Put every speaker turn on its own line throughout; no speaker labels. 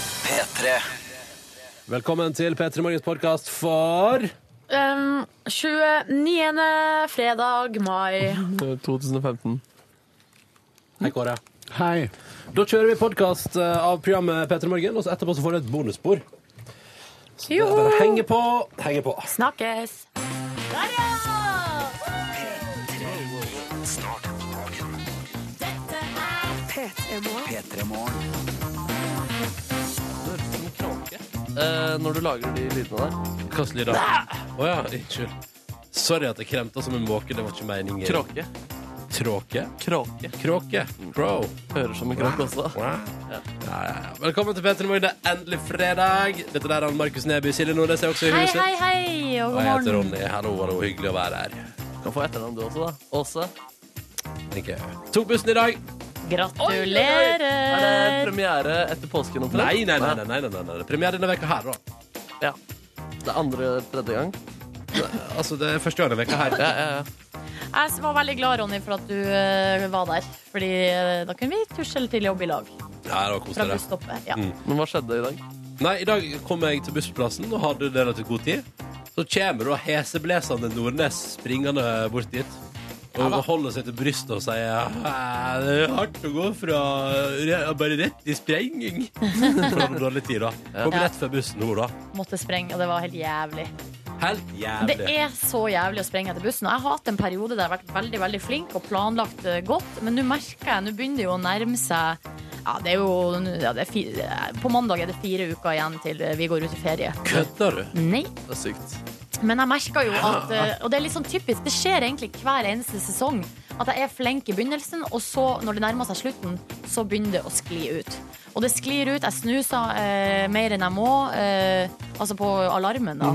P3.
Velkommen til P3 Morgens podkast for
Um, 29. fredag mai.
2015.
Hei, Kåre.
Hei.
Da kjører vi podkast av programmet P3 Morgen, og så etterpå så får du et bonusspor. Så det er bare å henge på. Henge på. Altså,
Snakkes! Der, ja!
Start dagen. P3 Morgen.
Eh, når du lager de lydene der.
Hva slags lyd da? Å ja, unnskyld. Sorry at jeg kremta som en måke. Det var ikke meningen.
Kråke.
Tråke?
Kråke.
Kråke? Crow?
Hører som en kråke også.
Ja. Ja, ja, ja. Velkommen til P3 Morgen. Det er endelig fredag. Dette der er han Markus Neby. Silje Nordnes er også i
Hei,
huset.
hei, hei, og
Og
god
jeg heter
morgen.
Ronny. Hallo, hallo. Hyggelig å være her.
Kan få etternavn du også, da. Åse.
Tenker jeg. Tok bussen i dag.
Eh.
Er det
Gratulerer!
premiere etter påske? noe på
Nei,
det?
nei, nei. nei, nei, nei, nei. Premiere denne veka her, da.
Ja. Det er andre tredje gang.
Altså, det er første gang denne veka her.
Ja, ja, ja.
Jeg var veldig glad, Ronny, for at du eh, var der. Fordi eh, da kunne vi tusle til jobb i lag.
Ja, det var
Fra
koselig. det.
busstoppet. Ja.
Men hva skjedde i dag?
Nei, I dag kom jeg til bussplassen og hadde relativt god tid. Så kommer da heseblesende Nordnes springende bort dit. Og holder seg til brystet og sier «Æ, Det er hardt å gå fra re- bare rett i sprenging. Fra den dårlige tida. Kom
Ja.
rett før bussen nå, da.
Måtte sprenge, og det var helt jævlig.
Helt
Det
jævlig.
er så jævlig å sprenge etter bussen. Og jeg har hatt en periode der jeg har vært veldig veldig flink og planlagt eh, godt, men nå merker jeg, nå begynner det jo å nærme seg ja, det er jo, ja, det er fi- eh, På mandag er det fire uker igjen til eh, vi går ut i ferie.
Kødder du?
Nei,
Det er sykt.
men jeg merker jo at eh, Og det er litt sånn typisk. Det skjer egentlig hver eneste sesong. At jeg er flink i begynnelsen, og så, når det nærmer seg slutten, så begynner det å skli ut. Og det sklir ut. Jeg snuser eh, mer enn jeg må. Eh, altså på alarmen, da.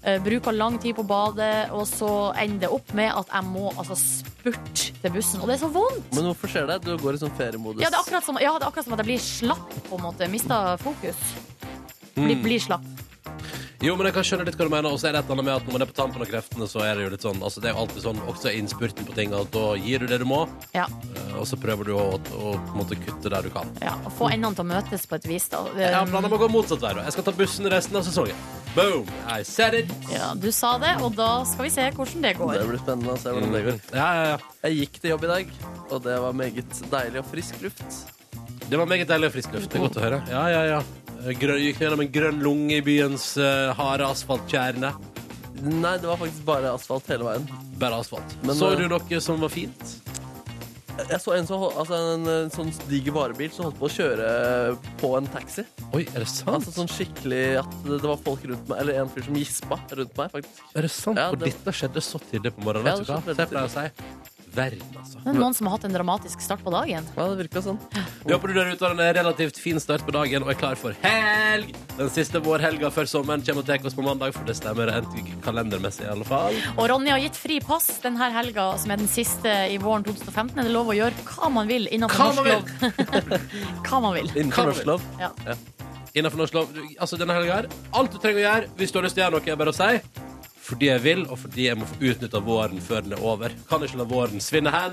Eh, bruker lang tid på badet, og så ender det opp med at jeg må altså spurte til bussen. Og det er så vondt!
Men hvorfor skjer det? Du går i sånn feriemodus.
Ja, det er akkurat som, ja, det er akkurat som at jeg blir slapp, på en måte. Mister fokus. Blir, blir slapp.
Jo, men jeg kan skjønne litt hva du mener. Og så er det et eller annet med at når man er på tampen av kreftene, så er det jo litt sånn Altså, det er jo alltid sånn, også i innspurten på ting, at da gir du det du må,
Ja.
eh, og så prøver du å, å på en måte kutte der du kan.
ja. Å få endene til å møtes på et vis, da.
Jeg har planer om å gå motsatt vei. da. Jeg skal ta bussen resten av sesongen. Boom! I said it!
Ja, du sa det, og da skal vi se hvordan det går.
Det blir spennende å se hvordan det går.
Ja, ja, ja.
Jeg gikk til jobb i dag, og det var meget deilig og frisk luft.
Det var meget deilig og frisk luft. Det er godt å høre. Ja, ja, ja. Grønn, gikk gjennom en grønn lunge i byens eh, harde asfalttjerne.
Nei, det var faktisk bare asfalt hele veien.
Bare asfalt.
Men,
så
eh,
du noe som var fint?
Jeg så en, som, hol- altså en, en sånn diger varebil som holdt på å kjøre på en taxi.
Oi, er det sant?
Altså sånn skikkelig at det var folk rundt meg, eller en fyr som gispa rundt meg, faktisk.
Er det sant?
Ja,
For
det-
dette skjedde så tidlig på morgenen.
Ja,
vet du hva?
det skjedde
Så jeg pleier å si verden, altså.
Det er noen som har hatt en dramatisk start på dagen.
Ja, det virka sånn.
Vi håper du der ute har en relativt fin start på dagen og er klar for helg. Den siste vårhelga før sommeren kommer og tar oss på mandag, for det stemmer rent kalendermessig i alle fall.
Og Ronny har gitt fri pass denne helga, som er den siste i våren 2015. Er det lov å gjøre hva man vil
Hva
innenfor
man
norsk lov? hva man vil.
Kan
Innenfor
vi?
norsk lov.
Ja.
Innenfor norsk lov. Du- Altså, denne helga her, alt du trenger å gjøre hvis du har lyst til å gjøre noe, er bare å si fordi jeg vil, og fordi jeg må få utnytta våren før den er over. Kan ikke la våren svinne hen.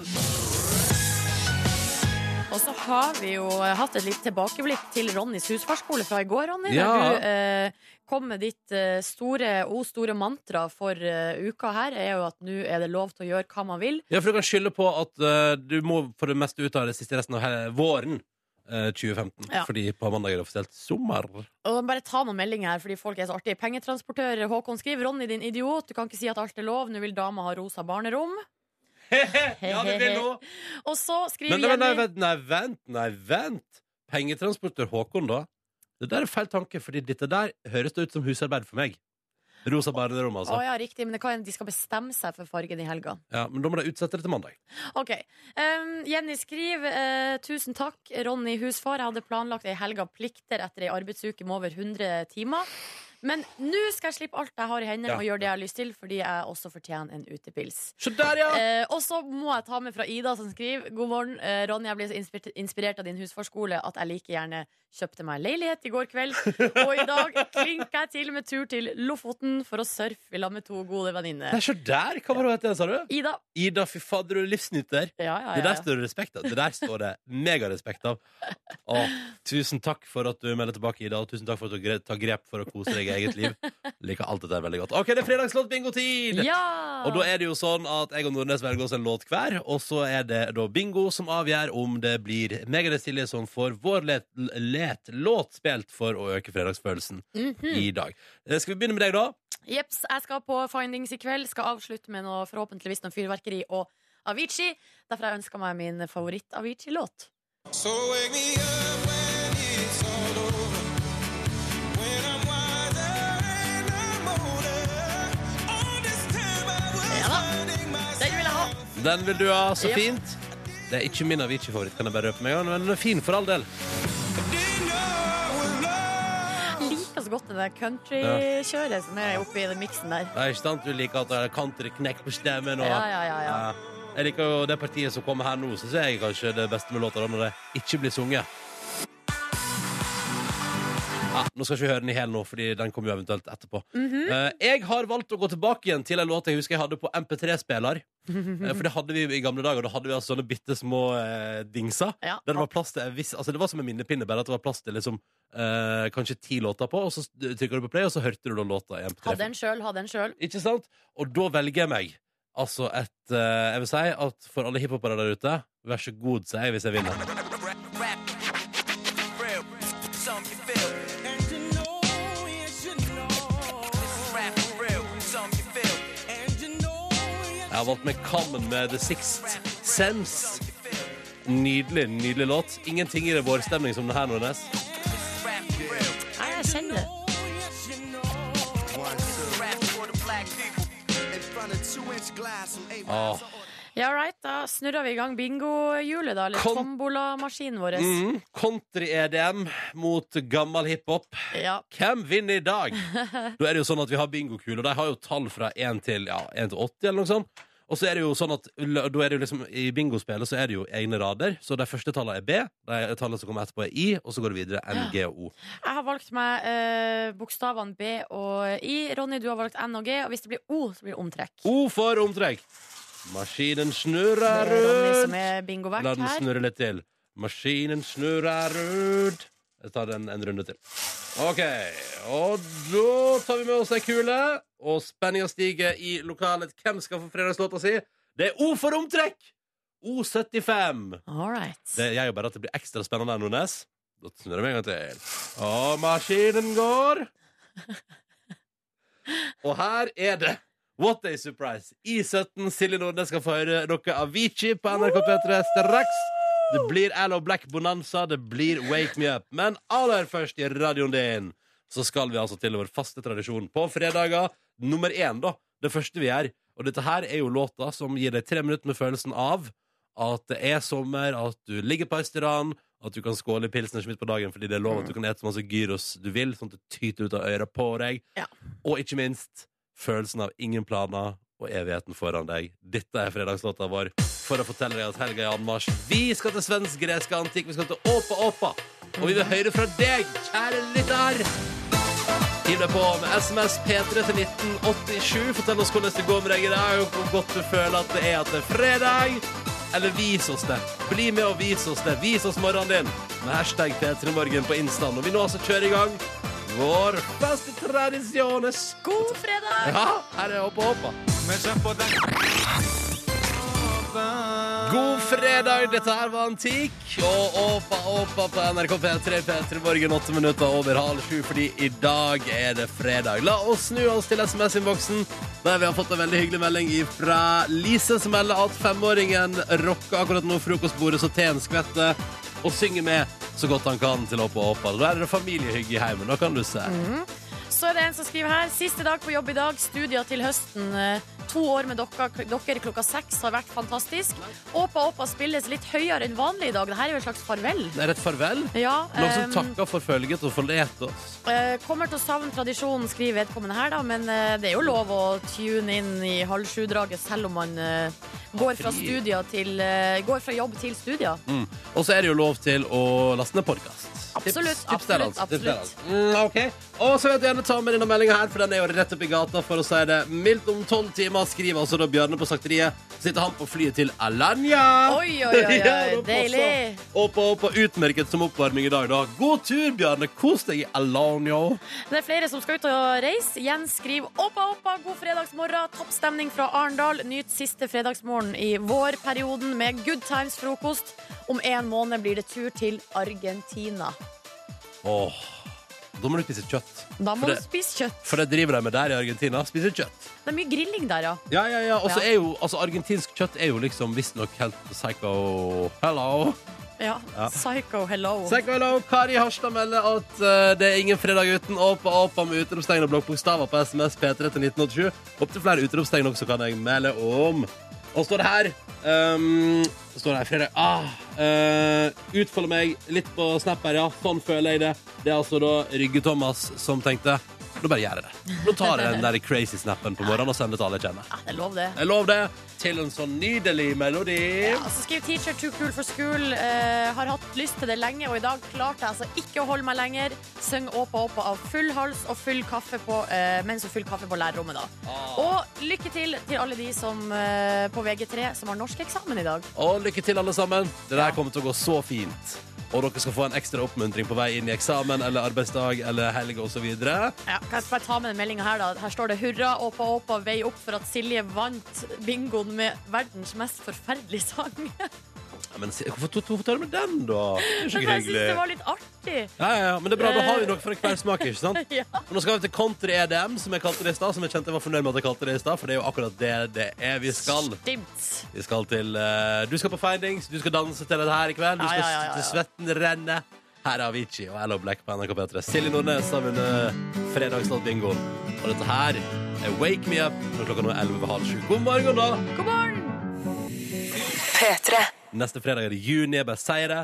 Og så har vi jo eh, hatt et litt tilbakeblikk til Ronnys husfarskole fra i går, Ronny.
Ja.
Der du eh, kom med ditt eh, store o store mantra for eh, uka her, er jo at nå er det lov til å gjøre hva man vil.
Ja, for du kan skylde på at eh, du må få det meste ut av det siste resten av he- våren eh, 2015.
Ja.
Fordi på mandag er det offisielt sommer.
Og bare ta noen meldinger her, fordi folk er så artige. Pengetransportør Håkon skriver Ronny, din idiot, du kan ikke si at alt er lov. Nå vil dama ha rosa barnerom.
Ja, det vil nå!
Og så skriver
Men nei, nei,
Jenny
vent, nei, vent, nei, vent. Pengetransporter Håkon, da. Det der er feil tanke, fordi dette der høres det ut som husarbeid for meg. Rosa barnerom,
Å
altså.
ja, riktig, men det kan, de skal bestemme seg for fargen i helga.
Ja, men da må de utsette det til mandag.
Ok. Um, Jenny skriver eh, Tusen takk, Ronny Husfar. Jeg hadde planlagt ei helg av plikter etter ei arbeidsuke med over 100 timer. Men nå skal jeg slippe alt jeg har i hendene,
Ja.
og gjøre det jeg har lyst til, fordi jeg også fortjener en utepils.
Se der, ja!
Eh, og så må jeg ta med fra Ida, som skriver God morgen, eh, Ronny. Jeg ble så inspir- inspirert av din husfarskole at jeg like gjerne kjøpte meg en leilighet i går kveld. Og i dag klinker jeg til med tur til Lofoten for å surfe i lag med to gode
Nei,
venninner.
se der! Hva var det hun het, sa du?
Ida.
Ida, fy fader, du er livsnyter.
Ja, ja,
Det
ja.
der står det respekt av. Det der står det megarespekt av. Å, tusen takk for at du melder tilbake, Ida, og tusen takk for at du gre- tar grep for å kose deg i eget liv. Liker alt dette her veldig godt. OK, det er fredagslåt-bingotid!
ja. ja.
Og da er det jo sånn at jeg og Nordnes velger oss en låt hver, og så er det da bingo som avgjør om det blir meg eller Silje som får vår let, let låt spilt for å øke fredagsfølelsen
Mhm.
i dag. Eh, Skal vi begynne med deg, da?
Jeps, jeg skal på Findings i kveld. Skal avslutte med noe, forhåpentligvis noe fyrverkeri og Avicii. Derfor har jeg ønska meg min favoritt-Avicii-låt.
So wake me up when it's all over. When I'm wiser and I'm older. All this time I was
Ja da.
finding
Den vil jeg ha!
myself.
Den vil du ha. Så
Yep.
fint. Det er ikke min Avicii-favoritt, kan jeg bare røpe meg. Men den er fin for all del.
Didn't know it was love.
Jeg liker så godt det der countrykjøret som er oppi den miksen der.
Det er ikke sant? Du liker at det er countryknekk på stemmen. Og,
Ja, ja, ja, ja.
Ja. Jeg liker jo det partiet som kommer her nå, syns jeg kanskje det beste med låta da, når det ikke blir sunget. Ja, nå skal ikke vi høre den i hel nå, Fordi den kommer jo eventuelt etterpå.
Mhm.
Eh, jeg har valgt å gå tilbake igjen til en låt jeg husker jeg hadde på MP3-spiller. Eh, For det hadde vi i gamle dager. Da hadde vi altså sånne bitte små eh, dingser.
Ja.
Der det var plass til en viss, altså Det var som en minnepinne, bare at det var plass til liksom, eh, kanskje ti låter på. Og så trykker du på play, og så hørte du da låta i MP3.
Ha den sjøl, ha den sjøl.
Ikke sant? Og da velger jeg meg Altså et eh, Jeg vil si at for alle hiphopere der ute Vær så god, sier jeg hvis jeg vinner
And to know you should know. And to know you
Jeg har valgt meg Common med The Sixth Sense Nydelig, nydelig låt Ingenting i det vår stemning som det her nå, Nes
Nei, jeg kjenner det.
Åh,
Ja, right, da snurrer vi i gang bingohjulet, da. Eller
Kom-
tombolamaskinen vår.
mm, Country EDM mot gammel hiphop
Ja.
Hvem vinner i dag? Da er det jo sånn at vi har bingokuler. De har jo tall fra 1 til, ja, 1 til 80 eller noe sånt. Og så er det jo sånn at l- da er det jo liksom, I bingospillet så er det jo egne rader. Så de første tallene er B, de tallene som kommer etterpå, er I, og så går det videre N, G og O.
Jeg har valgt meg eh, bokstavene B og I. Ronny, du har valgt N og G. Og hvis det blir O, så blir det omtrekk.
O for omtrekk. Maskinen snurrer
Det er Ronny som
rundt.
er bingovert
La den
her.
snurre litt til. Maskinen snurrer rundt. Jeg tar den en runde til. OK. Og da tar vi med oss ei kule, og spenninga stiger i lokalet. Hvem skal få fredagslåta si? Det er O for omtrekk! O75.
All right.
Det gjør jo bare at det blir ekstra spennende her, Nordnes. Da snurrer vi en gang til. Og maskinen går. Og her er det What a surprise! I17 Silje Nordnes skal få høre noe Avicii på NRK P3 straks. Det blir Allo Black Bonanza, det blir Wake Me Up. Men aller først i radioen din så skal vi altså til vår faste tradisjon på fredager. Nummer én, da. Det første vi gjør. Og dette her er jo låta som gir deg tre minutter med følelsen av at det er sommer, at du ligger på restaurant, at du kan skåle i pilsner midt på dagen fordi det er lov at du kan ete så masse gyros du vil, sånn at det tyter ut av øra på deg.
Ja.
Og ikke minst følelsen av ingen planer og evigheten foran deg. Dette er fredagslåta vår for å fortelle deg at helga er i anmarsj. Vi skal til svensk-gresk antikk, vi skal til Åpa Åpa, og vi vil høre fra deg, kjære lytter. Hiv deg på med SMS P3 til 1987. Fortell oss hvordan det går med deg i dag, og hvor godt du føler at det er at det er fredag. Eller vis oss det. Bli med og vis oss det. Vis oss morgenen din med hashtag P3morgen på Instaen. Og vi nå altså kjører i gang vår faste tradisjones.
God fredag!
Ja, her er Hoppa Hoppa.
Men kjenn på den
God fredag, dette her var Antikk. Og åpa, åpa på NRK P3, P3 Morgen, åtte minutter over halv sju, fordi i dag er det fredag. La oss snu oss til SMS-innboksen, der vi har fått en veldig hyggelig melding fra Lise, som melder at femåringen rocker akkurat nå frokostbordet så teen skvetter, og synger med så godt han kan til Åpa Åpa. Altså, Da er det familiehygge i heimen, da kan du se.
Så er det en som skriver her. Siste dag på jobb i dag. Studier til høsten. Eh, To år med dere, dere klokka seks har vært fantastisk. Åpa Åpa spilles litt høyere enn vanlig i dag. Dette er jo et slags farvel.
Det er et farvel.
Ja,
Noen som
ehm,
takker for følget og forlet oss.
eh, kommer til å savne tradisjonen, skriver vedkommende her, da, men eh, det er jo lov å tune inn i halv sju-draget selv om man eh, går, fra
fri.
studier til, eh, går fra jobb til studier.
Mm. Og så er det jo lov til å laste ned podkast.
Absolutt, absolutt, absolutt.
Mm, ok. Og så vil jeg gjerne ta med denne meldinga her, for den er jo rett opp i gata, for å si det mildt. Om tolv timer skriver altså da Bjørne på Slakteriet. Så Sitter han på flyet til Alanya.
Oi, oi, oi, oi,
Ja, da passer.
deilig.
Opp og opp og utmerket som oppvarming i dag, da. God tur, Bjørne. Kos deg i Alanya.
Det er flere som skal ut og reise. Jens skriver oppa, oppa, god fredagsmorgen. Toppstemning fra Arendal. Nyt siste fredagsmorgen i vårperioden med Good Times-frokost. Om en måned blir det tur til Argentina.
Åh. Da må du spise kjøtt.
Da
For
må du
det-
spise kjøtt.
For det driver de med der i Argentina. Spiser kjøtt.
Det er mye grilling der, ja.
Ja, ja, ja. Og så
Ja.
er jo altså, argentinsk kjøtt er jo liksom visstnok helt psycho Hello!
ja.
Ja.
Psycho hello.
Psycho hello. Kari Harstad melder at eh, det er ingen fredag uten Åpa Åpa med utropstegn og blokkbokstaver på SMS P3 til 1987. Opptil flere utropstegn også kan jeg melde om. Og står det her ehm, Står det her fredag ah, eh, Utfolder meg litt på Snap her, ja. Sånn føler jeg det. Det er altså da Rygge-Thomas som tenkte Nå bare gjør jeg det. Nå tar jeg den der crazy snappen på morgenen og sender til alle jeg kjenner.
Ja, det er lov, det.
Jeg lov det til en sånn nydelig melodi.
Ja, så skriver teacher too cool for school. Eh, har hatt lyst til det lenge, og i dag klarte jeg altså ikke å holde meg lenger. Syng Åpa Åpa av full hals og full kaffe på, eh, mens hun full kaffe på lærerrommet, da.
Ah.
Og lykke til til alle de som eh, på VG3 som har norskeksamen i dag.
Og lykke til, alle sammen. Det der kommer til å gå så fint. Og dere skal få en ekstra oppmuntring på vei inn i eksamen eller arbeidsdag eller helg osv.
Ja, kan jeg bare ta med den meldinga her, da? Her står det 'Hurra, Åpa Åpa, vei opp for at Silje vant bingoen med verdens mest forferdelige sang'.
Men se- hvorfor to- hvorfor tar du med den, da? Det er jo ikke
Men jeg syns
hyggelig.
det var litt artig.
Ja, ja, ja, men det er bra, Da har vi noe for hver smak. ikke sant?
Ja.
Og Nå skal vi til Country EDM, som jeg kalte det i stad. Som jeg kjente jeg var fornøyd med at jeg kalte det i stad, for det er jo akkurat det det er vi skal.
Stimt.
Vi skal til eh, Du skal på findings, du skal danse til dette her i kveld. Du
Ja,
skal
ja, ja, ja.
til svetten renne. Her er Avicii og Hello Black på NRK P3. Silje Nordnes har vunnet fredagslåtbingoen. Og dette her er Wake Me Up når klokka nå er 11 over halv sju. God morgen, da!
God morgen!
Neste fredag er det juni, jeg bare sier det.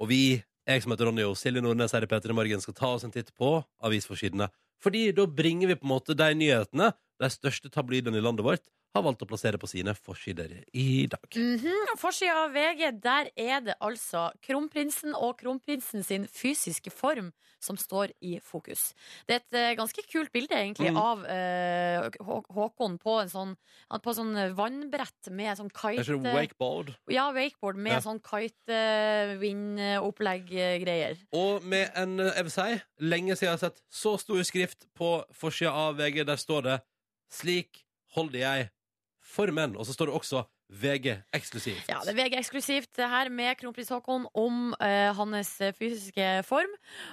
Og vi, jeg som heter Ronny og Silje Nordnes her i P3 Morgen, skal ta oss en titt på avisforsidene. Fordi da bringer vi på en måte de nyhetene de største tabloidene i landet vårt har valgt å plassere på sine forsider i dag.
På Forsida av VG, der er det altså kronprinsen og kronprinsen sin fysiske form som står i fokus. Det er et eh, ganske kult bilde, egentlig,
Mm.
av eh, Hå- Håkon på en sånn han på sånn vannbrett med sånn
Er
kite
ikke det wakeboard?
Ja, wakeboard med
Ja.
sånn eh, kite-vind-opplegg-greier.
Og med en, eh, jeg vil si, lenge siden jeg har sett så stor skrift på forsida av VG, der står det 'Slik holder jeg for menn'. Og så står det også VG eksklusivt.
Ja, det er VG eksklusivt det her med kronprins Haakon om eh, hans fysiske form.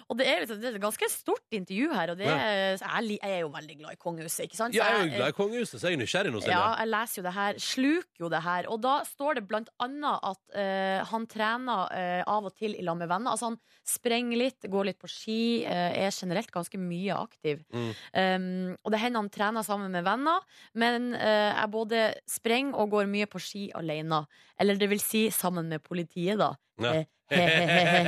Og det er, liksom- det er et ganske stort intervju her, og det
Ja.
er, så jeg, li- jeg er jo veldig glad i kongehuset, ikke sant? Så
Ja, jeg er
jeg-
jo glad i kongehuset, så jeg er nysgjerrig nå. Silje.
Ja, jeg leser jo det her, sluker jo det her. Og da står det blant annet at eh, han trener eh, av og til i lag med venner. Altså han sprenger litt, går litt på ski, eh, er generelt ganske mye aktiv.
Mm.
Um, og det hender han trener sammen med venner, men eh, jeg både sprenger og går mye på ski alene. Eller det vil si sammen med politiet, da.
Ja.
Eh,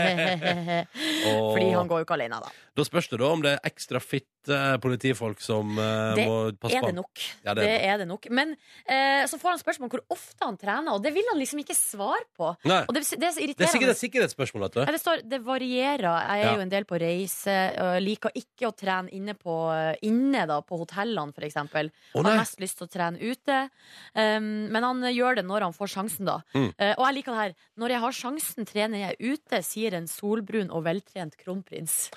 Fordi han går jo ikke alene, da.
Da spørs det da om det er ekstra fitte eh, politifolk som eh,
Det
må passe
er
på.
det
han.
nok.
Ja,
det,
det er det.
er det nok. Men eh, så får han spørsmål om hvor ofte han trener, og det vil han liksom ikke svare på.
Nei,
Og det,
det
det er så
er sikkert
irriterende.
et sikkerhetsspørsmål. vet du.
Ja, det står det varierer. Jeg er
Ja.
jo en del på reise. og Liker ikke å trene inne på, inne da, på hotellene, f.eks.
Å,
har
nei.
mest lyst til å trene ute. Um, men han gjør det når han får sjansen, da.
Mm.
Eh, og jeg liker det her. Når jeg har sjansen, trener jeg ute, sier en solbrun og veltrent kronprins.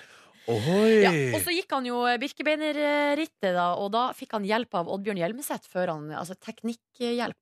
Ohoi.
Ja, og så gikk han jo eh, Birkebeinerrittet, da, og da fikk han hjelp av Oddbjørn Hjelmeset før han Altså teknikkhjelp.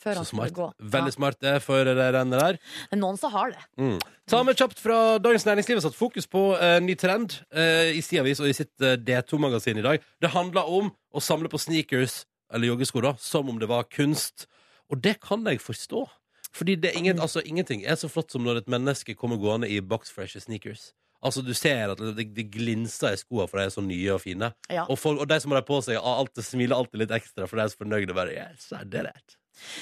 Før
Så
han skulle
smart.
gå.
Veldig
Ja.
smart det for det rennet der.
Det er noen som har det.
Mm. Ta med kjapt fra Dagens Næringsliv har satt fokus på eh, ny trend eh, i sin avis og i sitt eh, D2-magasin i dag. Det handler om å samle på sneakers, eller joggesko, da, som om det var kunst. Og det kan jeg forstå.
Mm.
Fordi det er ingen, altså, ingenting er så flott som når et menneske kommer gående i boxfreshe sneakers. Altså, du ser at det, det glinser i skoene, for de er så nye og fine.
Ja.
Og, folk, og de som har dem på seg, har alltid, smiler alltid litt ekstra, for de er så fornøyde. Bare, yes, er det rett?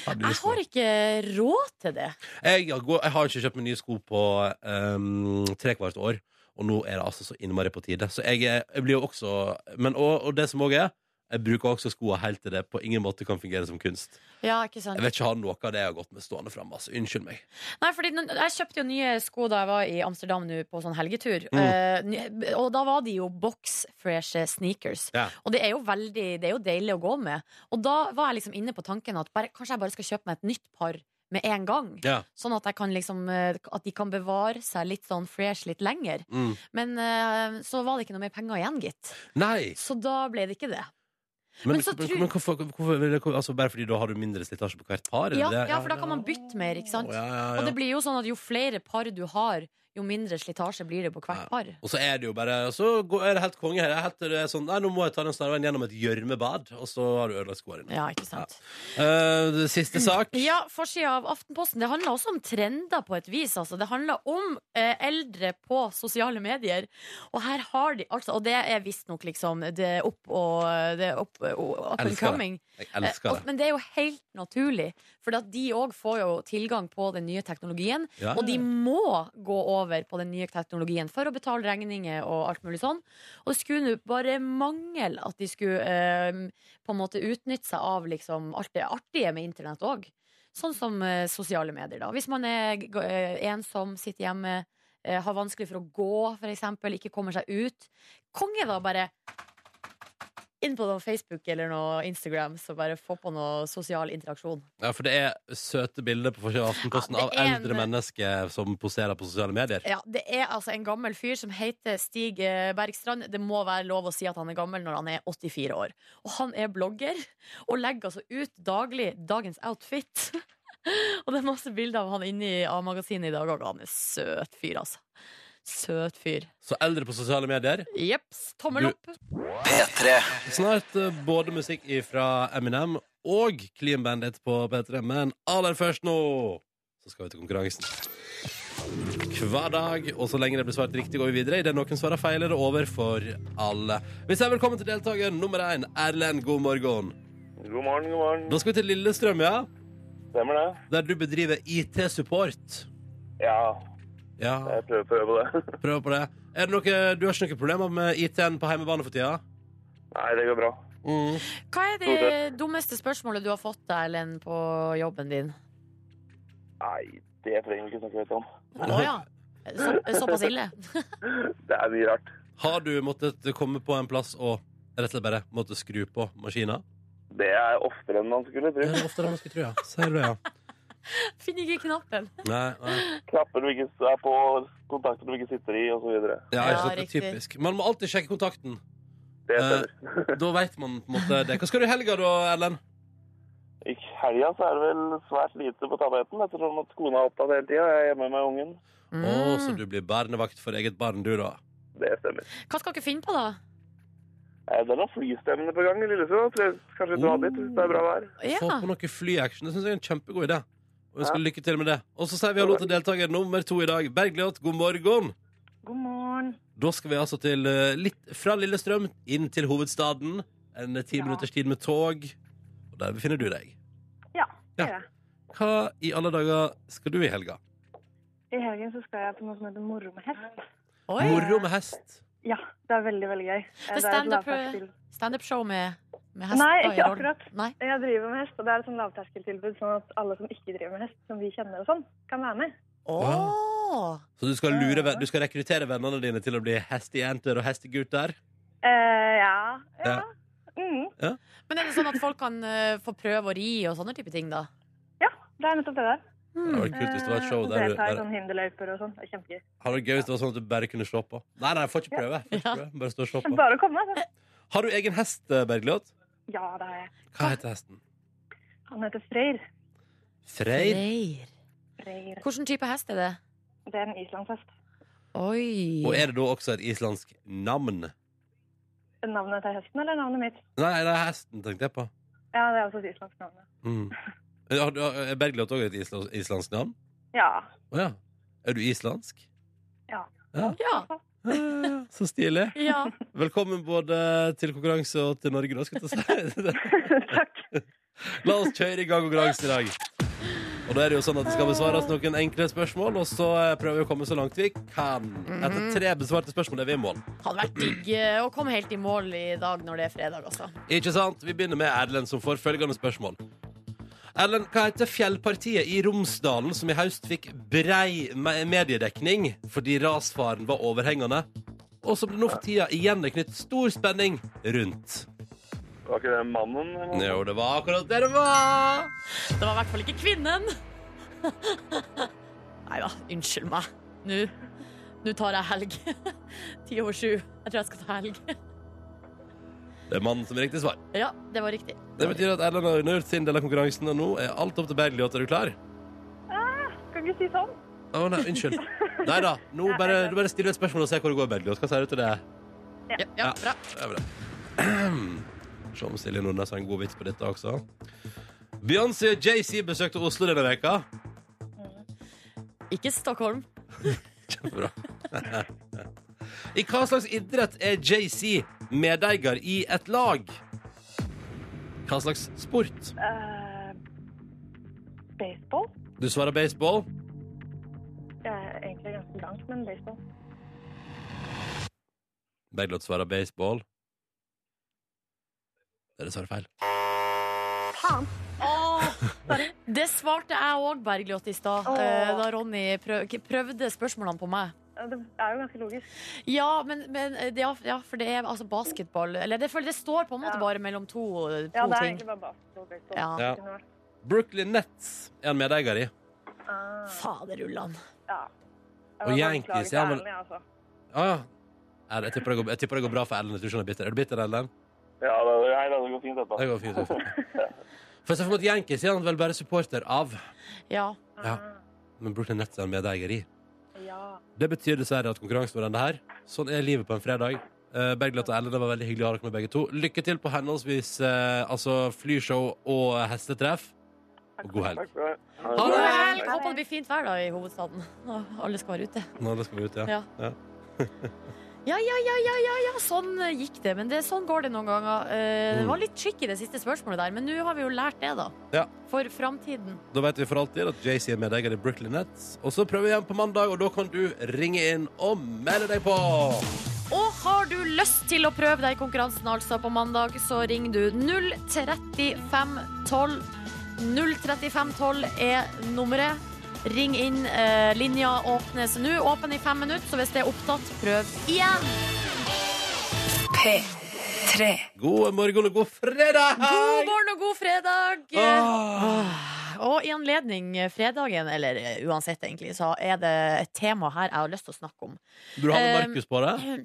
Har du
Jeg
lyst på
har ikke råd til det.
jeg, jeg, går, jeg har ikke kjøpt meg nye sko på um, trekvart år, og nå er det altså så innmari på tide. Så jeg, er- jeg blir jo også Men og, og det som òg er, jeg bruker også skoa helt til det på ingen måte kan fungere som kunst.
Ja, ikke sant?
Jeg vet ikke ha noe av det jeg har gått med stående fram. Altså. Unnskyld meg.
Nei, fordi den- Jeg kjøpte jo nye sko da jeg var i Amsterdam nå på sånn helgetur.
Mm.
Eh, ny- og da var de jo boxfreshe sneakers.
Ja.
Og det er jo veldig, det er jo deilig å gå med. Og da var jeg liksom inne på tanken at bare, kanskje jeg bare skal kjøpe meg et nytt par med en gang.
Ja.
Sånn at, jeg kan liksom, eh, at de kan bevare seg litt sånn fresh litt lenger.
Mm.
Men eh, så var det ikke noe mer penger igjen, gitt.
Nei!
Så da ble det ikke det.
Men,
Men så
men,
tror-
men hvorfor, hvorfor, vil det- hvor- altså, Bare fordi da har du mindre slitasje på hvert par? er det
Ja,
det?
ja, for da kan man bytte mer, ikke sant?
Å, ja, ja, ja.
Og det blir jo sånn at jo flere par du har, jo mindre slitasje blir det på hvert
Ja.
par.
Og så er det jo bare Så går- er det helt konge her. Jeg heter det sånn Nei, nå må jeg ta den snarveien gjennom et gjørmebad, og så har du ødelagt skoene dine.
Ja, ikke sant?
Eh, siste sak.
Ja, forsida av Aftenposten. Det handler også om trender på et vis. Altså. Det handler om eh, eldre på sosiale medier. Og her har de altså Og det er visstnok liksom det er opp og det er opp, og up
Elsker
and
det.
coming.
Jeg
Eh,
elsker
og-
det.
Men det er jo helt naturlig, for at de òg får jo tilgang på den nye teknologien.
Ja.
Og de må gå over på den nye teknologien for å betale regninger og alt mulig sånn. Og det skulle nå bare mangel at de skulle eh, på en måte utnytte seg av liksom alt det artige med internett òg. Sånn som eh, sosiale medier, da. Hvis man er g- eh, ensom, sitter hjemme, eh, har vanskelig for å gå, for eksempel, ikke kommer seg ut. Konge, da, bare inn på noe Facebook eller noe Instagram, så bare få på noe sosial interaksjon.
Ja, for det er søte bilder på forsiden av Aftenposten
Ja,
av
det er en-
eldre mennesker som poserer på sosiale medier.
Ja, Det er altså en gammel fyr som heter Stig eh, Bergstrand. Det må være lov å si at han er gammel når han er 84 år. Og han er blogger og legger altså ut daglig dagens outfit. og det er masse bilder av han inne i A-magasinet i dag òg. Han er søt fyr, altså. Søt fyr.
Så eldre på sosiale medier.
Jepps. Tommel
Du-
opp.
P3
Snart eh, både musikk fra Eminem og Clean Bandit på P3, men aller først nå så skal vi til konkurransen. Hver dag, og så lenge det blir svart riktig, går vi videre. Idet noen svarer feil, er det over for alle. Vi sier velkommen til deltaker nummer én, Erlend. God morgen.
God morgen, god morgen.
Da skal vi til Lillestrøm, ja.
Stemmer det?
Der du bedriver IT-support.
Ja,
Ja,
jeg prøver på å øve på det.
prøv på det. Er det noe, du har ikke noen problemer med IT-en på hjemmebane for tida?
Nei, det går bra.
Hva er det dummeste spørsmålet du har fått deg, Ellen, på jobben din?
Nei, det trenger vi ikke snakke høyt om.
Å ja. Så, såpass ille?
Det er mye rart.
Har du måttet komme på en plass og rett og slett bare måtte skru på maskina?
Det er oftere enn man skulle tro.
oftere enn man skulle tro, ja. Sier du det, ja.
Finner ikke knappen.
Nei, nei.
Knapper du ikke er på, kontakter du ikke sitter i, og så videre.
Ja,
Ja,
ikke sant, det er
riktig.
typisk. Man må alltid sjekke kontakten.
Det
Eh.
stemmer.
Da veit man på en måte det. Hva skal du i helga da, Ellen?
I helga så er det vel svært lite på tapeten, ettersom at kona er opptatt hele tida. Jeg er hjemme med ungen.
Å,
Mm.
så du blir barnevakt for eget barn, du, da.
Det stemmer.
Hva skal dere finne på, da?
Eh, Det er noen flystemmer på gang i Lillesund. så jeg- Kanskje dra dit hvis det er bra vær.
Ja.
Få på noe flyaction. Det syns jeg er en kjempegod idé. Og vi skal lykke til med det. Og så sier vi hallo til deltaker nummer to i dag. Bergljot, god morgen.
God morgen.
Da skal vi altså til eh, litt fra Lillestrøm inn til hovedstaden. En eh, ti minutters tid med tog. Og der befinner du deg.
Ja, det
Ja.
gjør jeg.
Hva i alle dager skal du i helga?
I helgen så skal jeg på noe som heter Moro med hest.
Oi.
Moro med hest.
Ja, det er veldig, veldig gøy.
Det er
et
stand-up,
eh.
lavterskel-
Standup-show med, med hest?
Nei,
da, i
ikke
rollen.
akkurat.
Nei.
Jeg driver med hest, og det er et sånn lavterskeltilbud, sånn at alle som ikke driver med hest, som vi kjenner og sånn, kan være med.
Åh.
Så du skal, lure, ven- du skal rekruttere vennene dine til å bli hestejenter og hestegutter?
Eh, ja. ja.
Ja.
Mm,
Men er det sånn at folk kan eh, få prøve å ri og sånne type ting, da? Mm.
ja, det er nettopp det der.
Det hadde vært kult hvis det var et show
Eh,
der du
Delta i
der,
sånn hinderløyper og sånn. Det er kjempegøy.
Hadde vært gøy hvis det var sånn at du bare kunne se på. Nei, nei, jeg får ikke prøve. Får ikke
Ja.
prøve. Bare stå og se på.
Bare å komme. altså.
Har du egen hest, eh, Bergljot?
Ja, det er jeg.
Hva heter hesten?
Han heter Freyr.
Freyr?
Freyr.
Hvilken type hest er det?
Det er en islandshest.
Oi.
Og er det da også et islandsk navn?
Navnet til hesten, eller navnet mitt?
Nei, det er hesten, tenkte jeg på.
Ja, det er også et islandsk navn. ja.
Mm. Har du- eh, Er Bergljot òg et isla- islandsk navn?
Ja.
Å ja. Er du islandsk?
Ja.
Ja.
Ja.
Så stilig.
Ja.
Velkommen både til konkurranse og til Norge, da, skal jeg til å si.
Takk.
La oss kjøre i gang konkurransen i dag. Og da er det jo sånn at Det skal besvares noen enkle spørsmål, og så eh, prøver vi å komme så langt vi kan. Etter tre besvarte spørsmål er vi i mål.
Hadde vært digg eh, å komme helt i mål i dag når det er fredag, altså.
Ikke sant? Vi begynner med Erlend, som får følgende spørsmål. Erlend, hva heter fjellpartiet i Romsdalen som i høst fikk brei me- mediedekning fordi rasfaren var overhengende, og som det nå for tida igjen er knyttet stor spenning rundt?
Var ikke det mannen? eller noe?
Jo, det var akkurat det det var!
Det var i hvert fall ikke kvinnen. Nei da, unnskyld meg. Nå, nå tar jeg helg. Ti over sju. Jeg tror jeg skal ta helg.
Det er mannen som er riktig svar.
Ja, det var riktig.
Det betyr at Erlend har unnagjort sin del av konkurransen, og nå er alt opp til Bergljot. Er du klar?
Kan ikke si sånn.
Å nei, unnskyld. Nei da. Nå bare, du bare stiller et spørsmål og ser hvor det går, Bergljot. Hva sier du til det?
Ja, ja bra.
Det er bra. Se om Silje Nordnes har en god vits på dette også. Beyoncé og JC besøkte Oslo denne veka.
Ikke Stockholm.
Kjempebra. I hva slags idrett er JC medeier i et lag? Hva slags sport?
Eh, baseball?
Du svarer baseball.
Det er egentlig ganske langt, men baseball.
Bergljot svarer baseball. Dere svarer feil.
Det svarte jeg òg, Bergljot, i stad,
Åh.
eh, da Ronny prøv, prøvde spørsmålene på meg.
Eh, Det er jo ganske logisk.
Ja, men, men eh, ja, ja, for det er altså basketball Eller det, for det står på en måte
Ja.
bare mellom to, eh, to
Ja, det er
ting.
egentlig bare baseball. og baseball.
Ja.
Ja.
Det kunne vært-
Brooklyn Nets er han medeier i.
Ah,
Faderullan.
ja.
Og Yankees, ja, men-
men... Altså.
Ah, ja. Er det- Jeg tipper det går- jeg tipper det går bra for Ellen. Jeg tror ikke hun er bitter. Er du bitter, Ellen?
Ja, det, nei, det går fint, dette.
Det går fint. det går fint. For jeg ser for meg at Yankees er han vel bare supporter av,
Ja.
Ja. men Brooklyn Nets er han medeier i.
Ah, ja.
Det betyr dessverre at konkurransen var denne her. Sånn er livet på en fredag. Uh, Bergljot og Ellen, det var veldig hyggelig å ha dere med begge to. Lykke til på henholdsvis eh, altså flyshow og hestetreff. Og god helg.
Takk for det.
Ha
God
det!
helg! Håper det blir fint vær da i hovedstaden. Og Alle skal være ute.
Nå da skal vi ut, ja.
Ja. Ja, ja, ja, ja, ja, ja. sånn eh, gikk det. Men det, sånn går det noen ganger. Eh, Det
Mm.
var litt tricky, det siste spørsmålet der, men nå har vi jo lært det, da.
Ja.
For framtiden.
Da vet vi for alltid at JC er medeier i Brooklyn Nets. Og så prøver vi igjen på mandag, og da kan du ringe inn og melde deg på!
Og har du lyst til å prøve deg i konkurransen altså på mandag, så ring du 03512. 03512 er nummeret. Ring inn. eh, Linja åpnes nå. Åpen i fem minutter, så hvis det er opptatt, prøv igjen.
God morgen og god fredag! Ah,
God morgen og god fredag!
Åh.
Og i anledning fredagen, eller eh, uansett egentlig, så er det et tema her jeg har lyst til å snakke om.
Burde du ha med
Eh,
Markus på det?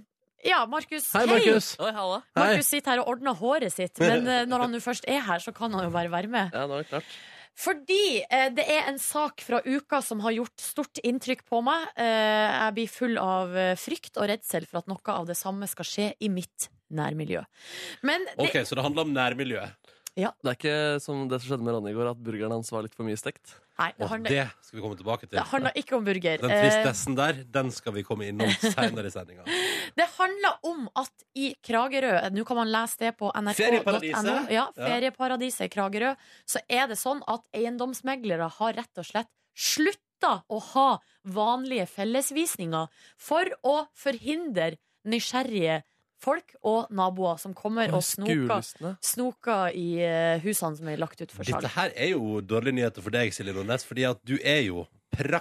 Ja, Markus.
Hei, Markus!
Oi, halla.
Hei.
Markus sitter her og ordner håret sitt, men eh, når han nå først er her, så kan han jo bare være med.
Ja, nå er det klart.
Fordi eh, det er en sak fra uka som har gjort stort inntrykk på meg. Eh, jeg blir full av eh, frykt og redsel for at noe av det samme skal skje i mitt nærmiljø. Men det,
OK, så det handler om nærmiljøet.
Det er ikke som det som skjedde med Ronny i går, at burgeren hans var litt for mye stekt.
nei, det
Og
handler,
det skal vi komme tilbake til.
det handler ikke om burger.
Den
Eh,
tristessen der, den skal vi komme innom seinere i sendinga.
Det handler om at i Kragerø Nå kan man lese det på nrk.no.
Ferieparadiset?
Ja, ferieparadiset i Kragerø. Så er det sånn at eiendomsmeglere har rett og slett slutta å ha vanlige fellesvisninger for å forhindre nysgjerrige folk og naboer som kommer og snoker,
Skulystne.
snoker i eh, husene som er lagt ut for salg.
Dette her er jo dårlige nyheter for deg, Silje Nordnes, fordi at du er jo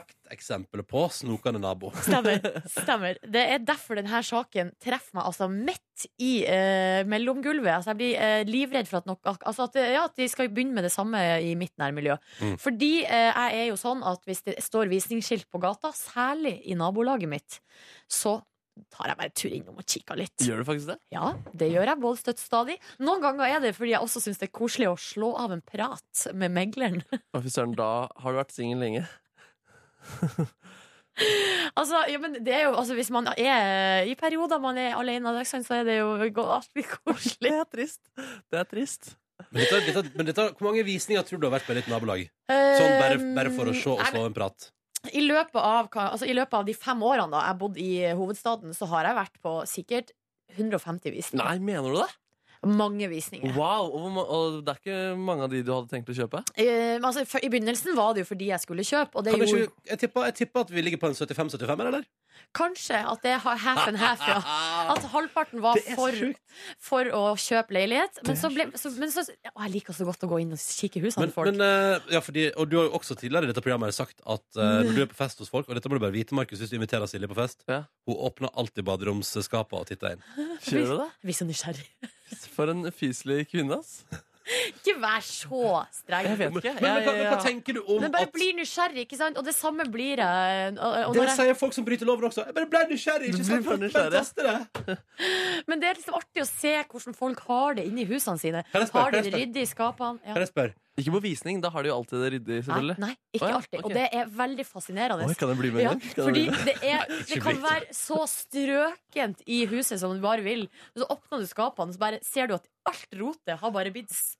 prakteksempelet på snokende nabo.
Stemmer. stemmer Det er derfor denne saken treffer meg altså midt i eh, mellomgulvet. Altså, jeg blir eh, livredd for at, nok, altså at, ja, at de skal begynne med det samme i mitt nærmiljø.
Mm.
Fordi eh, jeg er jo sånn at hvis det står visningsskilt på gata, særlig i nabolaget mitt, så tar jeg bare en tur innom og kikker litt.
Gjør du faktisk det?
Ja, det gjør jeg både støtt stadig. Noen ganger er det fordi jeg også syns det er koselig å slå av en prat med megleren.
Å, Fy søren, da har du vært singel lenge.
Altså, ja, men det er jo, altså, hvis man er i perioder man er alene, ikke sant, så er det jo alltid koselig.
Det er trist. Det er trist.
Men, dette,
Um,
dette, men dette, hvor mange visninger tror du det har vært på ditt nabolag? Sånn bare, bare for å se og
Ehm, Nei,
slå en prat.
i løpet, av, hva- altså, I løpet av de fem årene da jeg bodde i hovedstaden, så har jeg vært på sikkert 150 visninger.
Nei, mener du det?
Mange visninger.
Wow, og, hvor ma- og det er ikke mange av de du hadde tenkt å kjøpe?
Eh, men altså, for, I begynnelsen var det jo fordi jeg skulle kjøpe, og det
Kan jeg,
gjorde
ikke, jeg, tipper, jeg tipper at vi ligger på en 75-75, eller?
kanskje at det har half and half, ja. At halvparten var
Det er så
for,
sjukt.
for å kjøpe leilighet. Men så ble så, men så, å, Jeg liker så godt å gå inn og kikke i husene
Men,
til folk.
men, eh, ja, fordi, og du har jo også tidligere i dette programmet sagt at
Mm.
eh, når du er på fest hos folk Og dette må du bare vite, Markus, hvis du inviterer Silje på fest.
Ja.
Hun åpner alltid baderomsskapet og titter inn.
Kjører du det?
Jeg blir så nysgjerrig.
For en fyselig kvinne, ass.
Ikke vær så streng.
Jeg vet
Men,
ikke.
men,
Jeg-
hva, men hva
jeg-
tenker du om
Men bare
at
blir nysgjerrig, ikke sant? Og det samme blir jeg. Og, og
Det
når jeg
sier folk som bryter loven også. Jeg bare ble nysgjerrig.
Du
Ikke
blir
sant?
bare
Men
nysgjerrig.
teste det.
Men det er liksom artig å se hvordan folk har det inni husene sine.
Kan jeg spørre,
har de
kan jeg
det
spørre?
ryddig i skapene?
Kan
Ja.
jeg spørre?
Ikke på visning, da har de jo alltid det ryddig,
Nei,
selvfølgelig.
nei, ikke
Å ja,
alltid.
ok.
Og det er veldig fascinerende.
Oi, kan jeg bli med
Ja,
en gang? Kan jeg
fordi
bli med?
det, er, det
ikke
kan
blitt.
være så strøkent i huset som du bare vil. Og så åpner du skapene, så bare ser du at alt rotet har bare blitt stappa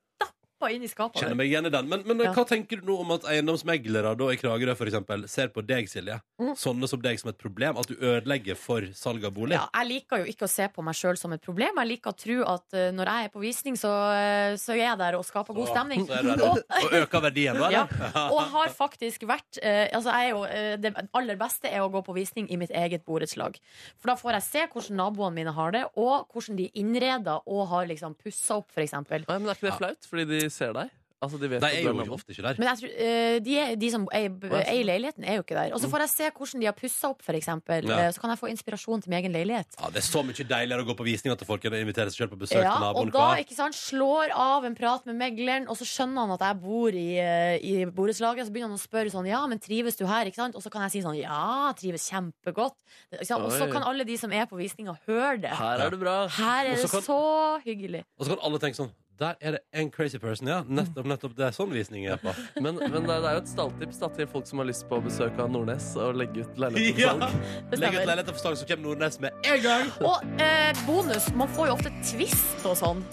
inn i
Kjenner
skapene.
meg igjen i den. Men, men
Ja.
hva tenker du nå om at eiendomsmeglere da, i Kragerø for eksempel, ser på deg, Silje,
Mm.
sånne som deg, som et problem? At du ødelegger for salg av bolig?
Ja, jeg liker jo ikke å se på meg sjøl som et problem. Jeg liker å tro at eh, når jeg er på visning, så, eh, så er jeg der og skaper god stemning.
Så er det,
Og
og øker verdien, da?
Ja.
eller?
Og har faktisk vært eh, altså jeg er jo, eh, Det aller beste er å gå på visning i mitt eget borettslag. For da får jeg se hvordan naboene mine har det, og hvordan de innreder og har liksom pussa opp, f.eks.
Nei, men er ikke det flaut? Fordi de ser deg? Altså, de vet
De
at
er
du er
jo
nabo.
ofte ikke der.
Men jeg tror, eh, de, er- de som eier b-
Hva er det?
eier leiligheten, er jo ikke der. Og så får jeg se hvordan de har pussa opp, f.eks.
Mm. Ja.
Ja. Så kan jeg få inspirasjon til min egen leilighet.
Ja, det er så mye deiligere å gå på visninger til folk enn å invitere seg selv på besøk
Ja,
til
og
naboen.
da
hva?
ikke sant, slår av en prat med megleren, og så skjønner han at jeg bor i, eh, i borettslaget. Så begynner han å spørre sånn Ja, men trives du her? Ikke sant? Og så kan jeg si sånn Ja, trives kjempegodt. Ikke sant? Og så
Oi.
kan alle de som er på visninga, høre det.
Her er det bra.
Her
Og så
er det
kan-
så hyggelig.
Og så kan alle tenke sånn Der er det en crazy person, ja. Nettopp, nettopp. Det er sånn visning jeg er på.
Men, men det er- det er jo et stalltips da, til folk som har lyst på besøk av Nordnes og legge ut leilighet på
Ja.
salg.
Det
Legg ut
stemmer.
leiligheter for salg, så kommer Nordnes med en gang!
Og eh, bonus, man får jo ofte twist og sånn.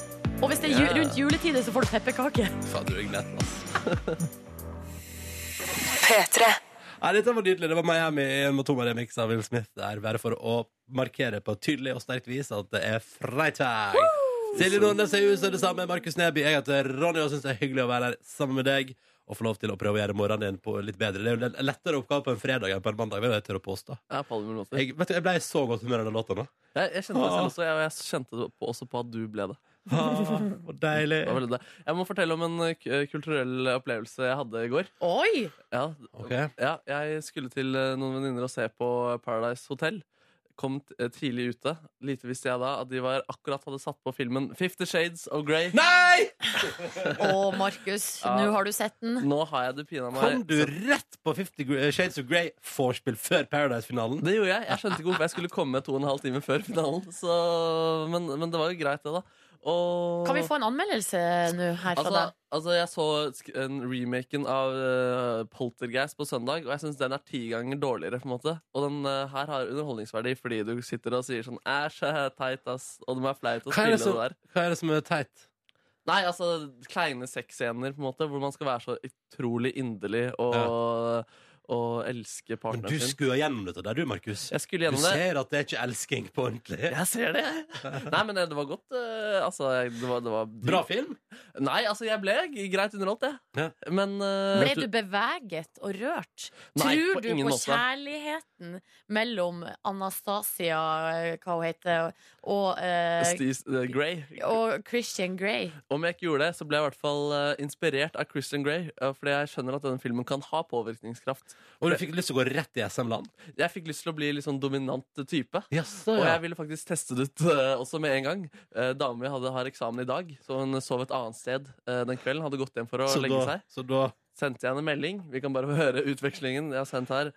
Og hvis det er ju
Ja.
rundt juletider, så får du pepperkake.
Fader, du er glett, ass. Nei, dette var nydelig. Det var Miami med to remix av Will Smith der, bare for å markere på tydelig og sterkt vis at det er fredag. Silje Nordnes er i huset, det samme er Markus Neby. Jeg heter Ronny og syns det er hyggelig å være her sammen med deg. Og få lov til å prøve å gjøre morgenen din på litt bedre. Det er jo en lettere oppgave på en fredag enn på en mandag. vil jeg tørre å påstå.
Ja, på alle mulige måter.
Jeg, vet du, jeg ble i så godt humør av den låta nå.
Jeg, jeg kjente det selv også, jeg, og jeg kjente det på, også på at du ble det.
Ah, så deilig.
Det var veldig det. Jeg må fortelle om en eh, k- eh, kulturell opplevelse jeg hadde i går.
Oi!
Ja,
Ok.
ja, jeg skulle til eh, noen venninner og se på Paradise Hotel. Kom t- eh, tidlig ute. Lite visste jeg da at de var akkurat hadde satt på filmen Fifty Shades of Grey.
Nei!
Å, Markus,
Ja.
nå har du sett den.
Nå har jeg det pina meg.
Kom du rett på 50 Gr- eh, Shades of Grey-vorspiel før Paradise-finalen?
Det gjorde jeg. Jeg skjønte ikke hvorfor jeg skulle komme to og en halv time før finalen. Så, men, men det var jo greit, det, da. Og,
Kan vi få en anmeldelse nå her fra
altså,
deg?
altså, jeg så sk- en remaken av eh, Poltergeist på søndag, og jeg syns den er ti ganger dårligere. på en måte Og den eh, her har underholdningsverdi fordi du sitter og sier sånn Æsj, eh, teit, ass. Og det må være flaut å
Hva
spille
er det
det,
som-
der.
Hva er det som er teit?
Nei, altså kleine sexscener, på en måte, hvor man skal være så utrolig inderlig og, og elske
Men
partneren
du
sin.
skulle gjennom dette der, du, Markus.
Jeg skulle
Du
gjennom det.
ser at det er ikke elsking på ordentlig.
Jeg ser det. Nei, men det var godt. eh, Altså, jeg- det var, det var
Bra film.
Nei, altså, jeg ble g- greit underholdt, jeg.
Ja.
Men eh,
Ble du beveget og rørt?
Nei,
Tror
på
du
ingen
på
måte.
kjærligheten mellom Anastasia, eh, hva hun heter, og, eh,
Steve eh, Grey.
og Christian Grey?
Om jeg ikke gjorde det, så ble jeg i hvert fall eh, inspirert av Christian Grey. eh, fordi jeg skjønner at denne filmen kan ha påvirkningskraft.
Og du fikk lyst til å gå rett i SM-land.
Jeg fikk lyst til å bli litt sånn dominant type.
Jaså,
Og
ja.
jeg ville faktisk teste det ut eh, også med en gang. Uh, Dama mi hadde- har eksamen i dag, så hun sov et annet sted eh, den kvelden. Hadde gått hjem for å
Så
legge
da,
seg.
så da
Sendte jeg henne en melding. Vi kan bare høre utvekslingen jeg har sendt her.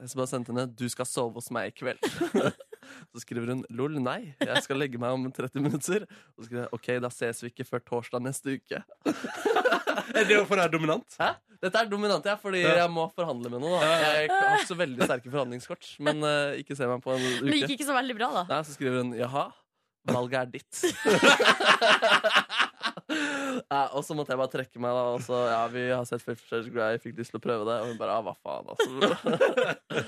Jeg skal bare sendte henne 'Du skal sove hos meg i kveld'. Så skriver hun 'Lol, nei, jeg skal legge meg om 30 minutter'. Og så skriver jeg 'OK, da ses vi ikke før torsdag neste uke'.
Er det jo for å være dominant?
Hæ? Dette er dominant, jeg, fordi
Ja.
jeg må forhandle med noe. Da. Jeg har ikke så veldig sterke forhandlingskort, men eh, ikke se meg på en
Det gikk
uke.
ikke så veldig bra, da.
Nei, så skriver hun 'Jaha, valget er ditt'. Ja, og så måtte jeg bare trekke meg, da. Og så, ja, vi har sett Fifty Shades of Grey, jeg fikk lyst til å prøve det. Og hun bare ja, hva faen, altså.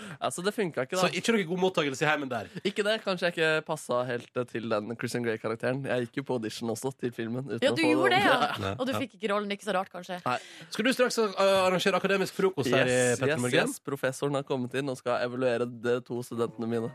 ja, så det funka ikke,
Så
da.
ikke noe god mottakelse i heimen der.
Ikke det, Kanskje jeg ikke passa helt eh, til den Christian Grey-karakteren. Jeg gikk jo på audition også til filmen. uten
Ja,
å
du
få
gjorde det, ja.
Ja.
Og du fikk ikke rollen. Ikke så rart, kanskje.
Skal du straks uh, arrangere akademisk frokost her i
Yes,
Petter
yes, yes, Professoren har kommet inn og skal evaluere de to studentene mine.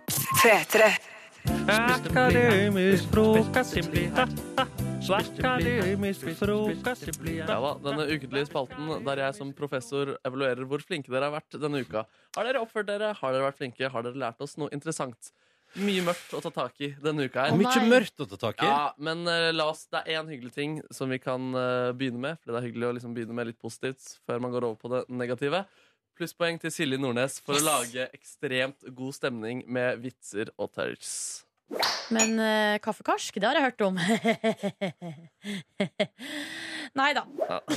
Ja da, Denne ukentlige spalten der jeg som professor evaluerer hvor flinke dere har vært denne uka. Har dere oppført dere? Har dere vært flinke? Har dere lært oss noe interessant? Mye mørkt å ta tak i denne uka her.
Å,
Mye
nei.
mørkt å ta tak i.
Ja, men eh, la oss, det er én hyggelig ting som vi kan eh, begynne med. Fordi det er hyggelig å liksom begynne med litt positivt før man går over på det negative. Plusspoeng til Silje Nordnes for å lage ekstremt god stemning med vitser og touch.
Men eh, kaffekarsk, det har jeg hørt om. Nei da. Altså,
Ja.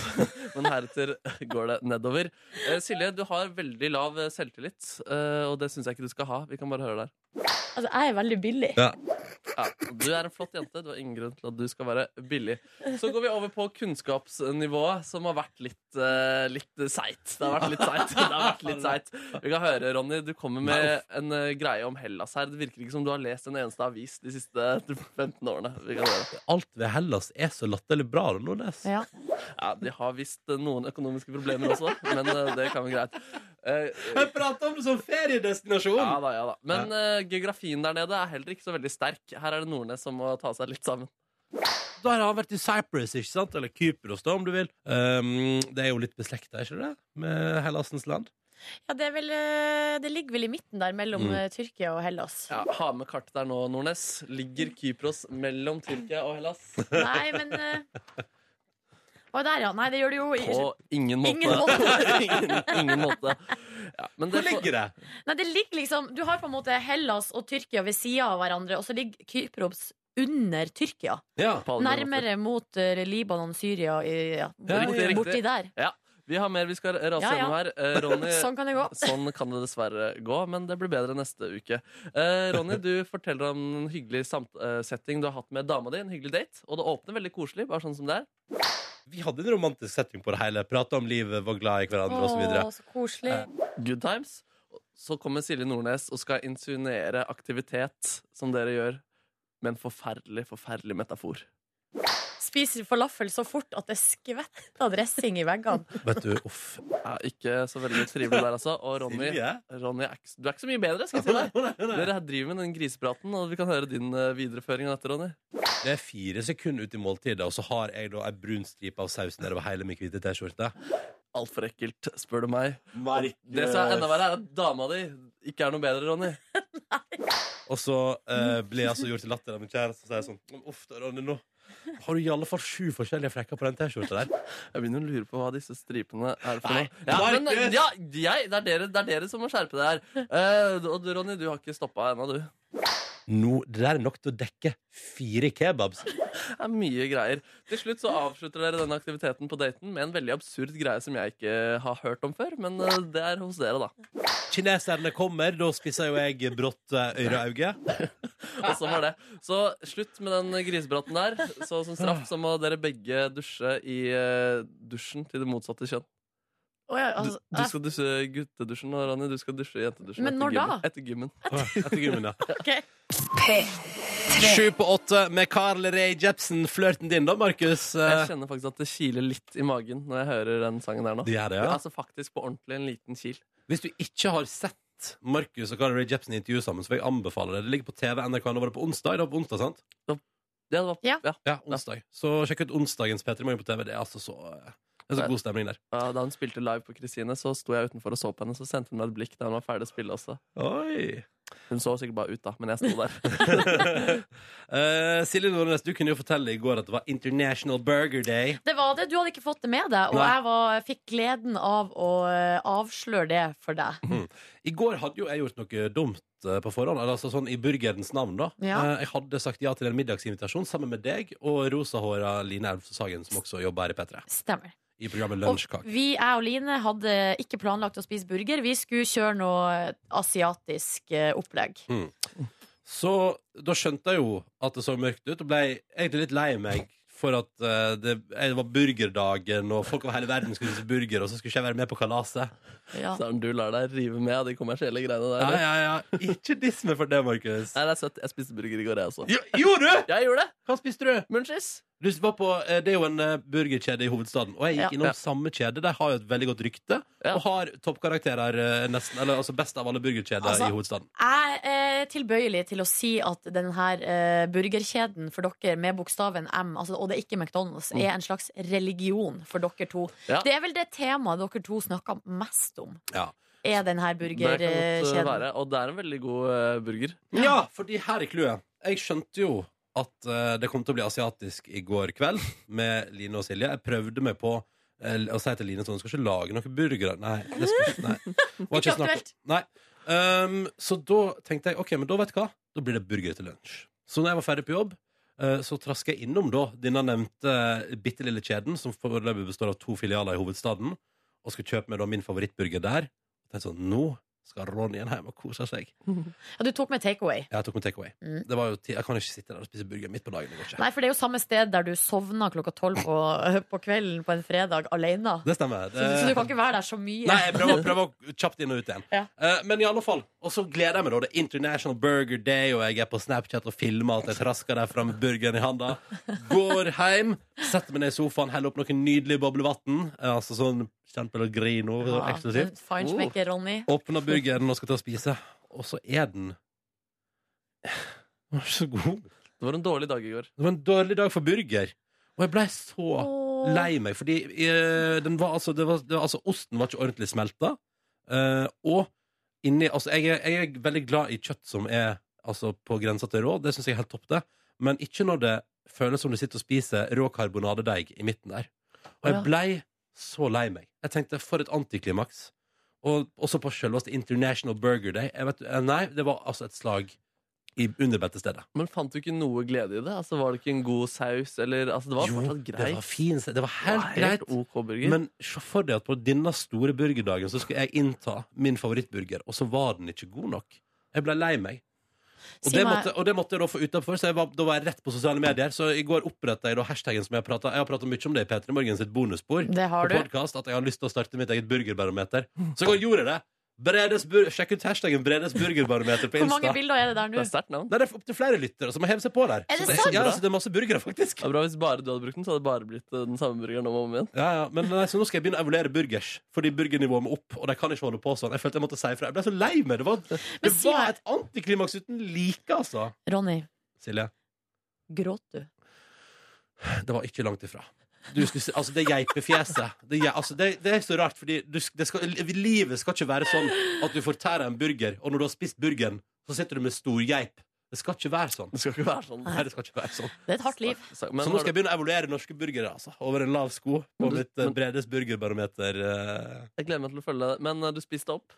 Men heretter går det nedover. Eh, Silje, du har veldig lav eh, selvtillit, eh, og det syns jeg ikke du skal ha. Vi kan bare høre der.
Altså, jeg er veldig billig.
Ja, du er en flott jente. Du har ingen grunn til at du skal være billig. Så går vi over på kunnskapsnivået, som har vært litt, eh, litt seigt. Det har vært litt seigt. Det har vært litt seigt. Vi kan høre, Ronny, du kommer med en eh, greie om Hellas her. Det virker ikke som du har lest en eneste avis de siste 15 årene. Vi kan høre.
Alt ved Hellas er så latterlig bra. Nordnes.
Ja.
Ja, de har visst eh, noen økonomiske problemer også, men eh, det kan være greit. Eh,
Jeg prater om det som feriedestinasjon!
Ja da, ja da. Men eh, geografien der nede er heller ikke så veldig sterk. Her er det Nordnes som må ta seg litt sammen.
Da har han vært i Cyprus, ikke sant? Eller Kypros, da, om du vil. Um, det er jo litt beslekta, ikke det? Med Hellasens land.
Ja, det, er vel, eh, det ligger vel i midten der mellom
Mm.
eh, Tyrkia og Hellas.
Ja, ha med kartet der nå, Nordnes. Ligger Kypros mellom Tyrkia og Hellas?
Nei, men eh, Å, der, ja. Nei, det gjør det jo i-
På ingen måte.
Ingen måte.
ingen, ingen måte. Ja, men det
Hvor
får-
ligger det?
Nei, det ligger liksom Du har på en måte Hellas og Tyrkia ved sida av hverandre, og så ligger Kypros under Tyrkia.
Ja.
på alle måter.
Nærmere mot eh, Libanon, Syria i- ja,
Ja,
borti,
riktig,
borti
riktig.
der.
Vi har mer vi skal rase
Ja, ja.
gjennom her. Eh, Ronny,
Sånn kan det gå.
sånn kan det dessverre gå, men det blir bedre neste uke. Eh, Ronny, du forteller om en hyggelig samt eh, setting du har hatt med dama di. En hyggelig date. Og det åpner veldig koselig, bare sånn som det er.
Vi hadde en romantisk setting på det hele. Prata om livet, var glad i hverandre og så
Å,
videre
så koselig.
Good times. Så kommer Silje Nordnes og skal insinuere aktivitet som dere gjør, med en forferdelig, forferdelig metafor.
Spiser falafel så fort at det skvetter dressing i veggene.
Vet du, uff.
Ja, ikke så veldig trivelig der, altså. Og Ronny,
Silje?
Ronny er ikke, du er ikke så mye bedre, skal jeg si deg. Dere her driver med den grisepraten, og vi kan høre din eh, videreføring av dette, Ronny.
Det er fire sekunder ut i måltidet, og så har jeg da ei brun stripe av saus nedover hele min hvite T-skjorte.
Altfor ekkelt, spør du meg. Det
Det
som er enda verre, er at dama di ikke er noe bedre, Ronny.
Og så eh, blir jeg altså gjort til latter av min kjæreste, og så sier jeg sånn Uff da, Ronny, nå har du i alle fall sju forskjellige flekker på den T-skjorta der.
Jeg begynner å lure på hva disse stripene er for
Nei,
noe. Ja, men,
Markus!
ja, jeg, det, er dere, det er dere som må skjerpe det her. Eh, og du, Ronny, du har ikke stoppa ennå, du.
Nå, det der er nok til å dekke fire kebabs.
Det er mye greier. Til slutt så avslutter dere denne aktiviteten på daten med en veldig absurd greie som jeg ikke har hørt om før, men eh, det er hos dere, da.
Kineserne kommer, da spiser jo jeg brått eh, øreauge.
Og så var det. Så slutt med den grisepraten der. Så som straff så må dere begge dusje i eh, dusjen til det motsatte kjønn.
Å, ja,
Du,
altså,
du skal dusje i guttedusjen, og Ronny, du skal dusje i jentedusjen.
Men
etter
når
gymmen-
da?
Etter gymmen.
Etter gymmen, ja.
ok.
Sju på åtte med Carl Ray Jepsen. Flørten din, da, Markus?
Jeg
Eh,
kjenner faktisk at det kiler litt i magen når jeg hører den sangen der nå.
Du gjør Eh, det, ja?
Altså faktisk på ordentlig en liten kil.
Hvis du ikke har sett Markus og Carl Ray Jepsen i intervju sammen, så vil jeg anbefale det. Det ligger på TV NRK. Nå var det på onsdag. Det var på onsdag, sant?
Ja, det var,
Ja.
ja.
Ja, onsdag. Så sjekk ut onsdagens P3 Morgen på TV. Det er altså så, det er så god stemning der.
Ja, Da hun spilte live på Kristine, så sto jeg utenfor og så på henne. Så sendte hun meg et blikk da hun var ferdig å spille også.
Oi!
Hun så sikkert bare ut, da, men jeg sto der.
Eh, Silje Nordnes, du kunne jo fortelle i går at det var International Burger Day.
Det var det. Du hadde ikke fått det med deg, og
Nei.
jeg var, fikk gleden av å eh, avsløre det for deg.
I går hadde jo jeg gjort noe dumt eh, på forhånd, eller altså sånn i burgerens navn, da.
Ja.
Eh, Jeg hadde sagt ja til en middagsinvitasjon sammen med deg og rosahåra Line Elvsås Hagen, som også jobber her i P3,
Stemmer.
i programmet
Og
Lunsjkake.
vi, jeg og Line, hadde ikke planlagt å spise burger. Vi skulle kjøre noe asiatisk eh, opplegg.
Så da skjønte jeg jo at det så mørkt ut, og ble egentlig litt lei meg for at eh, det, eh, det var burgerdagen, og folk over hele verden skulle spise burger, og så skulle ikke jeg være med på kalaset.
Ja.
Så er det du lar deg rive med av de kommersielle greiene der.
Ja, ja, ja. Ikke diss meg for det, Markus.
Nei, det er søtt. Jeg spiste burger i går, jeg også.
Jo, Gjorde du?!
Jeg gjorde det!
Hva spiste du?
Munchies.
Du var på, eh, det er jo en eh, burgerkjede i hovedstaden, og jeg gikk
Ja.
innom
Ja.
samme kjede. De har jo et veldig godt rykte,
Ja.
og har toppkarakterer, eh, nesten, eller altså best av alle burgerkjeder
Altså-
i hovedstaden.
Jeg er eh, tilbøyelig til å si at denne eh, burgerkjeden for dere med bokstaven M, altså, og det er ikke McDonald's, er en slags religion for dere to.
Mm. Ja.
Det er vel det temaet dere to snakker mest om,
Ja.
er denne
Det kan godt eh,
burgerkjeden.
være. Og det er en veldig god eh, burger.
Ja, fordi her er clouet. Jeg skjønte jo at eh, det kom til å bli asiatisk i går kveld med Line og Silje. Jeg prøvde meg på eh, å si til Line sånn Skal ikke lage noen burgere. Nei. Det skal, ikke- nei. Det var
Ikke
snakk om-
aktuelt.
Nei. Ehm, så da tenkte jeg OK, men da vet du hva? Da blir det burger til lunsj. Så når jeg var ferdig på jobb, eh, så traska jeg innom da denne nevnte eh, bitte lille kjeden, som foreløpig består av to filialer i hovedstaden, og skulle kjøpe meg da min favorittburger der. Tenkte sånn, nå skal Ronjen hjem og kose seg.
Ja, du tok med takeaway.
Jeg tok med takeaway.
Mm.
Det var jo ti- Jeg kan jo ikke sitte der og spise burger midt på dagen. Det, går ikke.
Nei, for det er jo samme sted der du sovna klokka tolv på, på kvelden på en fredag alene.
det stemmer.
Så, så du kan ikke være der så mye.
Nei, jeg prøver, prøver kjapt inn og ut igjen.
Ja.
Eh, men i alle fall, og så gleder jeg meg, da. Det er International Burger Day, og jeg er på Snapchat og filmer at jeg trasker der fram med burgeren i handa. Går hjem, setter meg ned i sofaen, heller opp noe nydelig boblevann. Eh, altså sånn kjempel og grino.
Ja,
Eksklusivt.
Feinschmecker, Ronny.
Åpner burgeren og skal til å spise, og så er den Den var ikke så god.
Det var en dårlig dag i går.
Det var en dårlig dag for burger. Og jeg blei så
Åh.
lei meg, fordi eh, den var, altså, det var, det var, altså, osten var ikke ordentlig smelta. eh, og inni Altså, jeg er, jeg er veldig glad i kjøtt som er altså, på grensa til rå. Det syns jeg er helt topp, det. Men ikke når det føles som du sitter og spiser rå karbonadedeig i midten der. Og
Ja.
jeg blei så lei meg. Jeg tenkte, for et antiklimaks. Og også på selveste International Burger Day. Jeg vet, eh, nei, det var altså et slag i underbettestedet.
Men fant du ikke noe glede i det? Altså, Var det ikke en god saus? Eller, altså, det var fortsatt
det
greit.
var fin, se- det var
Det
helt
var
greit.
helt OK burger.
Men se for deg at på denne store burgerdagen så skulle jeg innta min favorittburger, og så var den ikke god nok. Jeg ble lei meg. Og
Si
det,
meg-
måtte, og det måtte jeg da få utenfor, så jeg var, da var jeg rett på sosiale medier. Så i går oppretta jeg da hashtaggen som jeg har prata Jeg har prata mye om det i P3 Morgen sitt bonusspor.
Det har
på
du.
podcast, at jeg har lyst til å starte mitt eget burgerbarometer. Så i går gjorde jeg det. Bredes bur Sjekk ut hashtaggen Bredes burgerbarometer på
Hvor mange
Insta.
bilder er det der
Det
nå?
er sterkt navn.
Nei, det er opptil flere lyttere som har hevet seg på der.
Er
Så
det sant?
Ja, så det er masse burgere, faktisk.
Det er bra Hvis bare du hadde brukt den, så hadde det bare blitt eh, den samme burgeren om og om igjen.
Ja, ja, men nei, så Nå skal jeg begynne å evaluere burgers, fordi burgernivået må opp. Og de kan ikke holde på sånn. Jeg følte jeg måtte si ifra. Jeg ble så lei meg. Det var, det
si
var
meg-
et antiklimaks uten like, altså.
Ronny,
Silje,
gråt du?
det var ikke langt ifra. Du skulle, se- altså, det geipefjeset. Det, ge- altså, det, det er så rart, fordi du, sk- det skal, livet skal ikke være sånn at du fortærer en burger, og når du har spist burgeren, så sitter du med stor geip. Det skal ikke være sånn.
Det skal ikke være sånn.
Nei, det skal ikke være sånn.
Det er et hardt liv.
Så, men
så nå
har
skal jeg begynne å evaluere norske burgere, altså. Over en lav sko. På
Men du-
mitt eh,
men-
Bredes burgerbarometer. eh,
du, jeg gleder meg til å følge deg. Men eh, du spiste opp?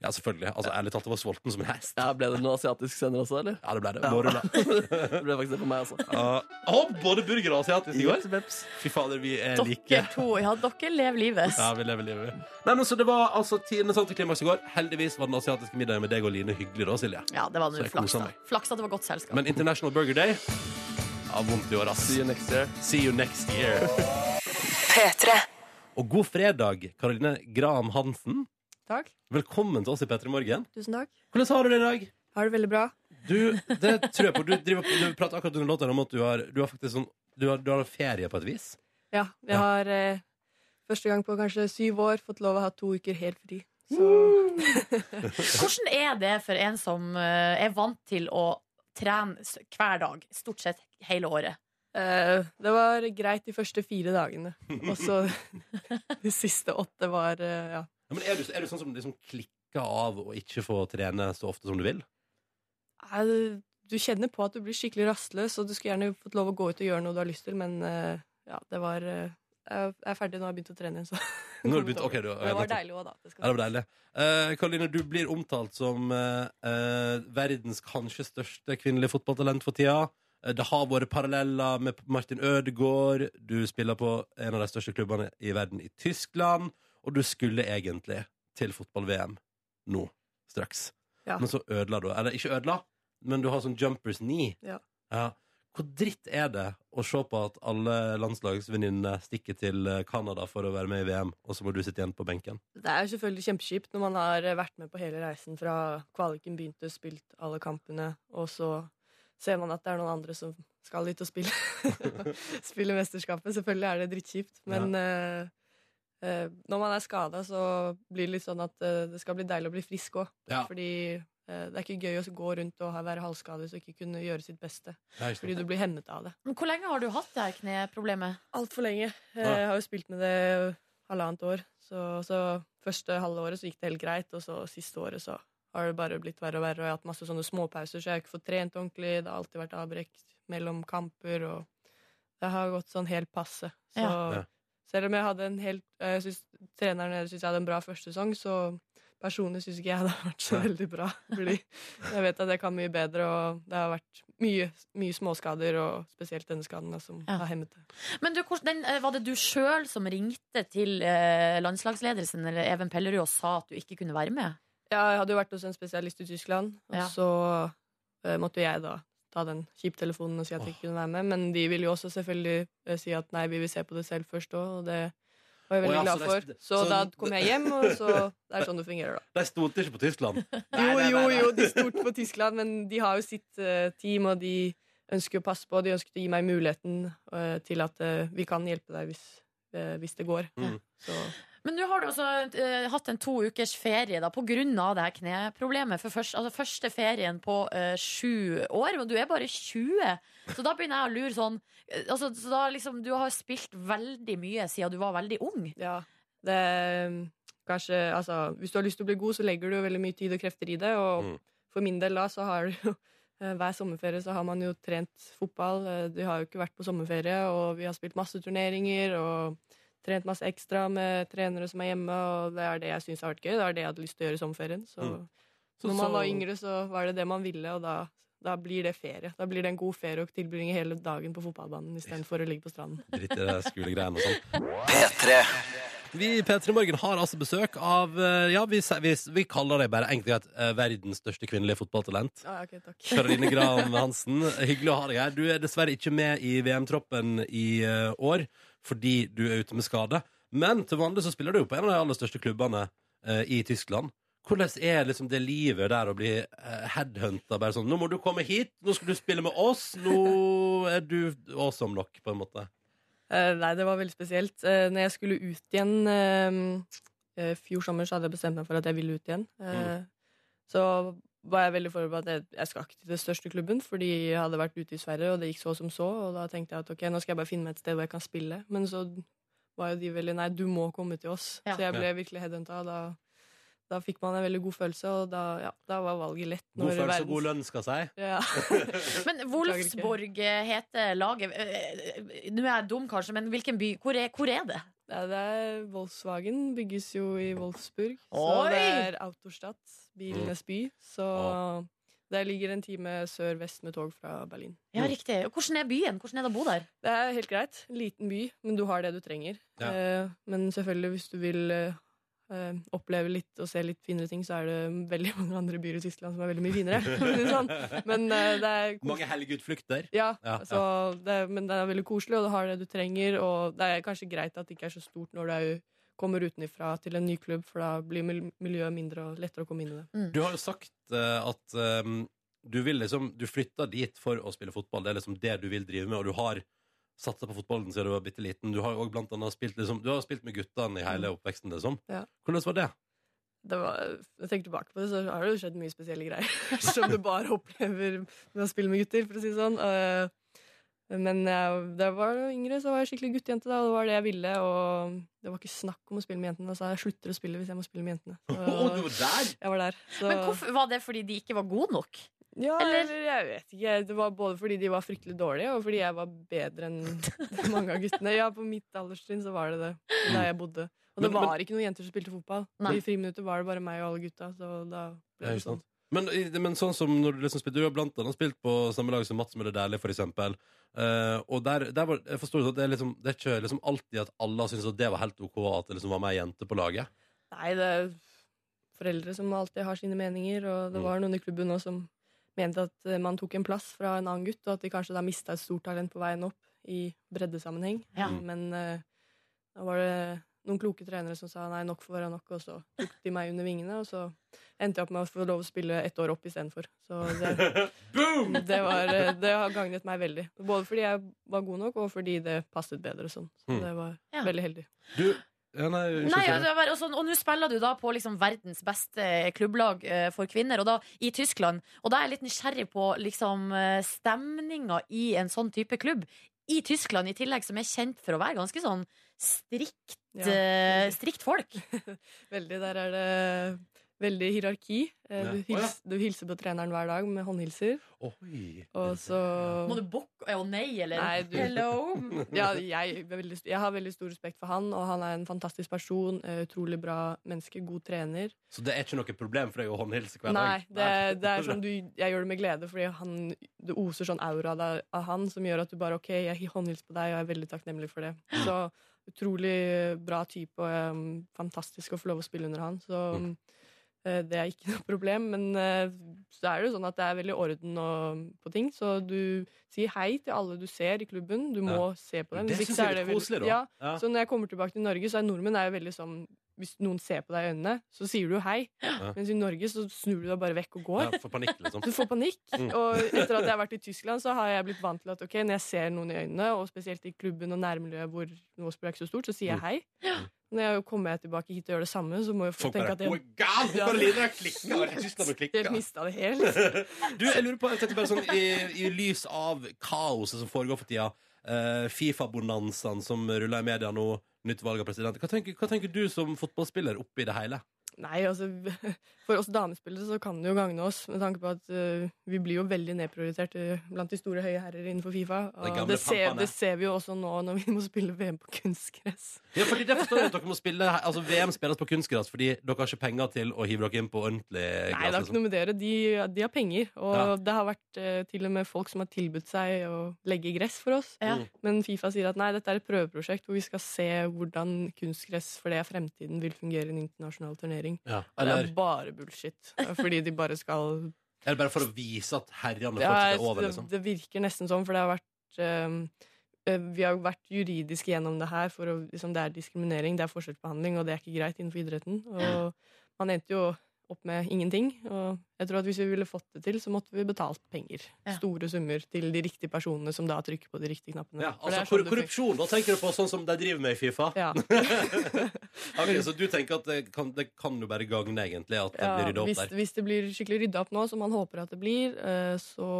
Ja, selvfølgelig. Altså, Ærlig talt, jeg var sulten som en hest.
Ja, Ble det noe asiatisk senere også, eller?
Ja, det ble det.
Ja.
Mårrulla.
Det ble faktisk det for meg også.
Ja. Å, både burger og asiatisk i går.
Veps.
Fy fader, vi er like.
Dere to, ja, dere lever livet.
Ja, vi lever livet. Nei, men så Det var altså tiendes antiklimaks i går. Heldigvis var den asiatiske middagen med deg og Line hyggelig da, Silje.
Ja, det var
Så
nå
jeg
flaks,
koser
da.
meg.
Flaks at det var godt selskap.
Men International Burger Day Ja, vondt i år, ass.
See you next year.
See you next year. Og god fredag, Karoline Graham Hansen.
Takk.
Velkommen til oss i P3 Morgen.
Tusen takk.
Hvordan har du det i dag?
Har det veldig bra.
Du, det tror jeg på. Du, driver, på- du prater akkurat under låten om at du har, du har faktisk sånn du har, du har ferie på et vis.
Ja, jeg
Ja.
har eh, første gang på kanskje syv år fått lov å ha to uker helt fri. Så
Hvordan er det for en som eh, er vant til å trene s- hver dag, stort sett hele året?
eh, det var greit de første fire dagene. Og så de siste åtte var eh, ja.
Ja, men er du, er du sånn som liksom klikker av å ikke få trene så ofte som du vil?
Nei, du- Du kjenner på at du blir skikkelig rastløs, og du skulle gjerne fått lov å gå ut og gjøre noe du har lyst til, men eh, ja, det var eh, Jeg er ferdig, nå har jeg begynt å trene igjen, så
Nå har du begynt, ok, du,
Det var
nettopp.
deilig òg, da. Det
Ja, det
skal
var deilig. Eh, Karoline, du blir omtalt som eh, eh, verdens kanskje største kvinnelige fotballtalent for tida. Eh, Det har vært paralleller med Martin Ødegaard. Du spiller på en av de største klubbene i verden i Tyskland. Og du skulle egentlig til fotball-VM nå straks.
Ja.
Men så ødela du. Eller ikke ødela, men du har sånn jumpers knee.
Ja.
Hvor dritt er det å se på at alle landslagsvenninnene stikker til eh, Canada for å være med i VM, og så må du sitte igjen på benken?
Det er jo selvfølgelig kjempekjipt når man har vært med på hele reisen fra kvaliken begynte, spilt alle kampene, og så ser man at det er noen andre som skal dit og spille, spille mesterskapet. Selvfølgelig er det drittkjipt, men eh, eh, når man er skada, så blir det litt sånn at eh, det skal bli deilig å bli frisk òg.
Ja.
Fordi eh, det er ikke gøy å gå rundt og ha- være halvskadet og ikke kunne gjøre sitt beste.
Det er ikke
Fordi
sant.
du blir hemmet av det.
Men hvor lenge har du hatt det her kneproblemet?
Altfor lenge. Eh,
Ja.
Jeg har jo spilt med det halvannet år. Så, så første halve året så gikk det helt greit, og så siste året så har det bare blitt verre og verre. Og jeg har hatt masse sånne småpauser, så jeg har ikke fått trent ordentlig. Det har alltid vært avbrekk mellom kamper, og det har gått sånn helt passe. Så
Ja.
Ja.
selv om jeg hadde en helt eh, Jeg synes treneren deres synes jeg hadde en bra første sesong, så personlig syns ikke jeg det har vært så veldig bra. Fordi jeg vet at jeg kan mye bedre, og det har vært mye, mye småskader, og spesielt denne skaden da, som
Ja.
har hemmet det.
Men du, hvordan- den, eh, Var det du sjøl som ringte til eh, landslagsledelsen eller Even Pellerud og sa at du ikke kunne være med?
Ja, jeg hadde jo vært hos en spesialist i Tyskland, og
Ja.
så eh, måtte jo jeg da ta den kjiptelefonen og si at jeg ikke kunne være med. Men de ville jo også selvfølgelig eh, si at nei, vi vil se på det selv først òg, og det var
Å
jeg veldig
ja, så
glad
det-
for. Så,
så-
da kom jeg hjem, og så Det er sånn det fungerer, da.
De stolte ikke på Tyskland.
Jo, jo, jo, de stolte på Tyskland, men de har jo sitt eh, team, og de ønsker å passe på. De ønsket å gi meg muligheten eh, til at eh, vi kan hjelpe deg hvis, eh, hvis det går.
Mm.
Så
Men nå har du altså eh, hatt en to ukers ferie da, på grunn av det her kneproblemet. For først, altså, første ferien på eh, sju år, og du er bare 20. Så da begynner jeg å lure sånn eh, altså, så da, liksom, Du har spilt veldig mye siden du var veldig ung.
ja, det Kanskje, altså, hvis du har lyst til å bli god, så legger du jo veldig mye tid og krefter i det. Og
Mm.
for min del da, så har du jo eh, hver sommerferie så har man jo trent fotball. Eh, Du har jo ikke vært på sommerferie, og vi har spilt masse turneringer og trent masse ekstra med trenere som er hjemme, og det er det jeg syns har vært gøy. Det er det jeg hadde lyst til å gjøre i sommerferien. Så
Mm. Så-
når man var
så-
yngre, så var det det man ville, og da, da blir det ferie. Da blir det en god ferie å tilbringe hele dagen på fotballbanen istedenfor å ligge på stranden.
Dritt i det skolegreiene og sånn.
P3
Vi i P3 Morgen har altså besøk av eh, Ja, vi, sier- vi, vi kaller deg bare enkelt og greit eh, verdens største kvinnelige fotballtalent.
Ah, ja, ok, takk.
Karoline Graham Hansen, hyggelig å ha deg her. Du er dessverre ikke med i VM-troppen i eh, år fordi du er ute med skade. Men til vanlig så spiller du jo på en av de aller største klubbene eh, i Tyskland. Hvordan er liksom det livet der å bli uh, headhunta? Bare sånn 'Nå må du komme hit! Nå skal du spille med oss! Nå er du awesome nok', på en måte.
Eh, nei, det var veldig spesielt. Uh, når jeg skulle ut igjen eh, eh, fjor sommer, så hadde jeg bestemt meg for at jeg ville ut igjen.
Mm.
Eh, Så var jeg veldig forberedt på at jeg, jeg skal ikke til den største klubben, fordi jeg hadde vært ute i Sverige, og det gikk så som så. Og da tenkte jeg at ok, nå skal jeg bare finne meg et sted hvor jeg kan spille. Men så var jo de veldig Nei, du må komme til oss.
Ja.
Så jeg ble virkelig headhunta. og Da, da fikk man en veldig god følelse, og da, ja, da var valget lett.
God
når
følelse
verdens-
og god lønn, skal jeg si.
Ja.
Men Wolfsborg eh, heter laget. Eh, eh, Nå er jeg dum, kanskje, men hvilken by? Hvor er, hvor er det?
Ja, det er Volkswagen bygges jo i Wolfsburg.
Oi!
Så det er Autostadt,
Mm.
bilenes by. Så
Ja.
der ligger en time sør-vest med tog fra Berlin.
Ja, riktig. Og Hvordan er byen? Hvordan er det å bo der?
Det er helt greit. En Liten by, men du har det du trenger.
Ja.
Eh, men selvfølgelig, hvis du vil eh, eh, oppleve litt og se litt finere ting, så er det veldig mange andre byer i Tyskland som er veldig mye finere. for å si det sånn. Men eh, det er kos-
Mange helgeutflukter.
ja,
Ja,
så Det, men det er veldig koselig, og du har det du trenger. Og det er kanskje greit at det ikke er så stort når du er, jo- kommer utenfra til en ny klubb, for da blir mil- miljøet mindre og lettere å komme inn i det.
Du har jo sagt eh, at ehm, du vil liksom Du flytter dit for å spille fotball. Det er liksom det du vil drive med, og du har satsa på fotballen siden du var bitte liten. Du har jo også blant annet spilt, liksom, du har spilt med guttene i hele oppveksten, liksom.
Mm. Ja.
Hvordan var det?
det var, når jeg tenker tilbake på det, så har det jo skjedd mye spesielle greier som du bare opplever med å spille med gutter, for å si det sånn. Eh, Men jeg- da jeg var yngre, så var jeg skikkelig guttejente, da, og det var det jeg ville. Og det var ikke snakk om å spille med jentene. Så jeg slutter å spille hvis jeg må spille med jentene.
Å, du
Så
var der!
jeg var der. Så.
Men hvorfor, Var det fordi de ikke var gode nok?
Ja,
Eller-
eller? jeg vet ikke. Det var både fordi de var fryktelig dårlige, og fordi jeg var bedre enn mange av guttene. Ja, på mitt alderstrinn så var det det, der jeg bodde. Og det
Men- men-
var ikke noen jenter som spilte fotball.
Nei.
I friminuttet var det bare meg og alle gutta, så da
Ja,
ble
ikke
det sånn.
sant. Men, i- men sånn som når du liksom spilte Du har blant annet spilt på samme lag som Mats Møller Dæhlie, for eksempel. Eh, og der, der var, jeg forstår at det er, liksom, det er ikke liksom alltid at alle har syntes at det var helt OK at det liksom var mer jenter på laget. Mm.
Nei, det er foreldre som alltid har sine meninger, og det var noen i klubben nå som mente at eh, man tok en plass fra en annen gutt, og at de kanskje da mista et stort talent på veien opp i breddesammenheng.
Ja.
Mm.
Men eh, da var det noen kloke trenere som sa nei, nok får være nok, og så tok de meg under vingene, og så endte jeg opp med å få lov å spille ett år opp istedenfor. Så det, det, var, eh, det har gagnet meg veldig. Både fordi jeg var god nok, og fordi det passet bedre sånn. Så
Mm.
det var
Ja.
veldig heldig.
Du ja, Nei, unnskyld,
Nei,
Silje.
altså, bare- og, så, og nå spiller du da på liksom verdens beste klubblag eh, for kvinner, og da i Tyskland. Og da er jeg litt nysgjerrig på liksom, eh, stemninga i en sånn type klubb. I Tyskland i tillegg, som er kjent for å være ganske sånn strikt,
Ja.
eh, strikt folk.
Veldig. Der er det veldig hierarki. Eh,
Ja.
Du,
Å, ja.
hils, du hilser på treneren hver dag med håndhilser,
Oi.
og så
Må du bokke Å nei, eller?
Nei, du-
Hello!
ja, jeg, er veldig, jeg har veldig stor respekt for han, og han er en fantastisk person. eh, Utrolig bra menneske, god trener.
Så det er ikke noe problem for deg å håndhilse hver
Nei,
dag?
det, det er sånn du, jeg gjør det med glede, fordi han, det oser sånn aura av, av han som gjør at du bare OK, jeg håndhilser på deg, og jeg er veldig takknemlig for det. Så utrolig bra type, og eh, fantastisk å få lov å spille under han. Så
Mm.
eh, det er ikke noe problem. Men eh, så er det jo sånn at det er veldig orden og, på ting, så du sier hei til alle du ser i klubben. Du må
Ja.
se på dem.
Det
hvis ikke
synes
så
jeg
er
er litt
veldig-
koselig, da.
Ja,
Ja.
så når jeg kommer tilbake til Norge, så er nordmenn er jo veldig sånn Hvis noen ser på deg i øynene, så sier du hei. Mens i Norge så snur du deg bare vekk og går.
Ja, for panikk, liksom.
Du får panikk.
Mm.
Og etter at jeg har vært i Tyskland, så har jeg blitt vant til at ok, når jeg ser noen i øynene, og spesielt i klubben og nærmiljøet hvor Nåsbø er ikke så stort, så
Mm.
sier jeg hei. Når jeg kommer jeg tilbake hit og gjør det samme, så må jeg
Folk
få
bare
tenke at jeg
Å, gal! Folk bare lider av klikka! og Tyskland og
helt
klikka.
mista det helt.
Du, jeg lurer på, jeg tenkte bare sånn I, i lys av kaoset som foregår for tida, eh, Fifa-bonanzaen som ruller i media nå, nytt valg av president hva tenker, hva tenker du som fotballspiller oppi det hele?
Nei, altså For oss damespillere så kan det jo gagne oss, med tanke på at eh, vi blir jo veldig nedprioritert eh, blant de store høye herrer innenfor Fifa.
De gamle
Og det ser,
pampene.
det ser vi jo også nå når vi må spille VM på kunstgress.
Ja, fordi det forstår jeg at dere må spille Altså, VM spilles på kunstgress fordi dere har ikke penger til å hive dere inn på ordentlig liksom.
Nei, det har
gress.
ikke noe med dere. De, de har penger. Og
altså Ja.
det har vært eh, til og med folk som har tilbudt seg å legge gress for oss.
Ja.
Men Fifa sier at nei, dette er et prøveprosjekt hvor vi skal se hvordan kunstgress for det er fremtiden vil fungere i en internasjonal turnering.
Ja,
Og
eller
Det er bare bullshit. Fordi de bare skal
er det bare for å vise at herrene
Ja,
fortsatt
jeg-
er over,
det,
liksom?
det virker nesten sånn, for det har vært ehm, eh, Vi har jo vært juridisk gjennom det her. For å, liksom, det er diskriminering, det er forskjellsbehandling, og det er ikke greit innenfor idretten. Og man endte jo opp med ingenting. Og jeg tror at hvis vi ville fått det til, så måtte vi betalt penger.
Ja.
Store summer til de riktige personene som da trykker på de riktige knappene.
Ja,
For
altså
det er sånn
kor-
det funker.
korrupsjon, da tenker du på sånn som de driver med i Fifa?
Ja,
Ok, Så du tenker at det kan, det kan jo bare gagne, egentlig, at det blir
ja,
rydda opp
hvis,
der?
hvis det blir skikkelig rydda opp nå, som man håper at det blir, eh, så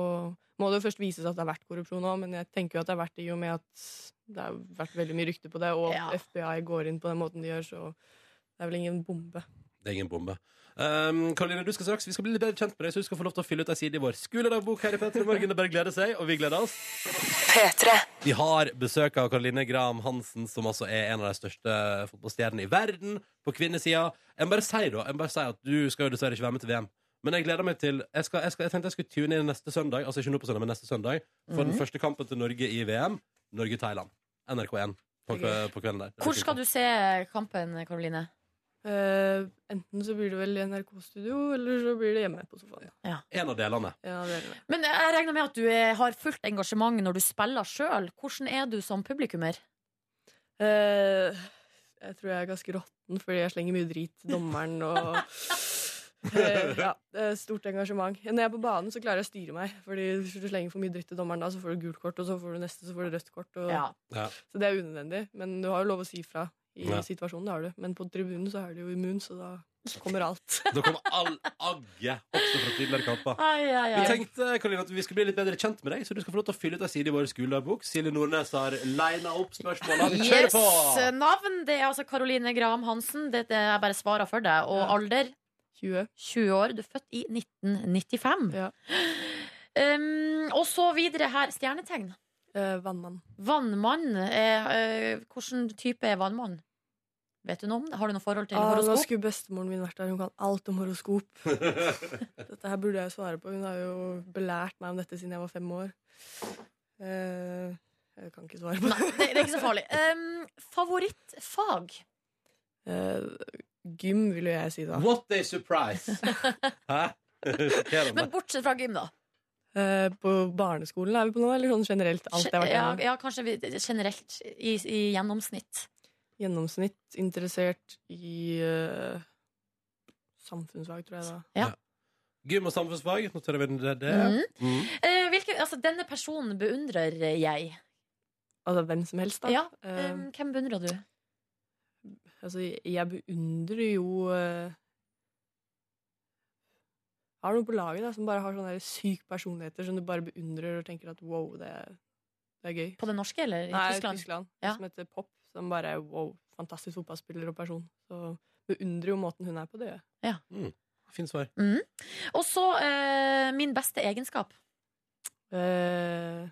må det jo først vises at det har vært korrupsjon òg, men jeg tenker jo at det har vært det i og med at det har vært veldig mye rykte på det, og
Ja.
FBI går inn på den måten de gjør, så det er vel ingen bombe.
Det er ingen bombe. Um, Karoline, du skal straks Vi skal bli litt bedre kjent med deg, så du skal få lov til å fylle ut ei side i vår skoledagbok her i Petter i morgen. Det er bare å glede seg, og vi gleder oss. Vi har besøk av Karoline Graham Hansen, som altså er en av de største fotballstjernene i verden på kvinnesida. Jeg må bare si da, jeg må bare si at du skal jo dessverre ikke være med til VM. Men jeg gleder meg til Jeg, skal, jeg, skal, jeg tenkte jeg skulle tune inn neste søndag, altså ikke nå på søndag, men neste søndag, for
Mhm.
den første kampen til Norge i VM. Norge-Thailand. NRK1 på, kve- på kvelden der.
Hvor skal du se kampen, Karoline?
Eh, enten så blir det vel i NRK-studio, eller så blir det hjemme på sofaen.
En av delene.
Ja, det er det.
Men jeg regner med at du er, har fullt engasjement når du spiller sjøl. Hvordan er du som publikummer?
Eh, jeg tror jeg er ganske råtten fordi jeg slenger mye drit til dommeren og Eh, ja, eh, Stort engasjement. Når jeg er på banen, så klarer jeg å styre meg. Fordi hvis du slenger for mye dritt til dommeren da, så får du gult kort, og så får du neste, så får du rødt kort. Og,
Ja.
Ja.
Så det er unødvendig. Men du har jo lov å si fra i
Ja.
situasjonen, det har du. Men på tribunen så er du jo immun, så da kommer alt.
Da kommer all agge også fra tidligere kamper.
Ai, ai,
Vi
ai.
tenkte Karoline, at vi skulle bli litt bedre kjent med deg, så du skal få lov til å fylle ut ei side i vår skoledagbok. Silje Nordnes har lina opp spørsmåla. Vi kjører
Yes,
på!
navn det er altså Karoline Graham Hansen. Det, det jeg bare svarer for deg. Og
Ja.
alder
20.
20 år. Du er født i 1995.
Ja.
Um, og så videre her. Stjernetegn.
Eh, vannmann.
Vannmann. Er, eh, hvilken type er vannmann? Vet du noe om det? Har du noe forhold til
Ah, nå
horoskop?
skulle bestemoren min vært der. Hun kan alt om horoskop. Dette her burde jeg svare på. Hun har jo belært meg om dette siden jeg var fem år. Eh, jeg kan ikke svare på
Nei, det, det er ikke så farlig. Um, favorittfag?
Eh, gym, vil jo jeg si da.
What a surprise! Hæ? Sjokkerer
Men
meg.
bortsett fra gym, da.
Eh, på barneskolen er vi på nå, eller sånn generelt? Alt jeg har vært
ja,
gjennom.
ja, kanskje vi, generelt. I, I gjennomsnitt.
Gjennomsnitt interessert i eh, samfunnsfag, tror jeg. da
Gym og samfunnsfag. Noterer vi det. det.
Mhm.
Mm.
Eh, hvilken, altså, denne personen beundrer jeg.
Altså hvem som helst, da.
Ja,
Eh,
um, hvem beundrer du?
altså, jeg beundrer jo eh, Har noen på laget da, som bare har sånne der syke personligheter som du bare beundrer og tenker at wow, det er, det er gøy.
På det norske, eller i
Nei,
Tyskland?
Tyskland.
Ja.
Som heter Pop. Som bare er wow, fantastisk fotballspiller og person. Så beundrer jo måten hun er på, det gjør jeg.
Fint svar.
Mhm. Og så eh, min beste egenskap.
Eh,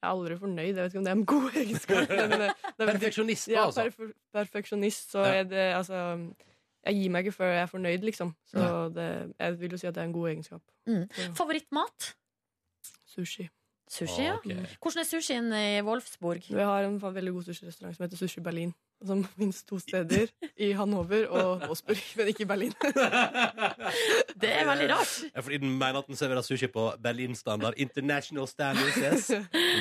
jeg er aldri fornøyd. Jeg vet ikke om det er en god egenskap. Men eh, det er veldig-
Perfeksjonist,
ja,
altså.
perf perfeksjonist, så
Ja.
er det altså Jeg gir meg ikke før jeg er fornøyd, liksom. Så det, jeg vil jo si at det er en god egenskap.
Mm.
Så,
Favorittmat?
sushi.
Sushi, ja.
Ah, Ok.
Hvordan er sushien i Wolfsburg?
Vi har en fa- veldig god sushirestaurant som heter Sushi Berlin. Som finnes to steder, i Hannover og Wolfsburg, men ikke i Berlin.
Det er veldig rart.
Ja, fordi den mener at den serverer sushi på Berlin-standard. International standards, yes.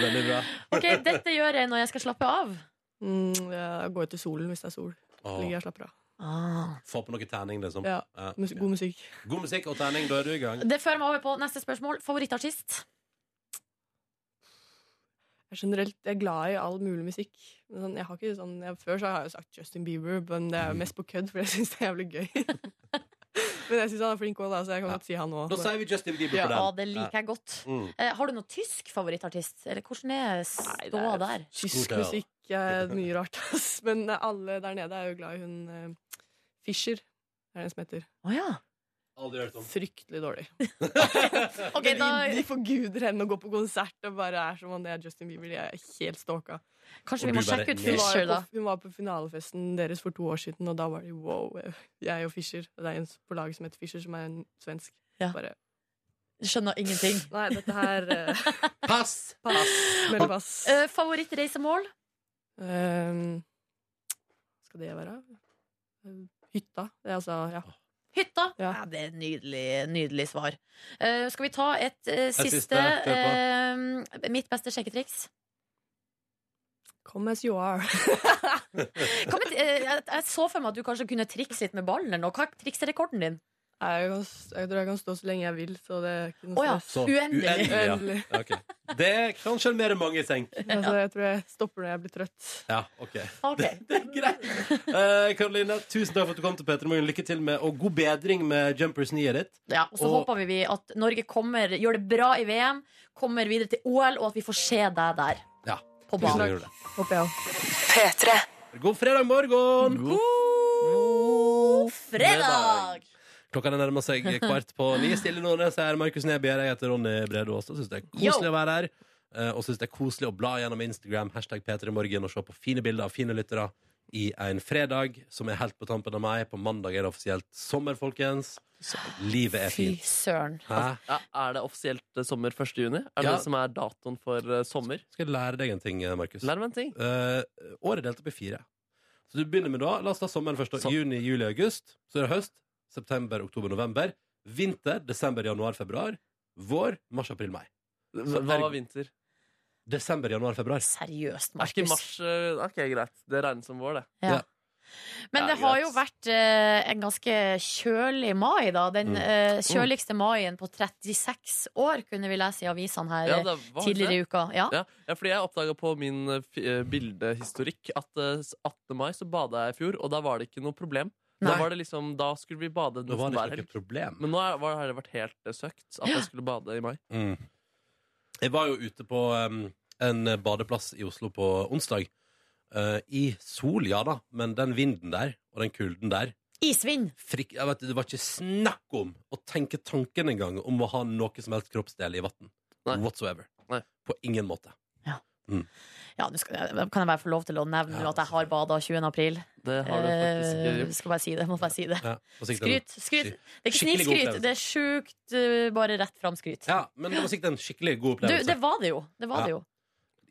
Veldig bra.
Ok, Dette gjør jeg når jeg skal slappe av.
Mm, jeg går ut i solen hvis det er sol.
Åh,
Ligger jeg og slapper av.
få på noe terning, liksom.
Ja.
Ja.
Mus god musikk.
God musikk og terning, da er du i gang.
Det fører meg over på neste spørsmål. Favorittartist?
Jeg er generelt jeg er glad i all mulig musikk. Men sånn, jeg har ikke sånn, jeg, før så har jeg jo sagt Justin Bieber, men det er jo mest på kødd, for jeg syns det er jævlig gøy. men jeg syns han er flink òg, så jeg kan
Ja.
godt si han
Da
òg.
sier vi Justin Bieber
Ja.
på den.
Ja, Ah, det liker jeg godt.
Ja. Mm.
Eh, har du noen tysk favorittartist? Eller hvordan er
det
ståa
er-
der?
Tysk musikk er mye rart, ass. Men alle der nede er jo glad i hun eh, Fischer. Er det den som heter.
Å ja.
Aldri hørt om.
Fryktelig dårlig.
Ok,
de,
da
de forguder henne og går på konsert og bare er som om det er Justin Bieber. De er helt stalka.
Kanskje
Og
vi må
du bare
sjekke ut
ned.
Hun var,
Fisher,
jo
da.
på, hun var på finalefesten deres for to år siden, og da var det wow. Jeg og Fischer. Og det er en på laget som heter Fischer, som er en svensk.
Ja.
Bare,
Skjønner ingenting.
Nei, dette her eh,
Pass!
Pass. Meld pass.
Eh, favorittreisemål?
Ehm, skal det være Ehm, Hytta. Det er altså Ja.
Hytta? Ja.
Ja.
det er et nydelig, nydelig svar. Eh, skal vi ta et eh, siste,
siste, kjør
eh, Mitt beste sjekketriks?
Come as you are.
Kan vi, eh, jeg, jeg så for meg at du kanskje kunne trikse litt med ballen. eller noe. Hva er trikserekorden din?
Jeg, kan, s- jeg tror jeg kan stå så lenge jeg vil, så det er ikke
Å
noe
ja.
stress.
Så
Uendelig.
ja.
Uendelig.
Ja, ok. Det kan sjarmere mange i senk.
Altså, jeg tror jeg stopper når jeg blir trøtt.
Ja, OK.
Ok.
Det er greit. Eh, Karoline, tusen takk for at du kom til Peter Morgen. Lykke til med, og god bedring med Jumpers 9-et ditt.
Ja, og så
Og-
håper vi at Norge kommer, gjør det bra i VM, kommer videre til OL, og at vi får se deg der
Ja.
på
tusen
banen.
takk.
Håper jeg òg.
God fredag morgen!
God fredag!
Klokka den nærmer seg kvart på ni. Stille Nordnes her, Markus Neby her. Jeg heter Ronny Brede Aas. Syns det er koselig
Yo.
å være her. eh, Og syns det er koselig å bla gjennom Instagram, hashtag P3morgen, og se på fine bilder av fine lyttere i en fredag som er helt på tampen av meg. På mandag er det offisielt sommer, folkens. Livet er
Fy
fint.
søren.
Hæ?
Ja, er det offisielt eh, sommer 1. juni? Er det
Ja.
det som er datoen for eh, sommer?
Skal jeg lære deg en ting, eh, Markus?
Lær meg en ting.
Eh, året er delt opp i fire. Så du begynner med da La oss ta sommeren først. da.
Sånn.
Juni, juli, august. Så er det høst. September, oktober, november. Vinter, desember, januar, februar. Vår, mars, april, mai.
Hva
herregud.
var vinter?
Desember, januar, februar.
Seriøst,
Er ikke
Markus.
mars eh, Ok, greit. Det regnes som vår, det.
Ja. Men
Ja,
det har
greit.
jo vært eh, en ganske kjølig mai, da. Den
Mm.
eh,
Oh.
kjøligste maien på 36 år, kunne vi lese i avisene her eh,
det var
tidligere i uka. Ja.
Ja, ja, fordi jeg oppdaga på min eh, fi- eh, bildehistorikk at eh, 18. mai så bada jeg i fjor, og da var det ikke noe problem. Da,
Nei.
var det liksom, da skulle vi bade
Nå var
nesten
det
hver
ikke
helg.
noe problem.
Men nå er, var, har det vært helt eh, søkt at jeg skulle bade i mai.
Mm. Jeg var jo ute på um, en badeplass i Oslo på onsdag. Eh, I sol, ja da, men den vinden der og den kulden der
Isvind!
frik, jeg vet, Det var ikke snakk om å tenke tanken engang om å ha noe som helst kroppsdel i vann.
Nei.
Whatsoever.
Nei.
På ingen måte.
Ja, nå skal, jeg- kan jeg bare få lov til å nevne at jeg har bada 20. april?
Det har du faktisk ikke
Eh,
gjort.
skal bare si det. Må bare si det.
Ja, på sikt en-
Skryt. skryt. Det er ikke
Skikkelig god
snikskryt,
opplevelse.
det er sjukt eh, bare rett fram-skryt.
Ja, men det var sikkert en skikkelig god
Du,
opplevelse.
det var det jo. Det var
Ja.
det jo.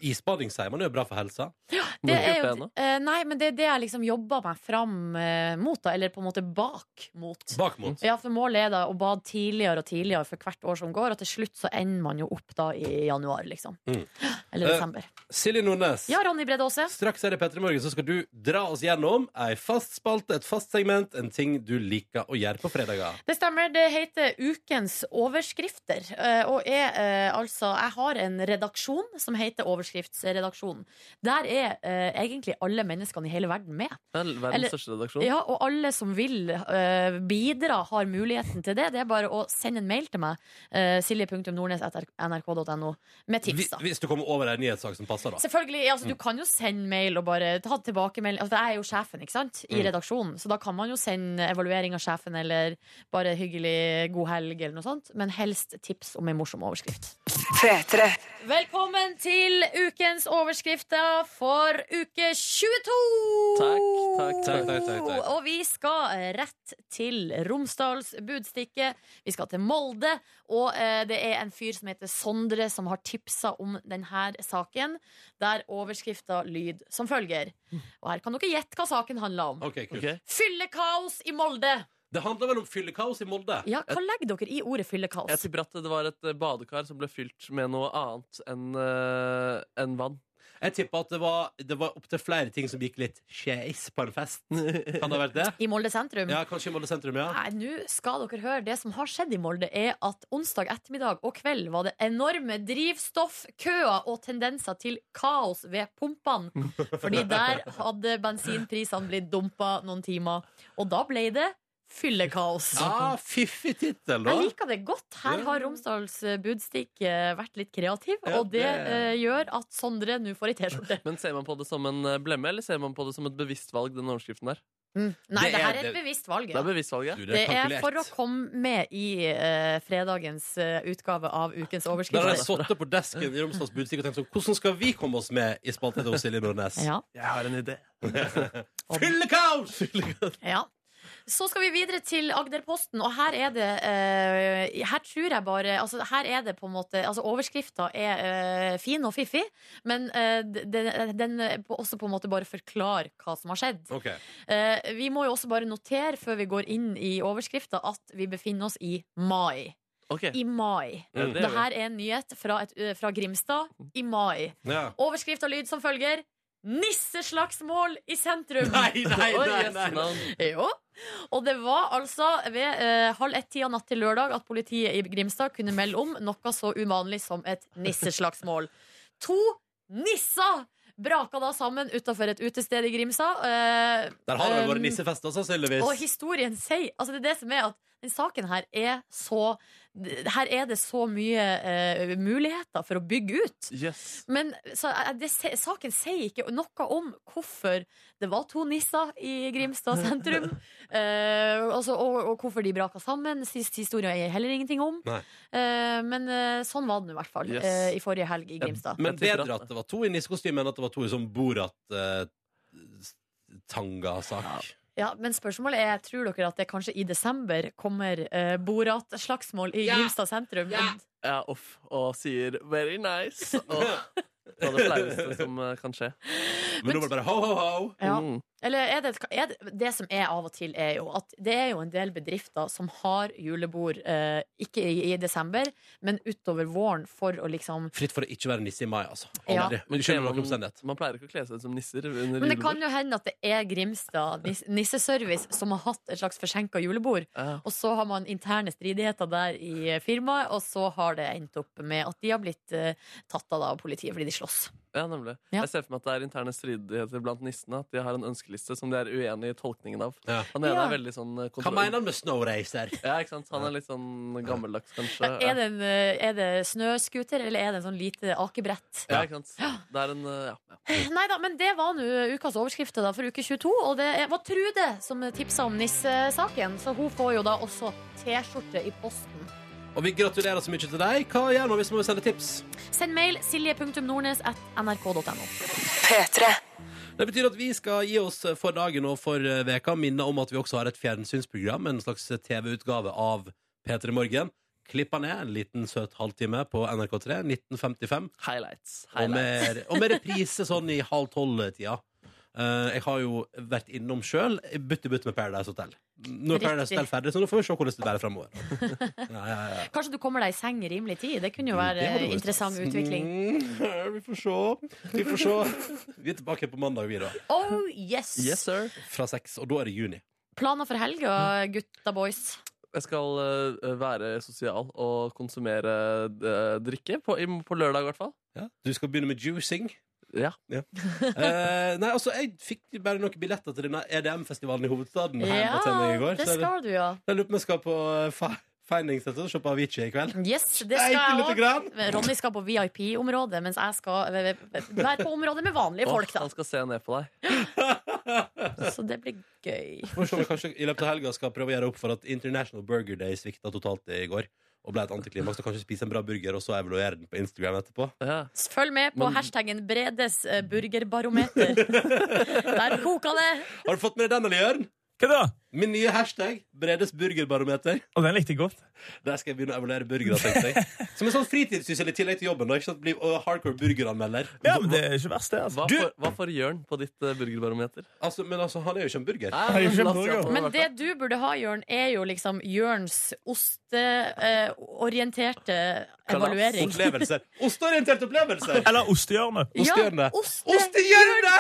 Isbading sier man er jo bra for helsa.
Det
Har du
er
gjort
jo,
det ennå?
eh, nei, men det er det jeg liksom jobber meg fram eh, mot, da. Eller på en måte bak mot.
Bakmot.
Ja, for målet er da å bade tidligere og tidligere for hvert år som går, og til slutt så ender man jo opp da i januar, liksom.
Mm.
Eller
Eh,
desember.
Silje Nordnes.
Ja, Ronny Brede Aase.
Straks her i Petter i Morgen så skal du dra oss gjennom ei fast spalte, et fast segment, en ting du liker å gjøre på fredager.
Det stemmer. Det heter Ukens overskrifter. eh, Og er eh, altså Jeg har en redaksjon som heter Overskriftsredaksjonen. Der er eh, egentlig alle menneskene i hele verden med.
Vel, verdens
Eller-
største
Mm.
redaksjon.
Ja, og alle som vil eh, bidra, har muligheten til det. Det er bare å sende en mail til meg. Uh, Silje.nordnes.nrk.no med tips,
Hvis,
da.
hvis du kommer over ei nyhetssak som passer, da. Mm.
Selvfølgelig, altså Du kan jo sende mail og bare ta tilbakemelding. Altså, jeg er jo sjefen ikke sant? i
Mm.
redaksjonen, så da kan man jo sende evaluering av sjefen eller bare hyggelig god helg eller noe sånt. Men helst tips om en morsom overskrift. Velkommen til ukens overskrifter for uke 22!
Takk, takk,
takk, takk, takk, takk.
Og vi skal rett til Romsdals budstikke. Vi skal til Molde. Og eh, det er en fyr som heter Sondre, som har tipsa om denne saken. Der overskrifta lyd som følger. Og her kan dere gjette hva saken handler om.
Ok, kult.
Ok.
Fyllekaos i Molde!
Det handler vel om fyllekaos i Molde?
Ja, hva legger dere i ordet
Jeg
fyllekaos?
tipper at det var et eh, badekar som ble fylt med noe annet enn eh, enn vann.
Jeg tipper at det var, det var opptil flere ting som gikk litt skeis på en fest. Kan det ha vært det?
I Molde sentrum?
Ja, kanskje i Molde sentrum, ja.
Nei, nå skal dere høre Det som har skjedd i Molde er at onsdag ettermiddag og kveld var det enorme drivstoffkøer og tendenser til kaos ved pumpene. Fordi der hadde bensinprisene blitt dumpa noen timer. Og da ble det fyllekaos.
Ah, fiffig tittel, da.
Jeg liker det godt. Her
Ja.
har Romsdals eh, Budstikk eh, vært litt kreativ,
Ja,
og det
det-
eh, gjør at Sondre nå får ei T-skjorte.
Men ser man på det som en eh, blemme, eller ser man på det som et bevisst valg, den overskriften der?
Mm. Nei,
Det
det,
er-
her er et bevisst valg.
Det
Ja.
er bevisst valg, ja.
Du,
Det er
kalkulert.
for å komme med i eh, fredagens eh, utgave av
Der
Ukens
har
overskrifter.
jeg sittet på desken i Romsdals Budstikke og tenkt sånn Hvordan skal vi komme oss med i spalten til Silje Nordnes?
Ja,
Jeg har en idé.
Fyllekaos!
ja. Så skal vi videre til Agderposten, og her er det eh, Her tror jeg bare Altså, her er det på en måte Altså, overskrifta er eh, fin og fiffig, men eh, den, den eh, på- også på en måte bare forklarer hva som har skjedd.
Ok,
Eh, vi må jo også bare notere før vi går inn i overskrifta, at vi befinner oss i mai.
Ok,
I mai.
ja, det
Dette
gjør vi.
er en nyhet fra, et, eh, fra Grimstad i mai.
ja.
Overskrift og lyd som følger. Nisseslagsmål i sentrum!
Nei, nei,
Oi,
nei,
yes.
nei, nei.
Jo. Og det var altså ved eh, halv ett-tida natt til lørdag at politiet i Grimstad kunne melde om noe så uvanlig som et nisseslagsmål. To nisser braka da sammen utafor et utested i Grimstad. Eh,
Der har det vært
Um,
nissefest, da, sannsynligvis.
og historien sier Altså det er det som er at den saken her er så Her er det så mye eh, muligheter for å bygge ut.
Yes.
Men så, eh, det, se- saken sier ikke noe om hvorfor det var to nisser i Grimstad sentrum. eh, altså, og, og hvorfor de braka sammen. Sist historie er heller ingenting om.
Nei.
Eh, men eh, sånn var det nå i hvert fall
Yes.
eh, i forrige helg i Grimstad.
Men
Jeg tipper
bedre
at-
at det var to i nissekostyme enn at det var to i sånn Borat-tanga-sak.
Ja, Men spørsmålet er tror dere at det kanskje i desember kommer eh, Borat-slagsmål i Grimstad sentrum.
Jeg er off og sier 'very nice'. Og det er det flaueste som eh, kan skje.
Men nå var det bare ho, ho, ho.
Ja.
Mm.
Eller er det, et- er det, det som er av og til, er jo at det er jo en del bedrifter som har julebord eh, ikke i, i desember, men utover våren for å liksom
Fritt for å ikke være nisse i mai, altså.
Ja.
Aldri. Men ikke under noen omstendighet.
man pleier ikke å kle seg ut som nisser. Under
men det kan
julebord.
jo hende at det er Grimstad nis- nisseservice som har hatt et slags forsinka julebord.
Ja.
Og så har man interne stridigheter der i firmaet, og så har det endt opp med at de har blitt eh, tatt av da av politiet fordi de slåss.
Ja, nemlig.
Ja.
Jeg ser for meg at det er interne stridigheter blant nissene. At de har en ønskeliste som de er uenige i tolkningen av.
Ja.
Han ene
Ja.
er veldig sånn eh,
Hva
kontroll-
mener han med snowracer?
Ja, ikke sant? Han er litt sånn gammeldags, kanskje.
Er det, en, eh, er det snøskuter, eller er det en sånn lite akebrett?
Ja, ikke sant? Det er en, eh, ja. ja.
Nei da, men det var nå ukas overskrifter da, for uke 22. Og det var Trude som tipsa om nissesaken, så hun får jo da også T-skjorte i posten.
Og vi gratulerer så mye til deg. Hva gjør man hvis man vil sende tips?
Send mail silje.nordnes.nrk.no.
Det betyr at vi skal gi oss for dagen og for eh, veka. Minne om at vi også har et fjernsynsprogram, en slags TV-utgave av P3 Morgen. klippa ned en liten søt halvtime på NRK3 1955.
Highlights.
Og
Highlights.
med, og med reprise sånn i halv tolv-tida. Eh, jeg har jo vært innom sjøl. Butt i butt med Paradise Hotel. Nå er Paradise
Riktig.
Hotel ferdig, så nå får vi se hvordan det bærer fremover Ja, ja, ja.
Kanskje du kommer deg i seng i rimelig tid. Det kunne jo være
Det hadde vært
interessant
stas.
utvikling.
Mm, vi får se. Vi får se. Vi er tilbake på mandag, vi, da.
Oh yes!
Yes, sir.
Fra seks. Og da er det juni.
Planer for helga, gutta boys?
Jeg skal eh, være sosial og konsumere eh, drikke. På, i, på lørdag, i hvert fall.
Ja. Du skal begynne med juicing.
Ja.
Eh, nei, altså, jeg fikk bare noen billetter til denne EDM-festivalen i hovedstaden. her på Tenning i går
det
så jeg-
skal du, ja.
Jeg lurer på om jeg skal på eh, Fi- Findings etter og se på Avicii i kveld.
Yes, det skal
Steike
jeg
lite
også.
grann.
Ronny skal på VIP-området, mens jeg skal eh, være på området med vanlige folk.
Åh, han
da
skal se ned på deg.
altså.
Så det blir gøy.
Får se om jeg kanskje i løpet av helga skal prøve å gjøre opp for at International Burger Day svikta totalt i går. Og ble et antiklimaks. Da Kanskje spise en bra burger og så evaluere den på Instagram etterpå.
Ja.
Følg med på
Men-
hashtaggen Bredes eh, burgerbarometer. Der koker det!
Har du fått med deg den, eller, Jørn?
Hva da?
Min nye hashtag, Bredes burgerbarometer.
Og den likte jeg godt.
Der skal jeg begynne å evaluere burgere, tenkte jeg. Som en sånn fritidssyssel i tillegg til jobben. da, ikke sant? Bli og hardcore burgeranmelder.
Ja, men det er ikke verst, det. altså.
Hva,
Du,
får, hva får Jørn på ditt eh, burgerbarometer?
Altså, men altså, han er jo ikke en burger.
Har jeg ikke
la oss se
burger?
på
Men
hvert
det
fall.
du burde ha, Jørn, er jo liksom Jørns osteorienterte evaluering.
Opplevelser. Osteorienterte opplevelser!
eller ostehjørnet.
Ostehjørne.
Ja, oste-
Ostehjørne!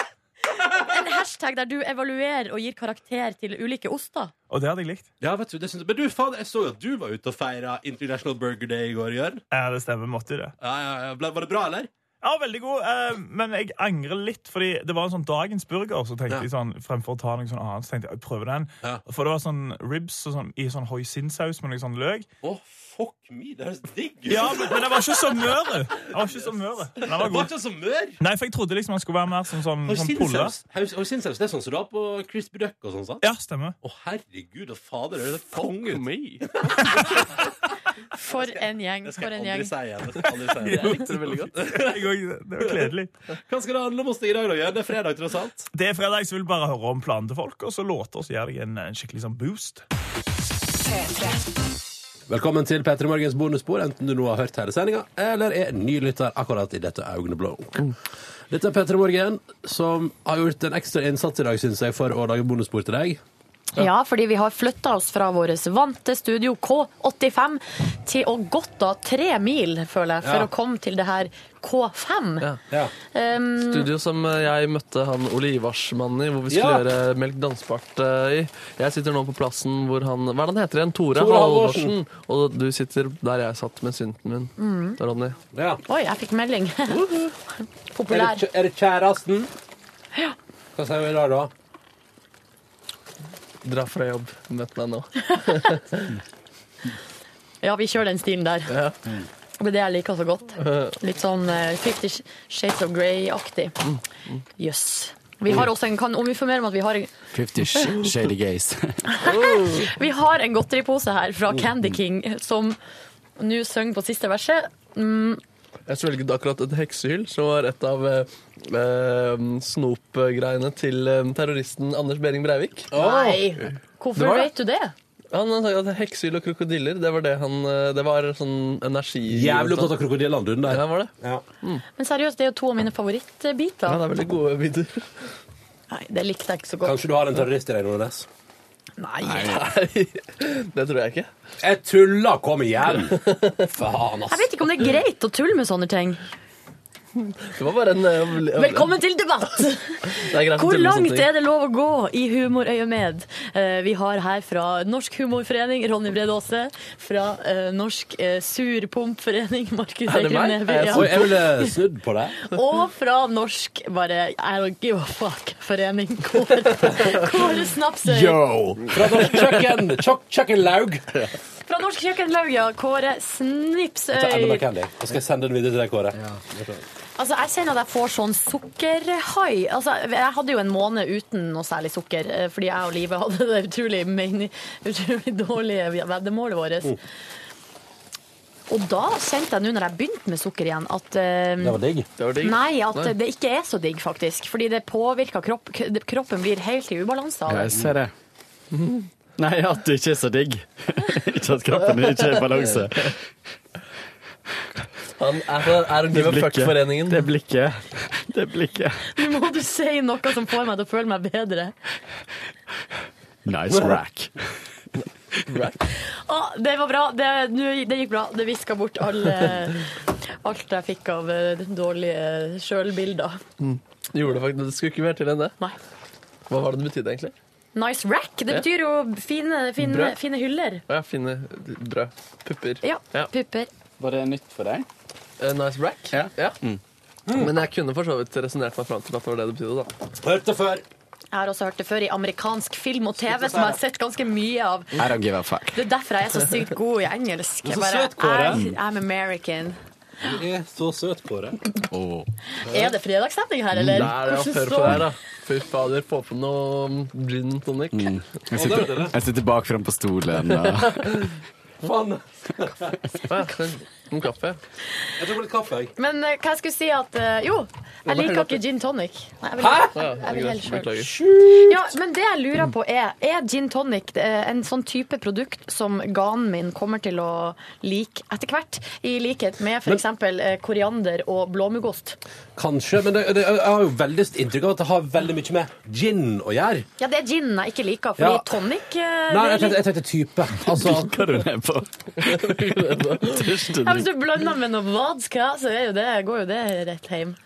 En hashtag der du evaluerer og gir karakter til ulike oster.
Og det hadde jeg likt.
Ja, vet du, det syns jeg. Men du, faen, jeg så jo at du var ute og feira International Burger Day i går, Jørn.
Ja, det stemmer. Måtte jo det.
Ja, ja, ja. Ble- Var det bra, eller?
Ja, veldig god, eh, men jeg angrer litt, fordi det var en sånn dagens burger. Så tenkte
Ja.
jeg sånn, Fremfor å ta noe sånn annet, så tenkte jeg jeg prøver den.
Ja.
For det var sånn ribs og sånn, i sånn hoisinsaus med noe sånn løk.
Å, fuck me, det høres digg ut.
Ja, men, men den var ikke så mør. Den var ikke så mør.
Det
Den var
var
god.
ikke så mør.
Nei, for jeg trodde liksom den skulle være mer som sånn, sånn pulle.
Hoisinsaus, Haus- hoisinsaus, det er sånn som du har på crispy duck og sånn, sant?
Ja, stemmer.
Å, herregud og fader, det er konge ut.
For en gjeng.
Det
For
skal
en
jeg aldri
gjeng.
si igjen. Det skal jeg aldri si
Jeg
igjen.
likte det veldig godt.
Jeg òg- Det var kledelig.
Hva skal det handle om hos deg i dag, da? Jørn? Det er fredag, tross alt.
Det er fredag, så vil jeg bare høre om planene til folk, og så låter oss gjør deg en, en skikkelig sånn boost.
Velkommen til P3 Morgens bonusspor, enten du nå har hørt hele sendinga eller er nylytter akkurat i dette øyeblikk. Dette er P3 Morgen, som har gjort en ekstra innsats i dag, syns jeg, for å lage bonusspor til deg.
Ja, fordi vi har flytta oss fra vårt vante studio K85 til å gått da tre mil, føler jeg, for
Ja.
å komme til det her K5.
Ja.
Um,
Studio som eh, jeg møtte han Ole Ivarsmannen i, hvor vi skulle
Ja.
gjøre Melk dansbart eh, i. Jeg sitter nå på plassen hvor han Hva er det han heter igjen? Tore,
Tore
Halvorsen. Og du sitter der jeg satt med synten min.
Mm.
Det er Ronny.
Ja.
oi, jeg fikk melding.
Er,
Populær.
det, er det kjæresten? Ja. Hva sier vi i dag, da?
Dra fra jobb. Møt meg nå.
Ja, vi kjører den stilen der.
Ja.
Det er det jeg liker så godt. Litt sånn eh, Fifty Shades of Grey-aktig.
Mm,
Jøss. Vi har også en, kan omformere med at vi har en,
Fifty Sh- Shady Gays.
vi har en godteripose her fra Candy King som nå synger på siste verset.
Jeg svelget akkurat et heksehyll, som var et av eh, eh, snopgreiene til eh, terroristen Anders Behring Breivik.
Nei! Hvorfor
var det.
vet du det?
Han sa at Heksehyll og krokodiller, det var det han eh, Det var sånn energi...
Jævlig opptatt av krokodillene, du, den
Ja,
der.
var det?
Men seriøst, det er jo to av mine
Ja,
favorittbiter.
det er veldig gode biter.
Nei, det likte jeg ikke så godt.
Kanskje du har en terrorist i deg, Nordnes?
Nei.
Nei, det tror jeg ikke.
Jeg tuller! Kom igjen! Faen,
Jeg
ass.
vet ikke om det er greit å tulle med sånne ting.
Det var bare en eh, vel-
Velkommen til debatt!
Det er greit å
Hvor
tulle med sånne
langt
ting.
er det lov å gå i humorøyemed? Eh, Vi har her fra Norsk Humorforening, Ronny Brede Aase. Fra eh, Norsk eh, Surpumpforening, Markus
Er det
Egil
meg?
Neby.
Er jeg
Oi,
Ja.
jeg ville snudd på det.
Og fra Norsk bare I don't give a fuck-forening. Kåre, Kåre Snapsøy.
Yo! Fra norsk kjøkken. Kjøk, kjøkkenlaug.
Fra Norsk Kjøkkenlaug, ja. Kåre
Ta enda mer
Snipsøy.
candy. Så skal jeg sende den videre til deg, Kåre.
Altså, jeg kjenner at jeg får sånn sukkerhai. Altså, jeg hadde jo en måned uten noe særlig sukker, eh, fordi jeg og Live hadde det utrolig, men- utrolig dårlige veddemålet vårt. Og da kjente jeg nå, når jeg begynte med sukker igjen, at eh,
Det var digg.
Det var digg.
Nei, at
Nei.
det ikke er så digg, faktisk. Fordi det påvirker kropp, k- kroppen blir helt i ubalanse av det.
Jeg ser det. Mhm. Nei, at det ikke er så digg. ikke at kroppen ikke er i balanse.
Han er fra er hun med
blikket.
Fuckforeningen.
Det blikket. Det blikket.
Nå må du si noe som får meg til å føle meg bedre.
Nice rack.
Å, det var bra. Det, nu- det gikk bra. Det viska bort alle, alt jeg fikk av eh, dårlige eh, sjølbilder.
Gjorde det faktisk, det skulle ikke mer til enn det.
Nei.
Hva var det det betydde, egentlig?
Nice rack. Det betyr jo fine, fine,
Brød.
fine hyller.
Å ja, finne brød. Pupper.
Ja.
Ja.
Pupper.
Var det nytt for deg?
Eh, nice rack.
Ja. Mm.
Men jeg kunne for så vidt resonnert meg fram til at det var det det betydde, da.
Hørte før.
Jeg har også hørt det før i amerikansk film og TV, som jeg har sett ganske mye av.
I don't give a fuck.
Det er derfor jeg er så sykt god i engelsk. Jeg
så
bare,
søt, Kåre.
I'm, I'm American.
Du er så søt, Kåre.
Åh.
Er det fredagsstemning her, eller?
Nei, det var
Hvordan
før på
står-
der, da. Fy fader, få på noe mm, gin tonic.
Jeg sitter, jeg sitter bak frem på stolen. Og
Faen.
Å ja, en kaffe.
Jeg tok litt kaffe, jeg.
Men eh, hva jeg skulle si at eh, Jo, jeg liker ikke gin tonic. Nei, jeg vil,
Å ja,
Jeg vil
greit.
helt selv.
Beklager.
Ja, men det jeg lurer på er Er gin tonic eh, en sånn type produkt som ganen min kommer til å like etter hvert? I likhet med f.eks. koriander og blåmuggost.
Kanskje, men det, det, jeg har jo veldig inntrykk av at det har veldig mye med gin å gjøre.
Ja, det er gin jeg ikke liker, fordi
Ja.
tonic eh,
Nei, jeg
det er
tenkte,
litt-
jeg tenkte type. Altså,
Hva er det du er på? Tørste
ja, Hvis du blander med noe vodka, så er jo det, går jo det rett hjem.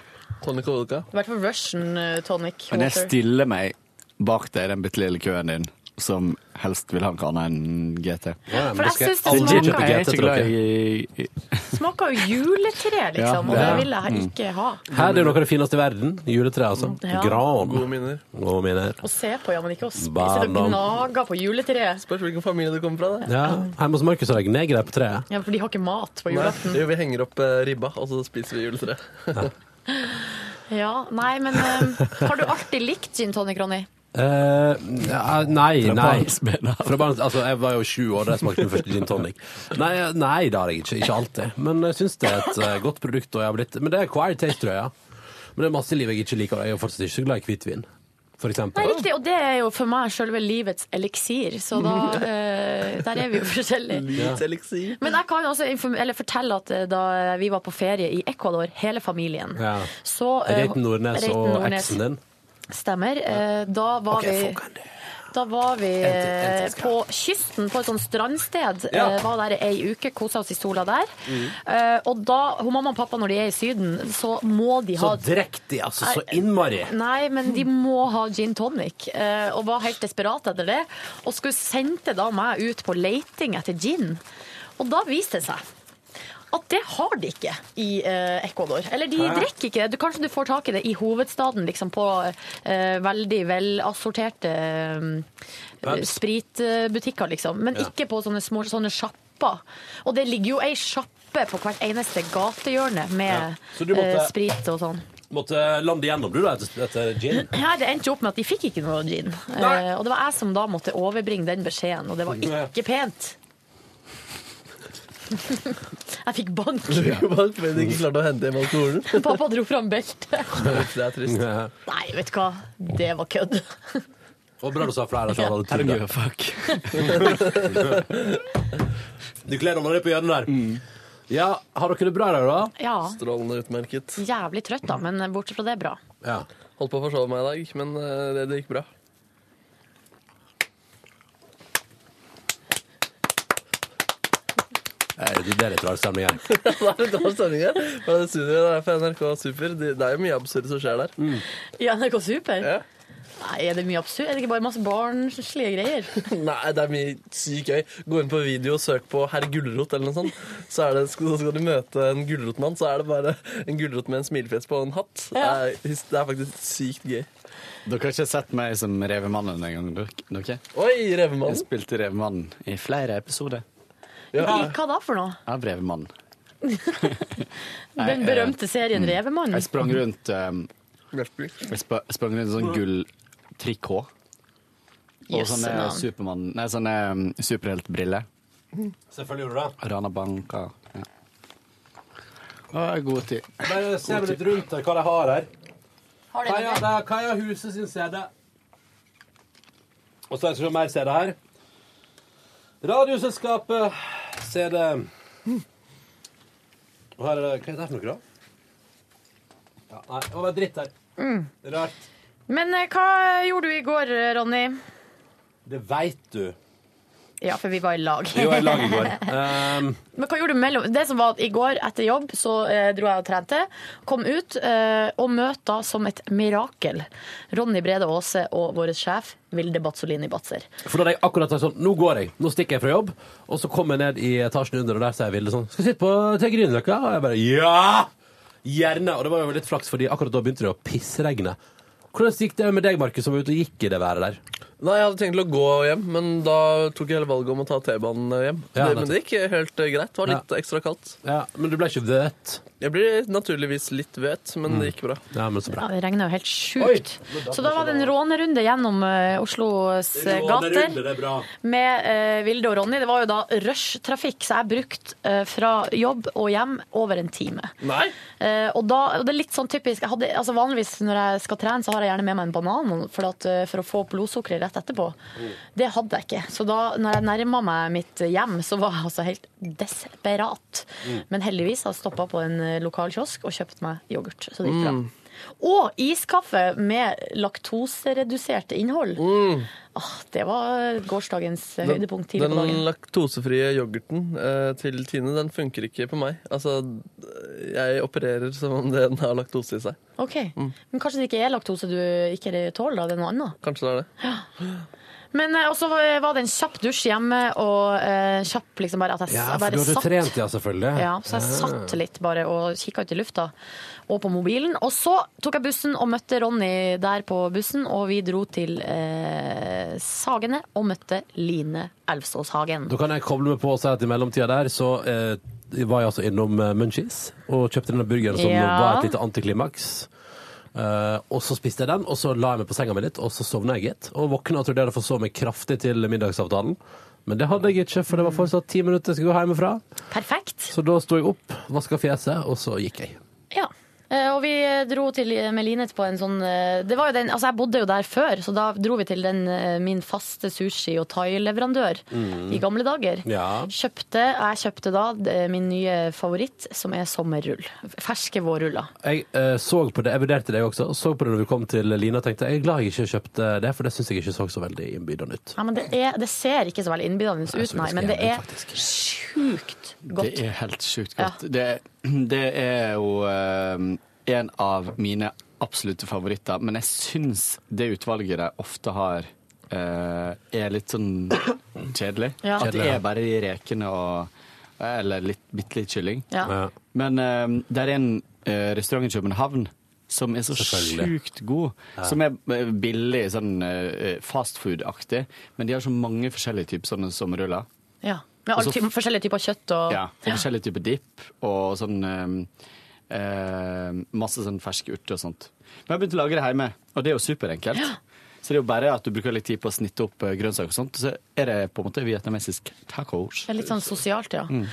Tonic og vodka.
I hvert fall Russian eh, tonic
Men jeg
water.
stiller meg bak deg i den bitte lille køen din, som helst vil ha noe annet enn GT.
ja, men
For
da
jeg
skal
syns det
aldri
smaker,
Jeg
kjøpe
er
GT
ikke
til dere.
glad i
smaker jo juletre, liksom, og
Ja.
det vil jeg ikke ha.
Her er jo noe av det fineste i verden. Juletre, altså.
Ja.
Gran.
Gode minner.
Gode minner.
Å se på, ja, men ikke å spise det
Barndom.
gnager på juletreet.
Spørs hvilken familie du kommer fra. da.
Ja, Hjemme hos Markus har jeg gnegere på treet.
Ja, for de har ikke mat på
Nei,
julaften.
det gjør vi henger opp eh, ribba, og så spiser vi juletre.
Ja, nei, men eh, Har du alltid likt gin tonic, Ronny?
Eh, ja, nei, nei.
barnsben av.
Fra barns, altså, jeg var jo sju år da jeg smakte min første gin tonic. Nei, eh, nei, det har jeg ikke. Ikke alltid. Men jeg syns det er et eh, godt produkt. Og jeg har blitt, men det er acquired taste, tror jeg. ja. Men det er masse liv jeg ikke liker. og Jeg er jo fortsatt ikke så glad i hvitvin, for
Nei,
eksempel.
riktig, og det er jo for meg selve livets eliksir, så da eh, Der er vi jo forskjellige.
Litt eliksir.
Men jeg kan jo også inform- eller fortelle at eh, da vi var på ferie i Ecuador, hele familien,
Ja.
så eh,
Reiten Nordnes
Reiten
og
Nordnes.
eksen din.
Stemmer. Eh, Da var vi da var vi eh, på kysten, på et sånt strandsted.
Ja. Mm.
Eh, Var der ei uke, kosa oss i sola der. Eh, Og da, hun mamma og pappa, når de er i Syden, så må de
Så
ha
drektig, altså. Så innmari.
Nei, men de må ha gin tonic, eh, og var helt desperat etter det. Og skulle sendte da meg ut på leiting etter gin. Og da viste det seg at det har de ikke i eh, Ecuador. Eller de drikker ikke det. Du, kanskje du får tak i det i hovedstaden, liksom på eh, veldig velassorterte eh,
Pubs.
spritbutikker, liksom. Men ikke på sånne små sånne sjapper. Og det ligger jo ei sjappe på hvert eneste gatehjørne med
Så du måtte-
eh, sprit og sånn.
Måtte lande gjennom, du, da, etter, etter gin.
Her det endte jo opp med at de fikk ikke noe gin. Eh, og det var jeg som da måtte overbringe den beskjeden, og det var ikke pent. jeg fikk bank.
Bare fordi de ikke klarte å hente hjem alkoholen.
Pappa dro fram beltet.
Det er trist.
Nei, vet du hva. Det var kødd.
Og bra du sa flere. så hadde
I
du
don't
tid,
give a fuck.
da. Du kler å holde deg på hjørnet der. Ja, har dere det bra der, da?
Ja.
Strålende utmerket.
Jævlig trøtt, da, men bortsett fra det, bra.
Ja.
Holdt på å forsove meg i dag, men eh, det, det gikk bra.
Eh, Det er litt rar stemning her.
Det er litt dårlig stemning her. Men det studioet der på NRK Super, det, det er jo mye absurd som skjer der.
I NRK Super?
Ja.
Nei, er det mye absurd? Er det ikke bare masse barnslige greier?
Nei, det er mye sykt gøy. Gå inn på video og søk på herr Gulrot eller noe sånt. Så, er det, så skal du møte en gulrotmann, så er det bare en gulrot med en smilefjes på og en hatt. Det
Ja.
er, det er faktisk sykt gøy.
Dere har ikke sett meg som Revemannen en gang, dere? dere?
Oi,
Jeg
revemannen.
spilte Revemannen i flere episoder
Ja.
Hva da for noe?
av Revemannen.
Den berømte serien Revemann?
Jeg sprang rundt um,
Røftbruk.
Jeg sp sprang rundt i sånn gull trikot. Og
Jøsse
sånne
navn.
Supermann Nei, sånne um, superheltbriller.
Selvfølgelig gjorde du det.
Rana Banka. Ja. Å, god tid.
Bare se meg litt rundt her, hva de har her.
Har det
Kaja,
noe?
det er Kaja Huset sin CD. Og så er det mer CD her. Radioselskapet CD Og her er det, Hva er det her for noe, da? Ja, nei, det var bare dritt her.
Mm.
Rart.
Men eh, hva gjorde du i går, eh, Ronny?
Det veit du.
Ja, for vi var i lag.
Vi var i lag i går. Ehm,
Men hva gjorde du mellom Det som var at i går etter jobb, så eh, dro jeg og trente. Kom ut eh, og møtte da som et mirakel Ronny Brede Aase og vår sjef Vilde Batzolini Batzer.
for da hadde jeg akkurat sagt sånn Nå går jeg. Nå stikker jeg fra jobb. Og så kom jeg ned i etasjen under, og der sier Vilde sånn Skal vi sitte på Tegrinløkka? Og jeg bare Ja! Gjerne. Og det var jo litt flaks, fordi akkurat da begynte det å pissregne. Hvordan gikk det med deg, Markus, som var ute og gikk i det været der?
Nei, Jeg hadde tenkt å gå hjem, men da tok jeg hele valget om å ta T-banen
eh,
hjem.
Ja,
det, men det gikk helt eh, greit. Det var
Ja.
litt ekstra kaldt.
Ja, Men du ble ikke vøt?
Jeg blir naturligvis litt vøt, men det gikk bra.
Ja, men så bra.
Ja, det regna jo helt sjukt. Så da var det en rånerunde gjennom eh, Oslos eh, gater.
er bra.
Med eh, Vilde og Ronny. Det var jo da rushtrafikk, så jeg brukte eh, fra jobb og hjem over en time.
Nei?
Eh, og, da, og det er litt sånn typisk jeg hadde, altså Vanligvis når jeg skal trene, så har jeg gjerne med meg en banan for, at, eh, for å få opp blodsukkeret rett etterpå. Det hadde jeg ikke. Så da når jeg nærma meg mitt hjem, så var jeg altså helt desperat.
Mm.
Men heldigvis har jeg stoppa på en eh, lokal kiosk og kjøpt meg yoghurt. Så det gikk bra.
Mm.
Og iskaffe med laktoseredusert innhold. Ah, det var gårsdagens høydepunkt tidlig
Den
på dagen.
laktosefrie yoghurten eh, til Tine den funker ikke på meg. Altså, Jeg opererer som om den har laktose i seg.
Ok,
Mm.
Men kanskje det ikke er laktose du ikke tåler? da, Det er noe annet?
Kanskje det er det.
Men eh, også var var det en kjapp dusj hjemme, og eh, kjapp liksom bare at jeg, s-
Ja,
jeg
for du
bare
hadde
satt.
trent, Ah. ja, selvfølgelig.
Ja, så jeg satt litt bare og kikka ut i lufta og på mobilen. Og så tok jeg bussen og møtte Ronny der på bussen, og vi dro til eh, Sagene og møtte Line Elvsås Hagen.
Da kan jeg koble meg på og si at i mellomtida der så eh, var jeg altså innom eh, Munchies og kjøpte denne burgeren som
Ja.
var et lite antiklimaks. Eh, og så spiste jeg den, og så la jeg meg på senga mi litt, og så sovna jeg gitt. Og våkna og trodde jeg hadde forsovet meg kraftig til middagsavtalen. Men det hadde jeg ikke, for det var fortsatt ti minutter jeg skulle gå hjemmefra.
Perfekt.
Så da sto jeg opp, vaska fjeset, og så gikk jeg.
Ja. Eh, Og vi dro til med Line på en sånn eh, det var jo den, altså Jeg bodde jo der før, så da dro vi til den, eh, min faste sushi- og thaileverandør
Mm.
i gamle dager.
Ja.
Kjøpte, jeg kjøpte da eh, min nye favoritt, som er sommerrull. Ferske vårruller.
Jeg eh, så på det, jeg vurderte det også, og så på det når vi kom til Lina og tenkte jeg er glad jeg ikke kjøpte det, for det syns jeg ikke så så veldig innbydende ut. Altså,
Ja, men det, er, det ser ikke så veldig innbydende ut, nei, men det er sjukt godt.
Det er helt sjukt godt. Det, det er jo eh, en av mine absolutte favoritter, men jeg syns det utvalget de ofte har, eh, er litt sånn kjedelig.
Ja.
At det
Kjedelig, ja.
er bare de rekene og eh, Eller litt, bitte litt kylling.
Ja. Ja.
Men eh, det er en eh, restaurant i København som er så
Selvfølgelig.
sjukt god.
Ja.
Som er eh, billig, sånn eh, fastfood-aktig. Men de har så mange forskjellige typer sånne sommerruller.
Ja. Med alle
Og så-
ty forskjellige typer kjøtt og
Ja, og forskjellige typer dipp og sånn eh, eh, Masse sånn ferske urter og sånt. Men jeg har begynt å lage det hjemme, og det er jo superenkelt. Så det er jo bare at du bruker litt tid på å snitte opp eh, grønnsaker og sånt. Så er det på en måte vietnamesisk tacos.
Det er litt sånn sosialt, ja.
Mm.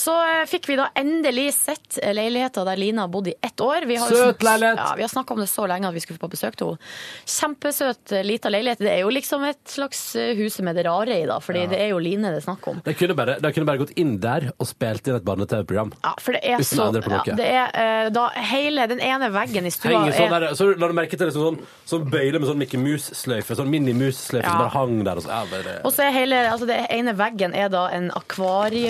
Så eh, fikk vi da endelig sett leiligheta der Lina har bodd i ett år. Vi har jo
Søt
snak-
leilighet!
Ja, vi har snakka om det så lenge at vi skulle få besøk til henne. Kjempesøt eh, lita leilighet. Det er jo liksom et slags eh, huset med det rare i, da, fordi det er jo Line det er snakk om.
De kunne, bare, de kunne bare gått inn der og spilt inn et barne-TV-program.
Ja, for det er
Uten å
så
endre på
ja,
noe.
Det er eh, da hele den ene veggen i stua
Henger sånn
er
der, så la du merke til liksom sånn, sånn bøyle med sånn Mickey Mouse-sløyfe, sånn Minimus-sløyfe som
Ja.
bare hang der. Og så, ja, bare,
Og så er hele, altså det ene veggen er da en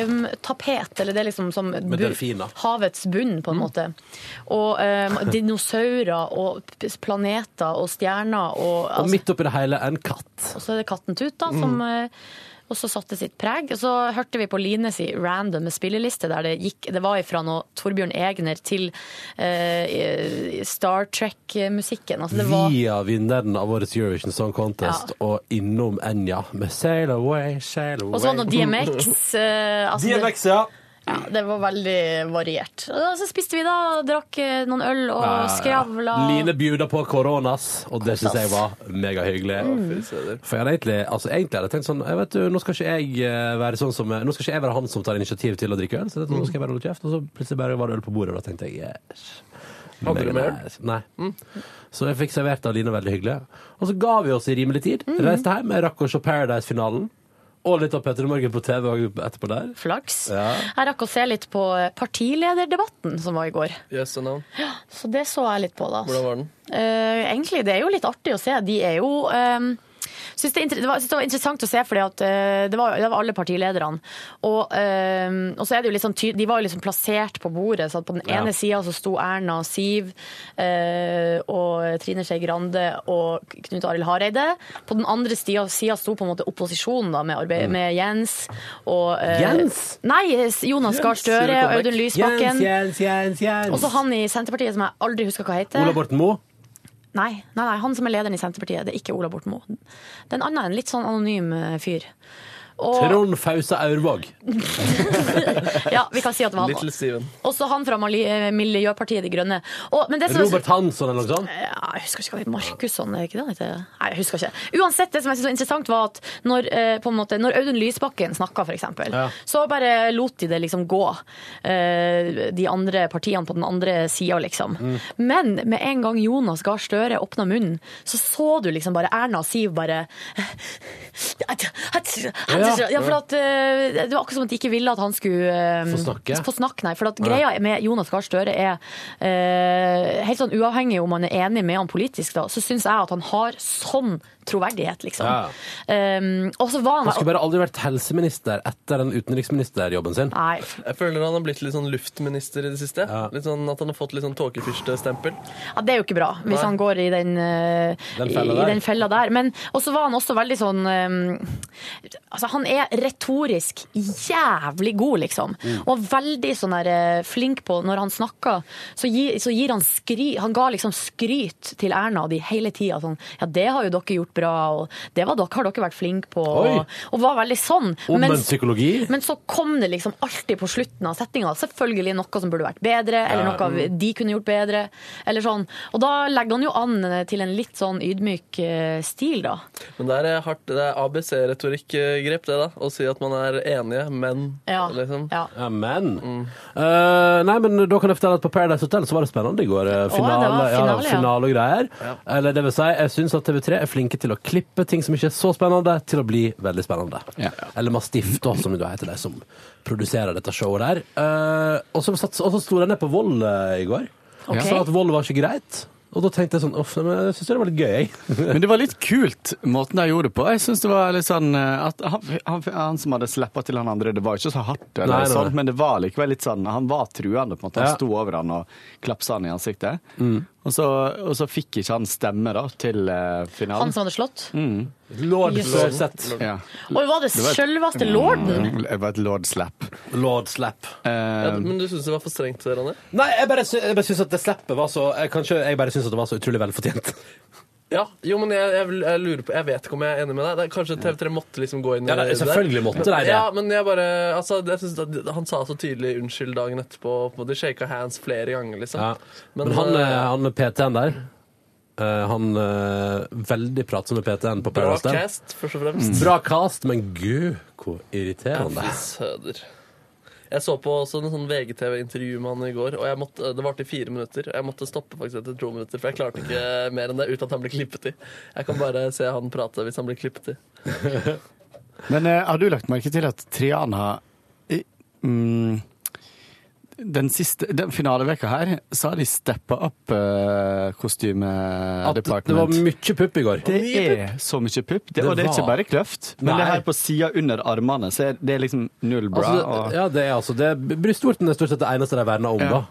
akvariumtapet, eller det er liksom som bu-
delfiner. Mm.
havets bunn, på en måte. Og eh, dinosaurer og p- planeter og stjerner og altså,
og midt oppi det hele en katt.
Og så er det katten Tut, da, som
Mm.
eh, også satte sitt preg. Og så hørte vi på Line si random spilleliste, der det gikk Det var ifra noe Torbjørn Egner til eh, Star Trek-musikken. Altså det var
Via vinneren av årets Eurovision Song Contest og innom Enja med Sail Away, Sail Away.
Og så var det noe DMX. eh, altså det-
DMX, ja.
Ja, det var veldig variert. Og så spiste vi da, drakk eh, noen øl og
Ja, ja, ja.
skravla.
Line bjuda på koronas, og det syns jeg var megahyggelig.
Mm.
For jeg hadde egentlig, altså, egentlig hadde jeg tenkt sånn jeg vet, du, Nå skal ikke jeg eh, være sånn som Nå skal ikke jeg være han som tar initiativ til å drikke øl, så nå skal jeg bare holde kjeft. Og så plutselig bare var det øl på bordet, og da tenkte jeg yes.
Hadde du med øl?
Nice. Nei. Så jeg fikk
Mm.
servert av Line veldig hyggelig. Og så ga vi oss i rimelig tid. Reiste hjem. Jeg rakk å se Paradise-finalen. Og litt av Petter Morgen på TV etterpå der.
Flaks.
Ja.
Jeg rakk å se litt på partilederdebatten som var i går.
Yes and no.
Så det så jeg litt på, da.
Hvordan var den?
Eh, egentlig, det er jo litt artig å se. De er jo eh, Synes det, er inter- det, var, synes det var interessant å se, for det, var- det var alle partilederne. Og, eh, og så er det jo litt sånn ty De var jo liksom plassert på bordet. Så at på den
Ja.
ene sida så sto Erna og Siv eh, og Trine Skei Grande og Knut Arild Hareide. På den andre sida sida sto på en måte opposisjonen, da, med, arbeid, med Jens og
Mm.
eh,
Jens?
Nei, Jonas Gahr Støre og Audun Lysbakken.
Jens, Jens, Jens, Jens.
Og så han i Senterpartiet som jeg aldri husker hva heter.
Ola Borten Moe.
Nei, nei, nei, han som er lederen i Senterpartiet, det er ikke Ola Borten Moe. Det er en annen, en litt sånn anonym eh, fyr. Og-
Trond Fausa Aurvåg.
Ja, vi kan si at det var han.
Little
også.
Steven.
Også han fra Mali- eh, Miljøpartiet De Grønne. Og, men det som
Robert Hansson eller noe sånt.
Ja, jeg husker ikke hva det Markusson, er det ikke det han heter? Nei, jeg husker ikke. Uansett, det som jeg synes var interessant var at når, eh, på en måte, når Audun Lysbakken snakket for eksempel,
Ja.
så bare lot de det liksom gå. eh, De andre partiene på den andre siden liksom.
Mm.
Men med en gang Jonas Gahr Støre åpnet munnen, så så du liksom bare Erna og Siv bare
Ja.
Ja, for at eh, det var akkurat som at de ikke ville at han skulle eh,
Få snakke.
Få snakke, nei. For at
Ja.
greia med Jonas Gahr Støre er eh, helt sånn uavhengig om han er enig med han politisk, da, så syns jeg at han har sånn troverdighet, liksom.
Ja.
Um, og så var
Han skulle
han
bare aldri vært helseminister etter den utenriksministerjobben sin.
Nei.
Jeg føler han har blitt litt sånn luftminister i det siste. Litt sånn At han har fått litt sånn tåkefyrstestempel.
ja, Det er jo ikke bra, hvis
Nei.
han går i den, eh,
Den
i-
fella
i
der.
den fella der. Men og så var han også veldig sånn um, Altså, han er retorisk jævlig god, liksom.
Mm.
Og veldig sånn der, eh, flink på når han snakker, så gir, så gir han skry, Han ga liksom skryt til Erna og de hele tida. Sånn, ja, det har jo dere gjort bra, og det var dere, har dere vært flinke på.
Oi.
Og, og var veldig sånn.
Om
Men-
en psykologi.
Men så kom det liksom alltid på slutten av setninga. Selvfølgelig noe som burde vært bedre, eller
Ja,
noe
mm.
de kunne gjort bedre. Eller sånn. Og da legger han jo an til en litt sånn ydmyk eh, stil, da.
Men det er eh, hardt, det er ABC-retorikk-grep, det, da. Å si at man er enige, men
Ja.
sånn.
liksom.
Ja.
Ja, men Eh, Nei, men da kan jeg fortelle at på Paradise Hotel så var det spennende i går. eh,
det
Finale,
var
ja,
finale, ja.
finale og greier. Eller det vil si, jeg syns at TV3 er flinke til å klippe ting som ikke er så spennende, til å bli veldig spennende. Eller Mastiff, da, som du heter, de som produserer dette showet der. Eh, og så satt- og så sto de ned på Vold eh, i går
Ok.
og sa at Vold var ikke greit. Og da tenkte jeg sånn Uff, nei, men jeg syns det var litt gøy, jeg.
Men det var litt kult, måten de gjorde det på. Jeg synes det var litt sånn eh, at han, han, han som hadde slippet til han andre, det var ikke så hardt, eller
Nei, nei,
sånn,
nei.
men det var likevel litt sånn Han var truende, på en måte. Han
Ja.
sto over han og klapsa han i ansiktet. Og, så, og så fikk ikke han stemme da, til eh, finalen.
Han som hadde slått?
Mm.
Lord
Yes.
Løseth.
Ja.
Og var det
et-
selveste lorden?
Mm, Det var et lord slap.
Lord slap.
Ja, men du syns det var for strengt, Ronny?
Nei, jeg bare, sy- jeg bare syns at det slappet var så jeg, Kanskje jeg bare syns at det var så utrolig velfortjent.
Ja, jo, men jeg, jeg, vil- jeg lurer på Jeg vet ikke om jeg er enig med deg. Det er kanskje TV3 måtte liksom gå inn i
Ja, da,
det der.
selvfølgelig måtte de det.
Ja, men jeg bare altså, jeg synes at Han sa så tydelig unnskyld dagen etterpå. På en måte shaka hands flere ganger, liksom.
Ja. Men, han, eh, han med PT-en der eh, Han eh, veldig pratsomme PT-en på
Bra
Paradise der.
cast, først og fremst.
Mm. Bra cast, men gud, hvor irriterende.
Fy søder. Jeg så på også en sånn VGTV-intervju med han i går, og jeg måtte, det varte i fire minutter. Jeg måtte stoppe faktisk etter to minutter, for jeg klarte ikke mer enn det uten at han ble klippet i. Jeg kan bare se han prate hvis han blir klippet i.
Men eh, har du lagt merke til at Triana i, mm, den siste den finaleveka her, så har de steppa opp uh,
At
kostymedepartementet.
det var mye pupp i går.
Det er så mye pupp. Det,
Det
og det er ikke
var-
bare kløft. Men det
Nei.
her på sida under armene, så er det er liksom null bra.
Altså,
og...
det, ja, det er altså det, Brystvorten er stort sett det eneste de verner om,
Ja.
da.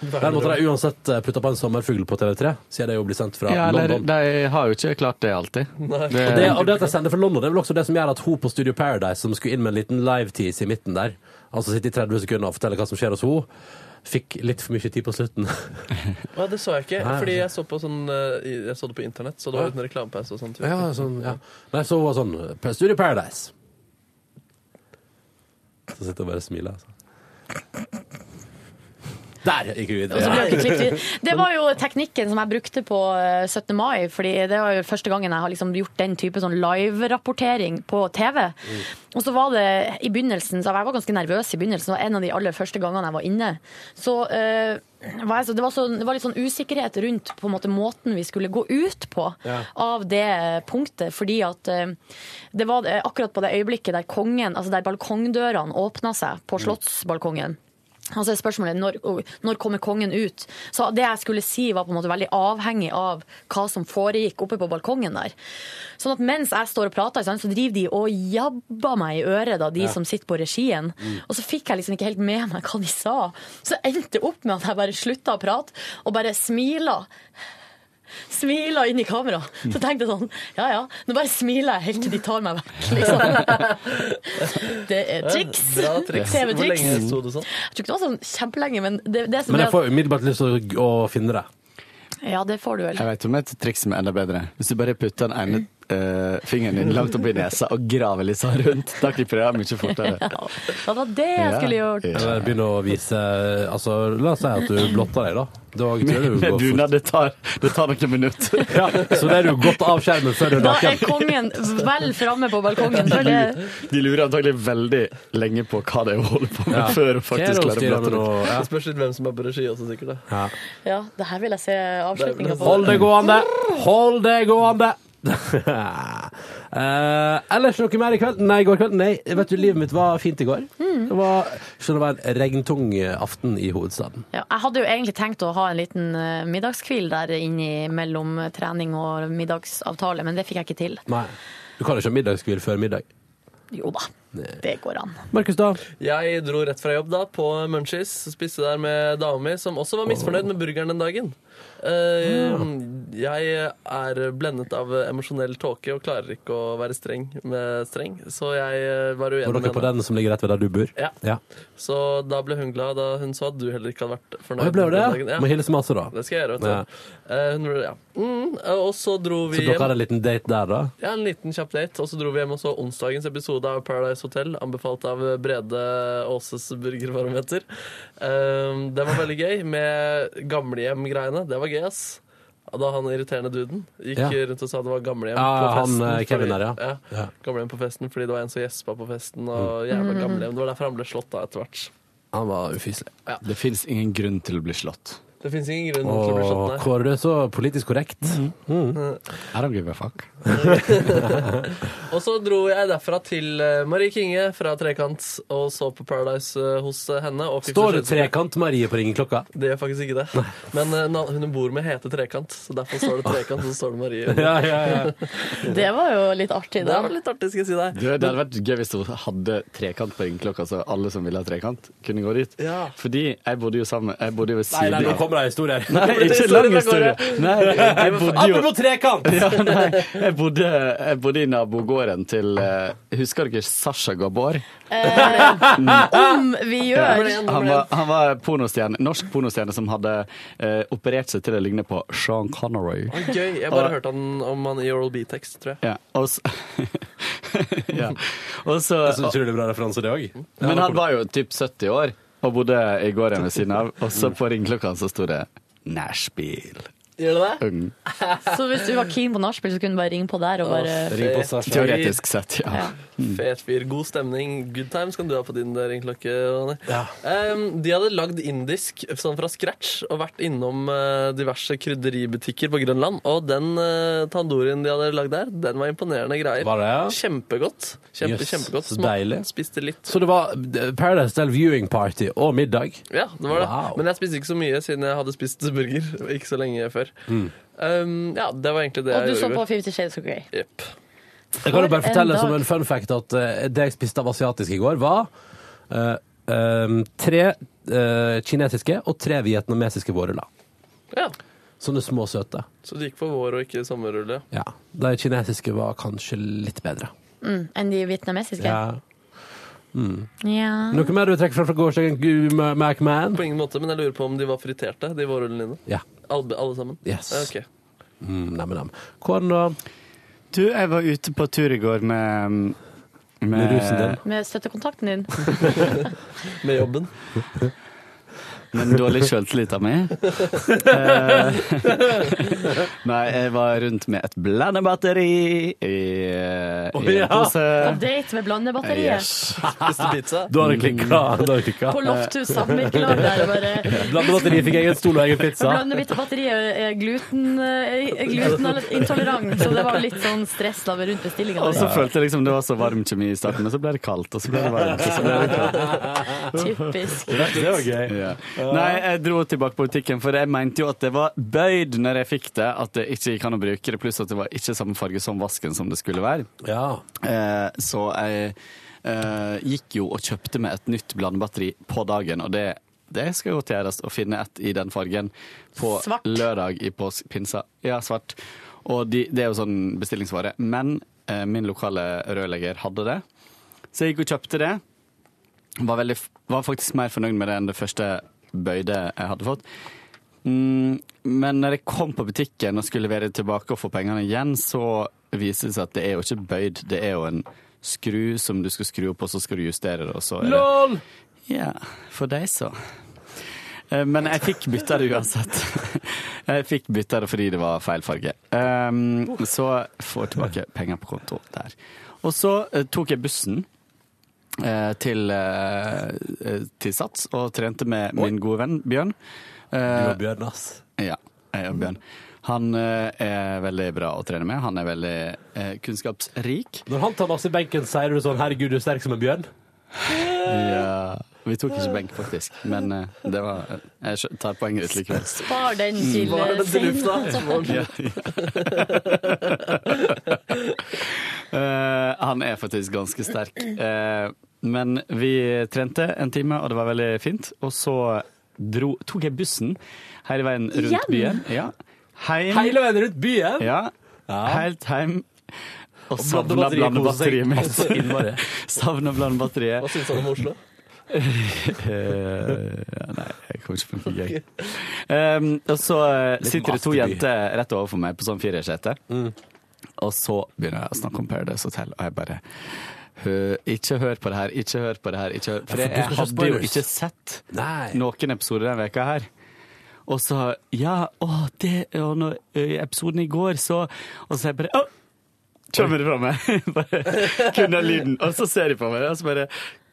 Der måtte de uansett eh, putte på en sommerfugl på TV3, siden det jo blir sendt fra
Ja, de,
London.
de har jo ikke klart det alltid. Det,
Og det, og det at jeg sender fra London, det er vel også det som gjør at hun på Studio Paradise, som skulle inn med en liten live-tease i midten der, altså sitte i 30 sekunder og fortelle hva som skjer hos hun, fikk litt for mye tid på slutten.
Å, Ja, det så jeg ikke,
Nei.
fordi jeg så, på sånn, eh, i- jeg så det på internett, så det var uten reklamepause og sånt.
ja, sånn, ja. Nei, så hun var sånn på Studio Paradise. Så sitter hun bare og smiler, altså. Der gikk vi
Og så ble dere klippet
videre.
ut. Det var jo teknikken som jeg brukte på eh, 17. mai, fordi det var jo første gangen jeg har liksom gjort den type sånn live-rapportering på TV. Og så var det i begynnelsen, så jeg var ganske nervøs i begynnelsen, og en av de aller første gangene jeg var inne, så eh, var jeg så, det, var så, det var litt sånn usikkerhet rundt på en måte måten vi skulle gå ut på
Ja.
av det punktet, fordi at eh, det var eh, akkurat på det øyeblikket der kongen, altså der balkongdørene åpna seg på slottsbalkongen. Og så er Altså, spørsmålet når, og når kommer kongen ut? Så det jeg skulle si var på en måte veldig avhengig av hva som foregikk oppe på balkongen der. Sånn at mens jeg står og prater, ikke sant, så driver de og jabber meg i øret, da, de
Ja.
som sitter på regien.
Mm.
Og så fikk jeg liksom ikke helt med meg hva de sa. Så endte det opp med at jeg bare slutta å prate, og bare smila. Smila inn i kamera.
Mm.
Så tenkte jeg sånn Ja ja, nå bare smiler jeg helt til de tar meg vekk, liksom. Det
Eh,
er triks.
Ja, bra triks. Hvor
TV-triks.
lenge
Jeg
sto du sånn?
tror ikke det var sånn kjempelenge, men det, det som
Men jeg
er-
får umiddelbart lyst til å, å finne det.
Ja, det får du vel.
Jeg vet om et triks som er enda bedre. Hvis du bare putter den ene eh, fingeren din langt oppi nesa og graver litt sånn rundt, da klipper jeg av mye fortere.
Ja, det var det jeg
Ja.
skulle gjort.
Eller begynne å vise Altså, la oss si at du blotter deg, da. Da tror jeg du går fort.
Bunad, det tar, det tar noen minutter.
Ja, så da er du godt av skjermen før du er
Da er
naken.
kongen vel framme på balkongen. For det,
De lurer antagelig veldig lenge på hva det er hun holder på med,
Ja.
før hun
Hva er det
faktisk
hun
klarer å
styrer
prate
med nå?
rundt.
Ja.
Det spørs litt hvem som er på regi også, sikkert. da.
Ja.
ja, det her vil jeg se avslutninga på.
Hold det gående! Hold det gående! Eh, ellers noe mer i kveld? Nei, i går kveld? Nei, vet du, livet mitt var fint i går.
Mm.
Det var, så det var en regntung aften i hovedstaden.
Ja, jeg hadde jo egentlig tenkt å ha en liten eh, middagskvil der inni mellom trening og middagsavtale, men det fikk jeg ikke til.
Nei. Du kan ikke ha middagskvil før middag.
Jo da, det går an.
Markus, da?
Jeg dro rett fra jobb da, på Munchies. Spiste der med dama mi, som også var misfornøyd med burgeren den dagen. Eh, jeg er blendet av emosjonell tåke og klarer ikke å være streng med streng, så jeg eh, var uenig
Var
med
dere på
henne.
den som ligger rett ved der du bor?
Ja.
ja.
Så da ble hun glad da hun så at du heller ikke hadde vært fornøyd.
Å, jeg ble
den
det?
dagen. Ja.
Må hilse masse, da.
Det skal jeg gjøre, vet du. Eh, hun ble, ja. mm, og så dro vi
Så dere
hjem.
hadde en liten date der, da?
Ja, en liten kjapp date, og så dro vi hjem og så onsdagens episode av Paradise Hotel, anbefalt av Brede Aases burgerbarometer. Um, det var veldig gøy, med gamlehjem-greiene. Det var gøy, ass. Da han irriterende duden gikk
Ja.
rundt og sa det var gamlehjem
Ja,
på
han,
festen.
eh, Kevin der, ja.
ja. Gamlehjem på festen fordi det var en som gjespa på festen, og jævla
Mm.
gamlehjem. Det var derfor han ble slått da etter hvert.
Han var ufyselig.
Det fins ingen grunn til å bli slått.
Det fins ingen grunn til å bli slått,
Åh,
nei.
Kåre, du er så politisk korrekt. Mm.
I don't give a fuck.
Og så dro jeg derfra til eh, Marie Kinge fra Trekant og så på Paradise eh, hos eh, henne. Og fikk
Står det
beskjed-
Trekant Marie på ringeklokka?
Det gjør faktisk ikke det. Men eh, na- hun hun bor med hete Trekant, så derfor står det Trekant, og så står det Marie.
Ja, ja, ja.
Det var jo litt artig,
Det
da.
var litt artig, skal jeg si deg.
Du, det hadde vært gøy hvis hun hadde trekant på ringeklokka, så alle som ville ha trekant, kunne gå dit.
Ja.
Fordi jeg bodde jo sammen Jeg bodde jo ved
Nei,
siden
nei, nå kommer det historier.
Nei, ikke lang historie. Nei, jeg bodde jo
Apropos trekant!
ja, nei, jeg, bodde, jeg bodde i nabogården til eh, Husker dere Sasha Gabor?
Om vi gjør
Han var, han var pornostjerne, norsk pornostjerne som hadde eh, operert seg til å ligne på Sean Connery.
Å, Gøy. Jeg bare hørte han, om han i Oral B-tekst, tror jeg.
Ja, og så, ja. Og så
Jeg synes utrolig bra referanse, det òg.
Men han var jo typ 70 år og bodde i gården ved siden av. Og så på ringeklokka så sto det Nashbil.
Gjør det det?
Mm.
Så hvis du var keen på nachspiel, så kunne du bare ringe på der og bare
Ring på Sasha.
Teoretisk sett, ja.
Fet fyr. God stemning. Good times kan du ha på din eh, ringklokke. Ronny.
Ja.
Em, de hadde lagd indisk sånn fra scratch og vært innom eh, diverse kryddeributikker på Grønland. Og den eh, tandorien de hadde lagd der, den var imponerende greier.
Var det, ja?
Kjempegodt. Kjempe,
Jøss,
kjempegodt.
så deilig.
Spiste litt.
Så det var eh, Paradise Del Viewing Party og middag.
Ja, det var det.
Wow.
Men jeg spiste ikke så mye siden jeg hadde spist burger ikke så lenge før.
Mm.
Um, ja, det var egentlig det
Og du
jeg
så på
gjorde.
Fifty Shades of Grey.
Jepp.
Jeg kan jo bare
For en
fortelle
dag.
som en fun fact at eh, det jeg spiste av asiatisk i går, var eh, eh, tre eh, kinesiske og tre vietnamesiske vårruller.
Ja,
Sånne små, søte.
så det gikk for vår og ikke sommerrulle.
Ja. De kinesiske var kanskje litt bedre.
Mm, enn de vietnamesiske.
Ja.
Ja.
Noe mer du trekker fra fra gårsdagen, Gu- Ma- MacMan?
På ingen måte, men jeg lurer på om de var friterte, de vårrullene dine.
Ja.
Alle, alle sammen?
Yes.
Ja, ok.
Mm, nem, nem. Hvordan da?
Du, jeg var ute på tur i går med um,
Med rusen din?
Med støttekontakten din.
Med jobben.
men dårlig sjøltillit av meg. Eh, Nei, jeg var rundt med et blandebatteri i, eh, i
ja.
en pose.
På date med blandebatteriet.
Yes.
Spiste pizza?
Da har det klikka. Da har det klikka.
På Lofthus samvirkelag der. Bare
Blandebatteriet fikk egen stol og egen pizza.
Blandebatteriet er gluten, eh, er glutenintolerant, så det var litt sånn stress da rundt bestillinga.
Og så følte jeg liksom det var så varm kjemi i starten, men så ble det kaldt, og så ble det varmt. Og så ble det kaldt.
Typisk.
Det var gøy.
Ja. Nei, jeg dro tilbake på butikken, for jeg mente jo at det var bøyd når jeg fikk det, at det ikke gikk an å bruke det, pluss at det var ikke samme farge som vasken som det skulle være.
Ja.
Eh, Så jeg eh, gikk jo og kjøpte meg et nytt blandebatteri på dagen, og det, det skal jo gjøres å finne et i den fargen på
Svart.
lørdag i påsk- pinsa. Ja, svart. Og de, det er jo sånn bestillingsvare. Men eh, min lokale rørlegger hadde det, så jeg gikk og kjøpte det. Var, veldig, f- var faktisk mer fornøyd med det enn det første bøyde jeg hadde fått. Mm, men når jeg kom på butikken og skulle levere det tilbake og få pengene igjen, så viser det seg at det er jo ikke bøyd, det er jo en skru som du skal skru opp, og så skal du justere det, og så er det
LOL!
Ja, for deg så. Eh, Men jeg fikk bytta det uansett. Jeg fikk bytta det fordi det var feil farge. Um, så får jeg tilbake penger på konto der. Og så eh, tok jeg bussen eh, til, eh, eh, til Sats og trente med min gode venn Bjørn.
Du
Eh,
var Bjørn, ass.
ja, jeg og Bjørn. Han eh, er veldig bra å trene med. Han er veldig eh, kunnskapsrik.
Når han tar masse i benken, sier du sånn 'herregud, du er sterk som en bjørn'?
Ja. Vi tok ikke benk, faktisk, men eh, det var Jeg skjø- tar poenget ditt likevel.
Spar den til eh,
Var det til lufta?
Ja, ja. Eh, han er faktisk ganske sterk. Eh, men vi trente en time, og det var veldig fint. Og så dro, tok jeg bussen hele veien rundt
Igjen?
byen. Ja. Heim,
Hele veien rundt byen!
ja. Helt heim. Og savna
blandebatteriet koser seg
blandebatteriet mitt.
altså innmari.
Savna blandebatteriet.
Hva syns han om Oslo?
Eh, ja, nei, jeg kommer ikke på noe gøy. Um, og så eh,
sånn
sitter det to
masterby.
jenter rett overfor meg på sånn firersete.
Mm.
Og så begynner jeg å snakke om Paradise Hotel, og jeg bare «Hø- Ikke hør på det her, ikke hør på det her. Ikke hør. For
Ja, for
jeg,
du skal ikke ha
hadde jo
spoilers.
ikke sett
Nei.
noen episoder denne veka her. Og så Ja, å, det Og når, ø, i episoden i går, så Og så er jeg bare Å! Kommer det fra meg? bare kun den lyden. Og så ser de på meg, og så bare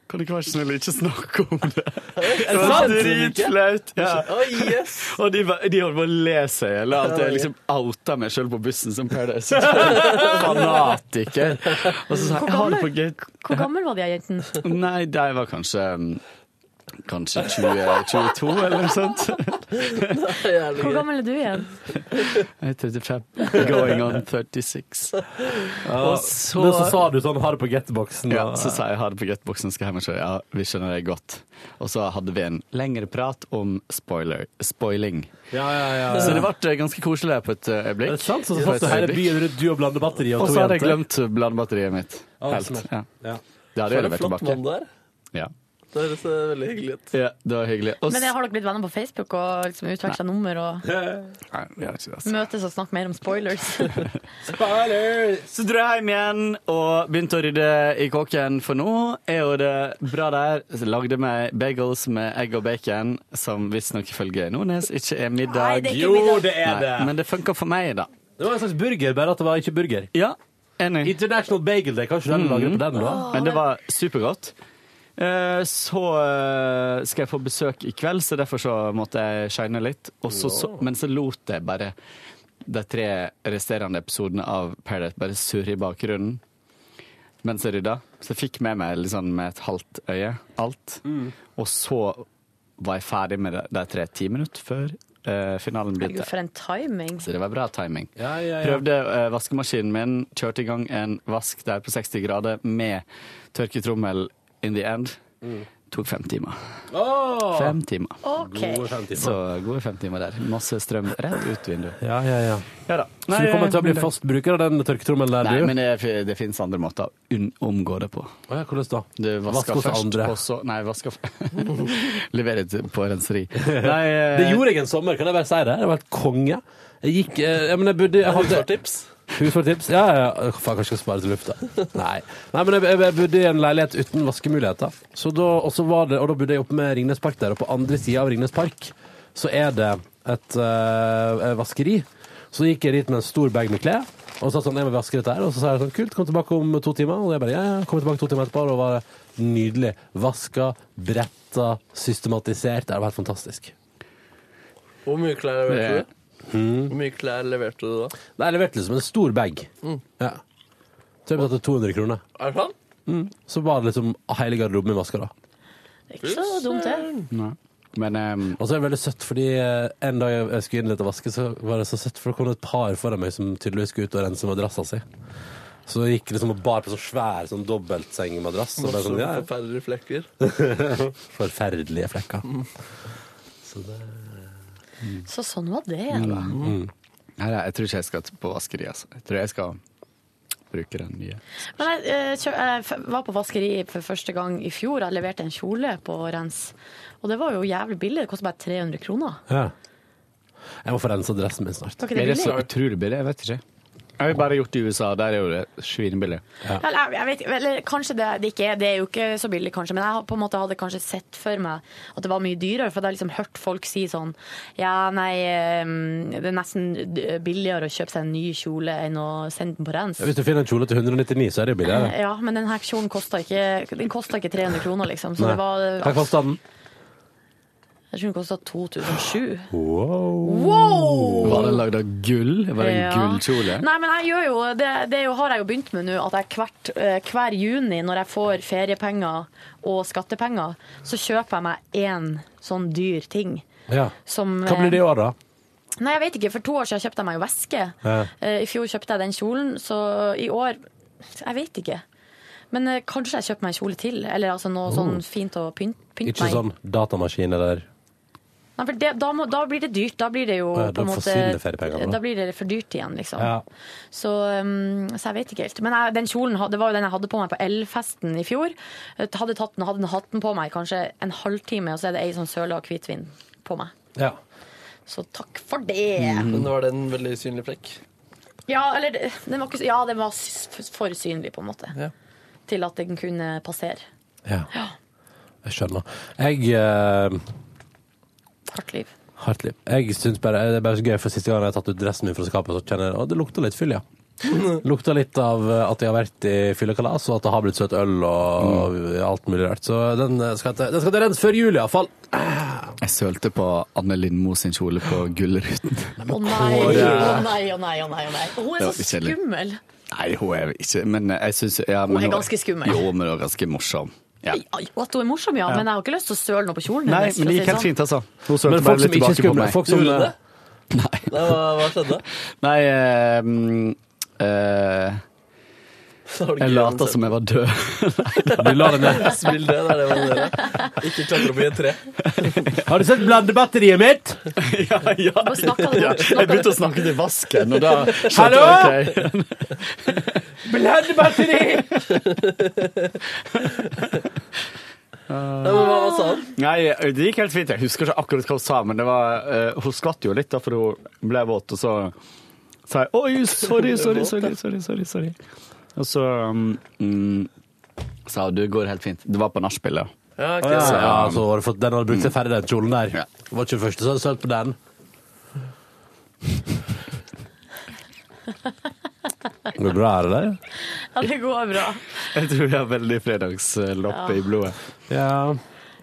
Kan du ikke være så snill å ikke snakke om det? Det var dritflaut! Ja.
Oi, yes!
Og de, var- de holdt på å le seg i hjel av at jeg liksom outa meg sjøl på bussen som Paradise. Hotel. Fanatiker. Og så sa jeg Jeg har det på gøy.
Hvor gammel var de her jentene?
Nei, de var kanskje mm, Kanskje 20, 22 eller noe sånt.
Det er jævlig
Hvor
gøy.
gammel er du igjen?
Jeg er 35. Going on 36.
Og
så-
Ah, Men så sa du sånn 'ha det på getboksen'.
Ja,
og-
så sa jeg ha det på Getboxen, skal hjem og kjøre. Ja, vi skjønner det godt. Og så hadde vi en lengre prat om spoiler, spoiling.
ja, ja, ja, ja.
Så det ble eh, ganske koselig der på et eh, øyeblikk.
Er det sant? Så
På
satt
et
du hele
øyeblikk.
byen rundt du og blandebatteriet og
Og
to
så hadde jeg
jenter. Ah,
glemt blandebatteriet mitt.
Ja, det
Helt.
smelter.
Ja.
Ja.
Det hadde jeg
For en
levert
flott mann
tilbake.
der.
Ja.
Det høres eh, veldig hyggelig ut.
ja, det var hyggelig. Og
Men jeg har dere blitt venner på Facebook og liksom utveksla nummer og
s- Nei, vi har ikke det, altså.
møtes og snakker mer om spoilers?
Så dro jeg hjem igjen og begynte å rydde i kåken, for nå er jo det bra der. Så lagde meg bagels med egg og bacon, som visstnok ifølge Nordnes ikke er middag.
Nei, det er
Jo, det er
Nei,
det!
Men det funka for meg, da.
Det var en slags burger, bare at det var ikke burger.
Ja, enig.
International Bagel Day, kanskje du lager det på den, da?
Men det var supergodt. Eh, Så eh, skal jeg få besøk i kveld, så derfor så måtte jeg shine litt. Og så, så, men så lot jeg bare de tre resterende episodene av Paradise bare surre i bakgrunnen mens jeg rydda. Så jeg fikk med meg litt sånn med et halvt øye alt. Og så var jeg ferdig med de- de tre ti minutter før eh, finalen
Herregud,
begynte.
for en timing.
Så det var bra timing.
Ja, ja, ja.
Prøvde eh, vaskemaskinen min, kjørte i gang en vask der på 60 grader med tørketrommel in the end.
Mm.
Tok fem timer.
Åh!
Fem timer.
OK.
Gode fem timer.
Så gode fem timer der. Masse strøm rett ut vinduet.
Ja, ja, ja.
Ja da.
Så du kommer til å bli fast bruker av den tørketrommelen der,
Nei,
du?
men det, det fins andre måter å unn- omgå det på.
Å ja, hvordan da?
Du
Vask
vasker
hos
først,
andre.
og så Nei, vasker f- Leverer til- på renseri. Nei, eh,
Det gjorde jeg en sommer, kan jeg bare si det. Det var helt konge. Jeg gikk eh, jeg, men jeg, bodde, jeg hadde
Tips?
Husflortips? Ja, ja, ja. Faen, kanskje jeg skal spare til lufta. Nei. Nei, men jeg, jeg, jeg bodde i en leilighet uten vaskemuligheter. Så da, og, så var det, og da bodde jeg oppe med Ringnes Park der, og på andre sida av Ringnes Park så er det et eh, vaskeri. Så gikk jeg dit med en stor bag med klær, og sa sånn, jeg må vaske dette her. Og så sa jeg sånn, kult, kom tilbake om to timer. Og jeg bare, ja, ja, kom tilbake to timer etterpå, og da var det nydelig. Vaska, bretta, systematisert. Det var helt fantastisk.
Hvor mye klær leverte du?
Mm.
Hvor mye klær leverte du da?
Nei, jeg leverte liksom en stor bag.
Mm.
Ja. Så jeg betalte 200 kroner.
Er det sant?
Mm. Så var det liksom hele garderoben min vaska, da.
Det er ikke så dumt, det.
Men
Og så er det veldig søtt, fordi eh, en dag jeg skulle inn litt og vaske, så var det så søtt, for det kom det et par foran meg som tydeligvis skulle ut og rense madrassa si. Så jeg gikk liksom og bar på sånn svær sånn dobbeltsengemadrass. Og bare
Masse
sånn, ja,
forferdelige flekker.
ja. Forferdelige flekker.
Mm. Så sånn var det.
Mm.
da.
Mm. Nei, nei, jeg tror ikke jeg skal på vaskeri, altså. Jeg tror jeg skal bruke den nye.
Men jeg, eh, kjø, jeg f- var på vaskeri for første gang i fjor. Jeg leverte en kjole på rens. Og det var jo jævlig billig. Det kostet bare 300 kroner.
Ja. Jeg må få rensa dressen min snart.
Var ikke
Er
det
det så
billig?
utrolig billig? Jeg vet ikke. Jeg har jo bare gjort det i USA, der er jo det svinbillig.
Eller, jeg- jeg vet, ikke, eller kanskje det, det ikke er. Det er jo ikke så billig, kanskje. Men jeg har på en måte hadde kanskje sett for meg at det var mye dyrere. For jeg har liksom hørt folk si sånn Ja, nei, eh, det er nesten d- billigere å kjøpe seg en ny kjole enn å sende den på rens. Eh,
Hvis du finner en kjole til 199, så er det jo billigere.
Ja, men denne kjolen kosta ikke, den kostet ikke 300 kroner, liksom. Så
Nei.
det var
Hva kosta den?
Jeg tror den kosta 2007.
Wow.
Wow!
Var den lagd av gull? Var det en
Ja.
gullkjole?
Nei, men jeg gjør jo, det, det er jo, har jeg jo begynt med nå, at jeg hvert, eh, hver juni når jeg får feriepenger og skattepenger, så kjøper jeg meg én sånn dyr ting.
Ja.
Som, eh,
Hva blir det i år, da?
Nei, jeg vet ikke. For to år siden kjøpte jeg meg jo veske.
Ja.
Eh, I fjor kjøpte jeg den kjolen, så i år Jeg vet ikke. Men eh, kanskje jeg kjøper meg en kjole til, eller altså noe sånn fint å pyn- pynte
Oh. Ikke
meg i.
sånn datamaskin eller
Nei, for det, da, må, da blir det dyrt. Da blir det jo
Ja, da
på en måte
forsvinner feriepengene, da.
Da blir det for dyrt igjen, liksom.
Ja.
Så, um, så jeg vet ikke helt. Men jeg, den kjolen ha- det var jo den jeg hadde på meg på Elfesten i fjor. Jeg Hadde tatt den, hadde den hatt den på meg kanskje en halvtime, og så er det ei sånn søla og hvitvin på meg.
Ja.
Så takk for det!
Mm.
Men var det en veldig synlig flekk?
Ja, eller det- den var, ikke, så- ja, den var s- f- for synlig, på en måte.
Ja.
Til at den kunne passere.
ja. Jeg skjønner. Jeg eh,
Hardt liv.
Hardt liv. Jeg synes bare, Det er bare så gøy, for siste gang jeg har tatt ut dressen min fra skapet, så kjenner jeg at det lukter litt fyll, ja. Lukta litt av eh, at jeg har vært i fyllekalas, og at det har blitt søt øl og
Mm.
alt mulig rart. Så den eh, skal til, den skal til rens før jul, iallfall.
Jeg sølte på Anne Lindmo sin kjole på Gullruten.
Å nei, å nei, å nei, å nei. Å nei. Og hun
Det
er
var
så
litt kjedelig.
skummel!
Nei, hun er ikke Men jeg synes ja, men
Hun er ganske skummel.
Jo, men hun er ganske morsom. Ja.
Ai, ai, At hun er morsom, ja, men jeg har ikke lyst til å søle noe på kjolen
Nei,
hennes. for
men
å si sånn.
det gikk helt fint, altså. Hun sølte
Men
bare
folk
litt
som ikke er
tilbake på
skumle
meg.
folk som,
Gjorde det?
Nei.
Nei, hva, hva skjedde?
Nei eh, mm, eh,
Da var det
Jeg
gøy
lata
uansett.
som jeg var død.
Du la det ned.
Spill det, det er det man gjør. Ikke klatre opp i et tre.
Har du sett blandebatteriet mitt?
ja, ja.
Bare snakka det bort,
Ja,
snakka
Jeg begynte å snakke til vasken, og da skjønte
Hallo?
jeg ok.
Blandebatteri!
Nei, men hva, hva sa han?
Nei, det gikk helt fint. Jeg husker ikke akkurat hva hun sa, men det var, eh, hun skvatt jo litt, da, for hun ble våt, og så sa jeg oi, sorry, sorry, sorry, sorry, sorry, sorry. Og så um, mm, sa hun du det går helt fint. Det var på nachspielet.
Ja, ok,
Ja,
så,
ja, så har du fått, den hadde brukt seg ferdig, den kjolen der.
Ja.
Det var ikke første som hadde sølt på den. Går det bra, er det der?
Ja, det går bra.
Jeg tror jeg har veldig fredagsloppe
Ja.
i blodet.
Ja.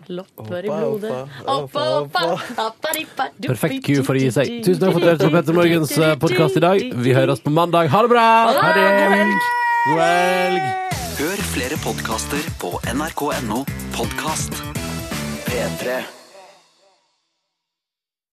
Lopper i blodet. Oppa, oppa, oppa, rippa. Du,
Perfekt
du,
ku for å gi
du,
seg.
du,
Tusen takk for at du hørte på Petter Morgens podkast i dag. Vi høres på mandag. Ha det bra!
Ha det! God helg!
God helg!
Hør flere podkaster på nrk.no podkast. P3.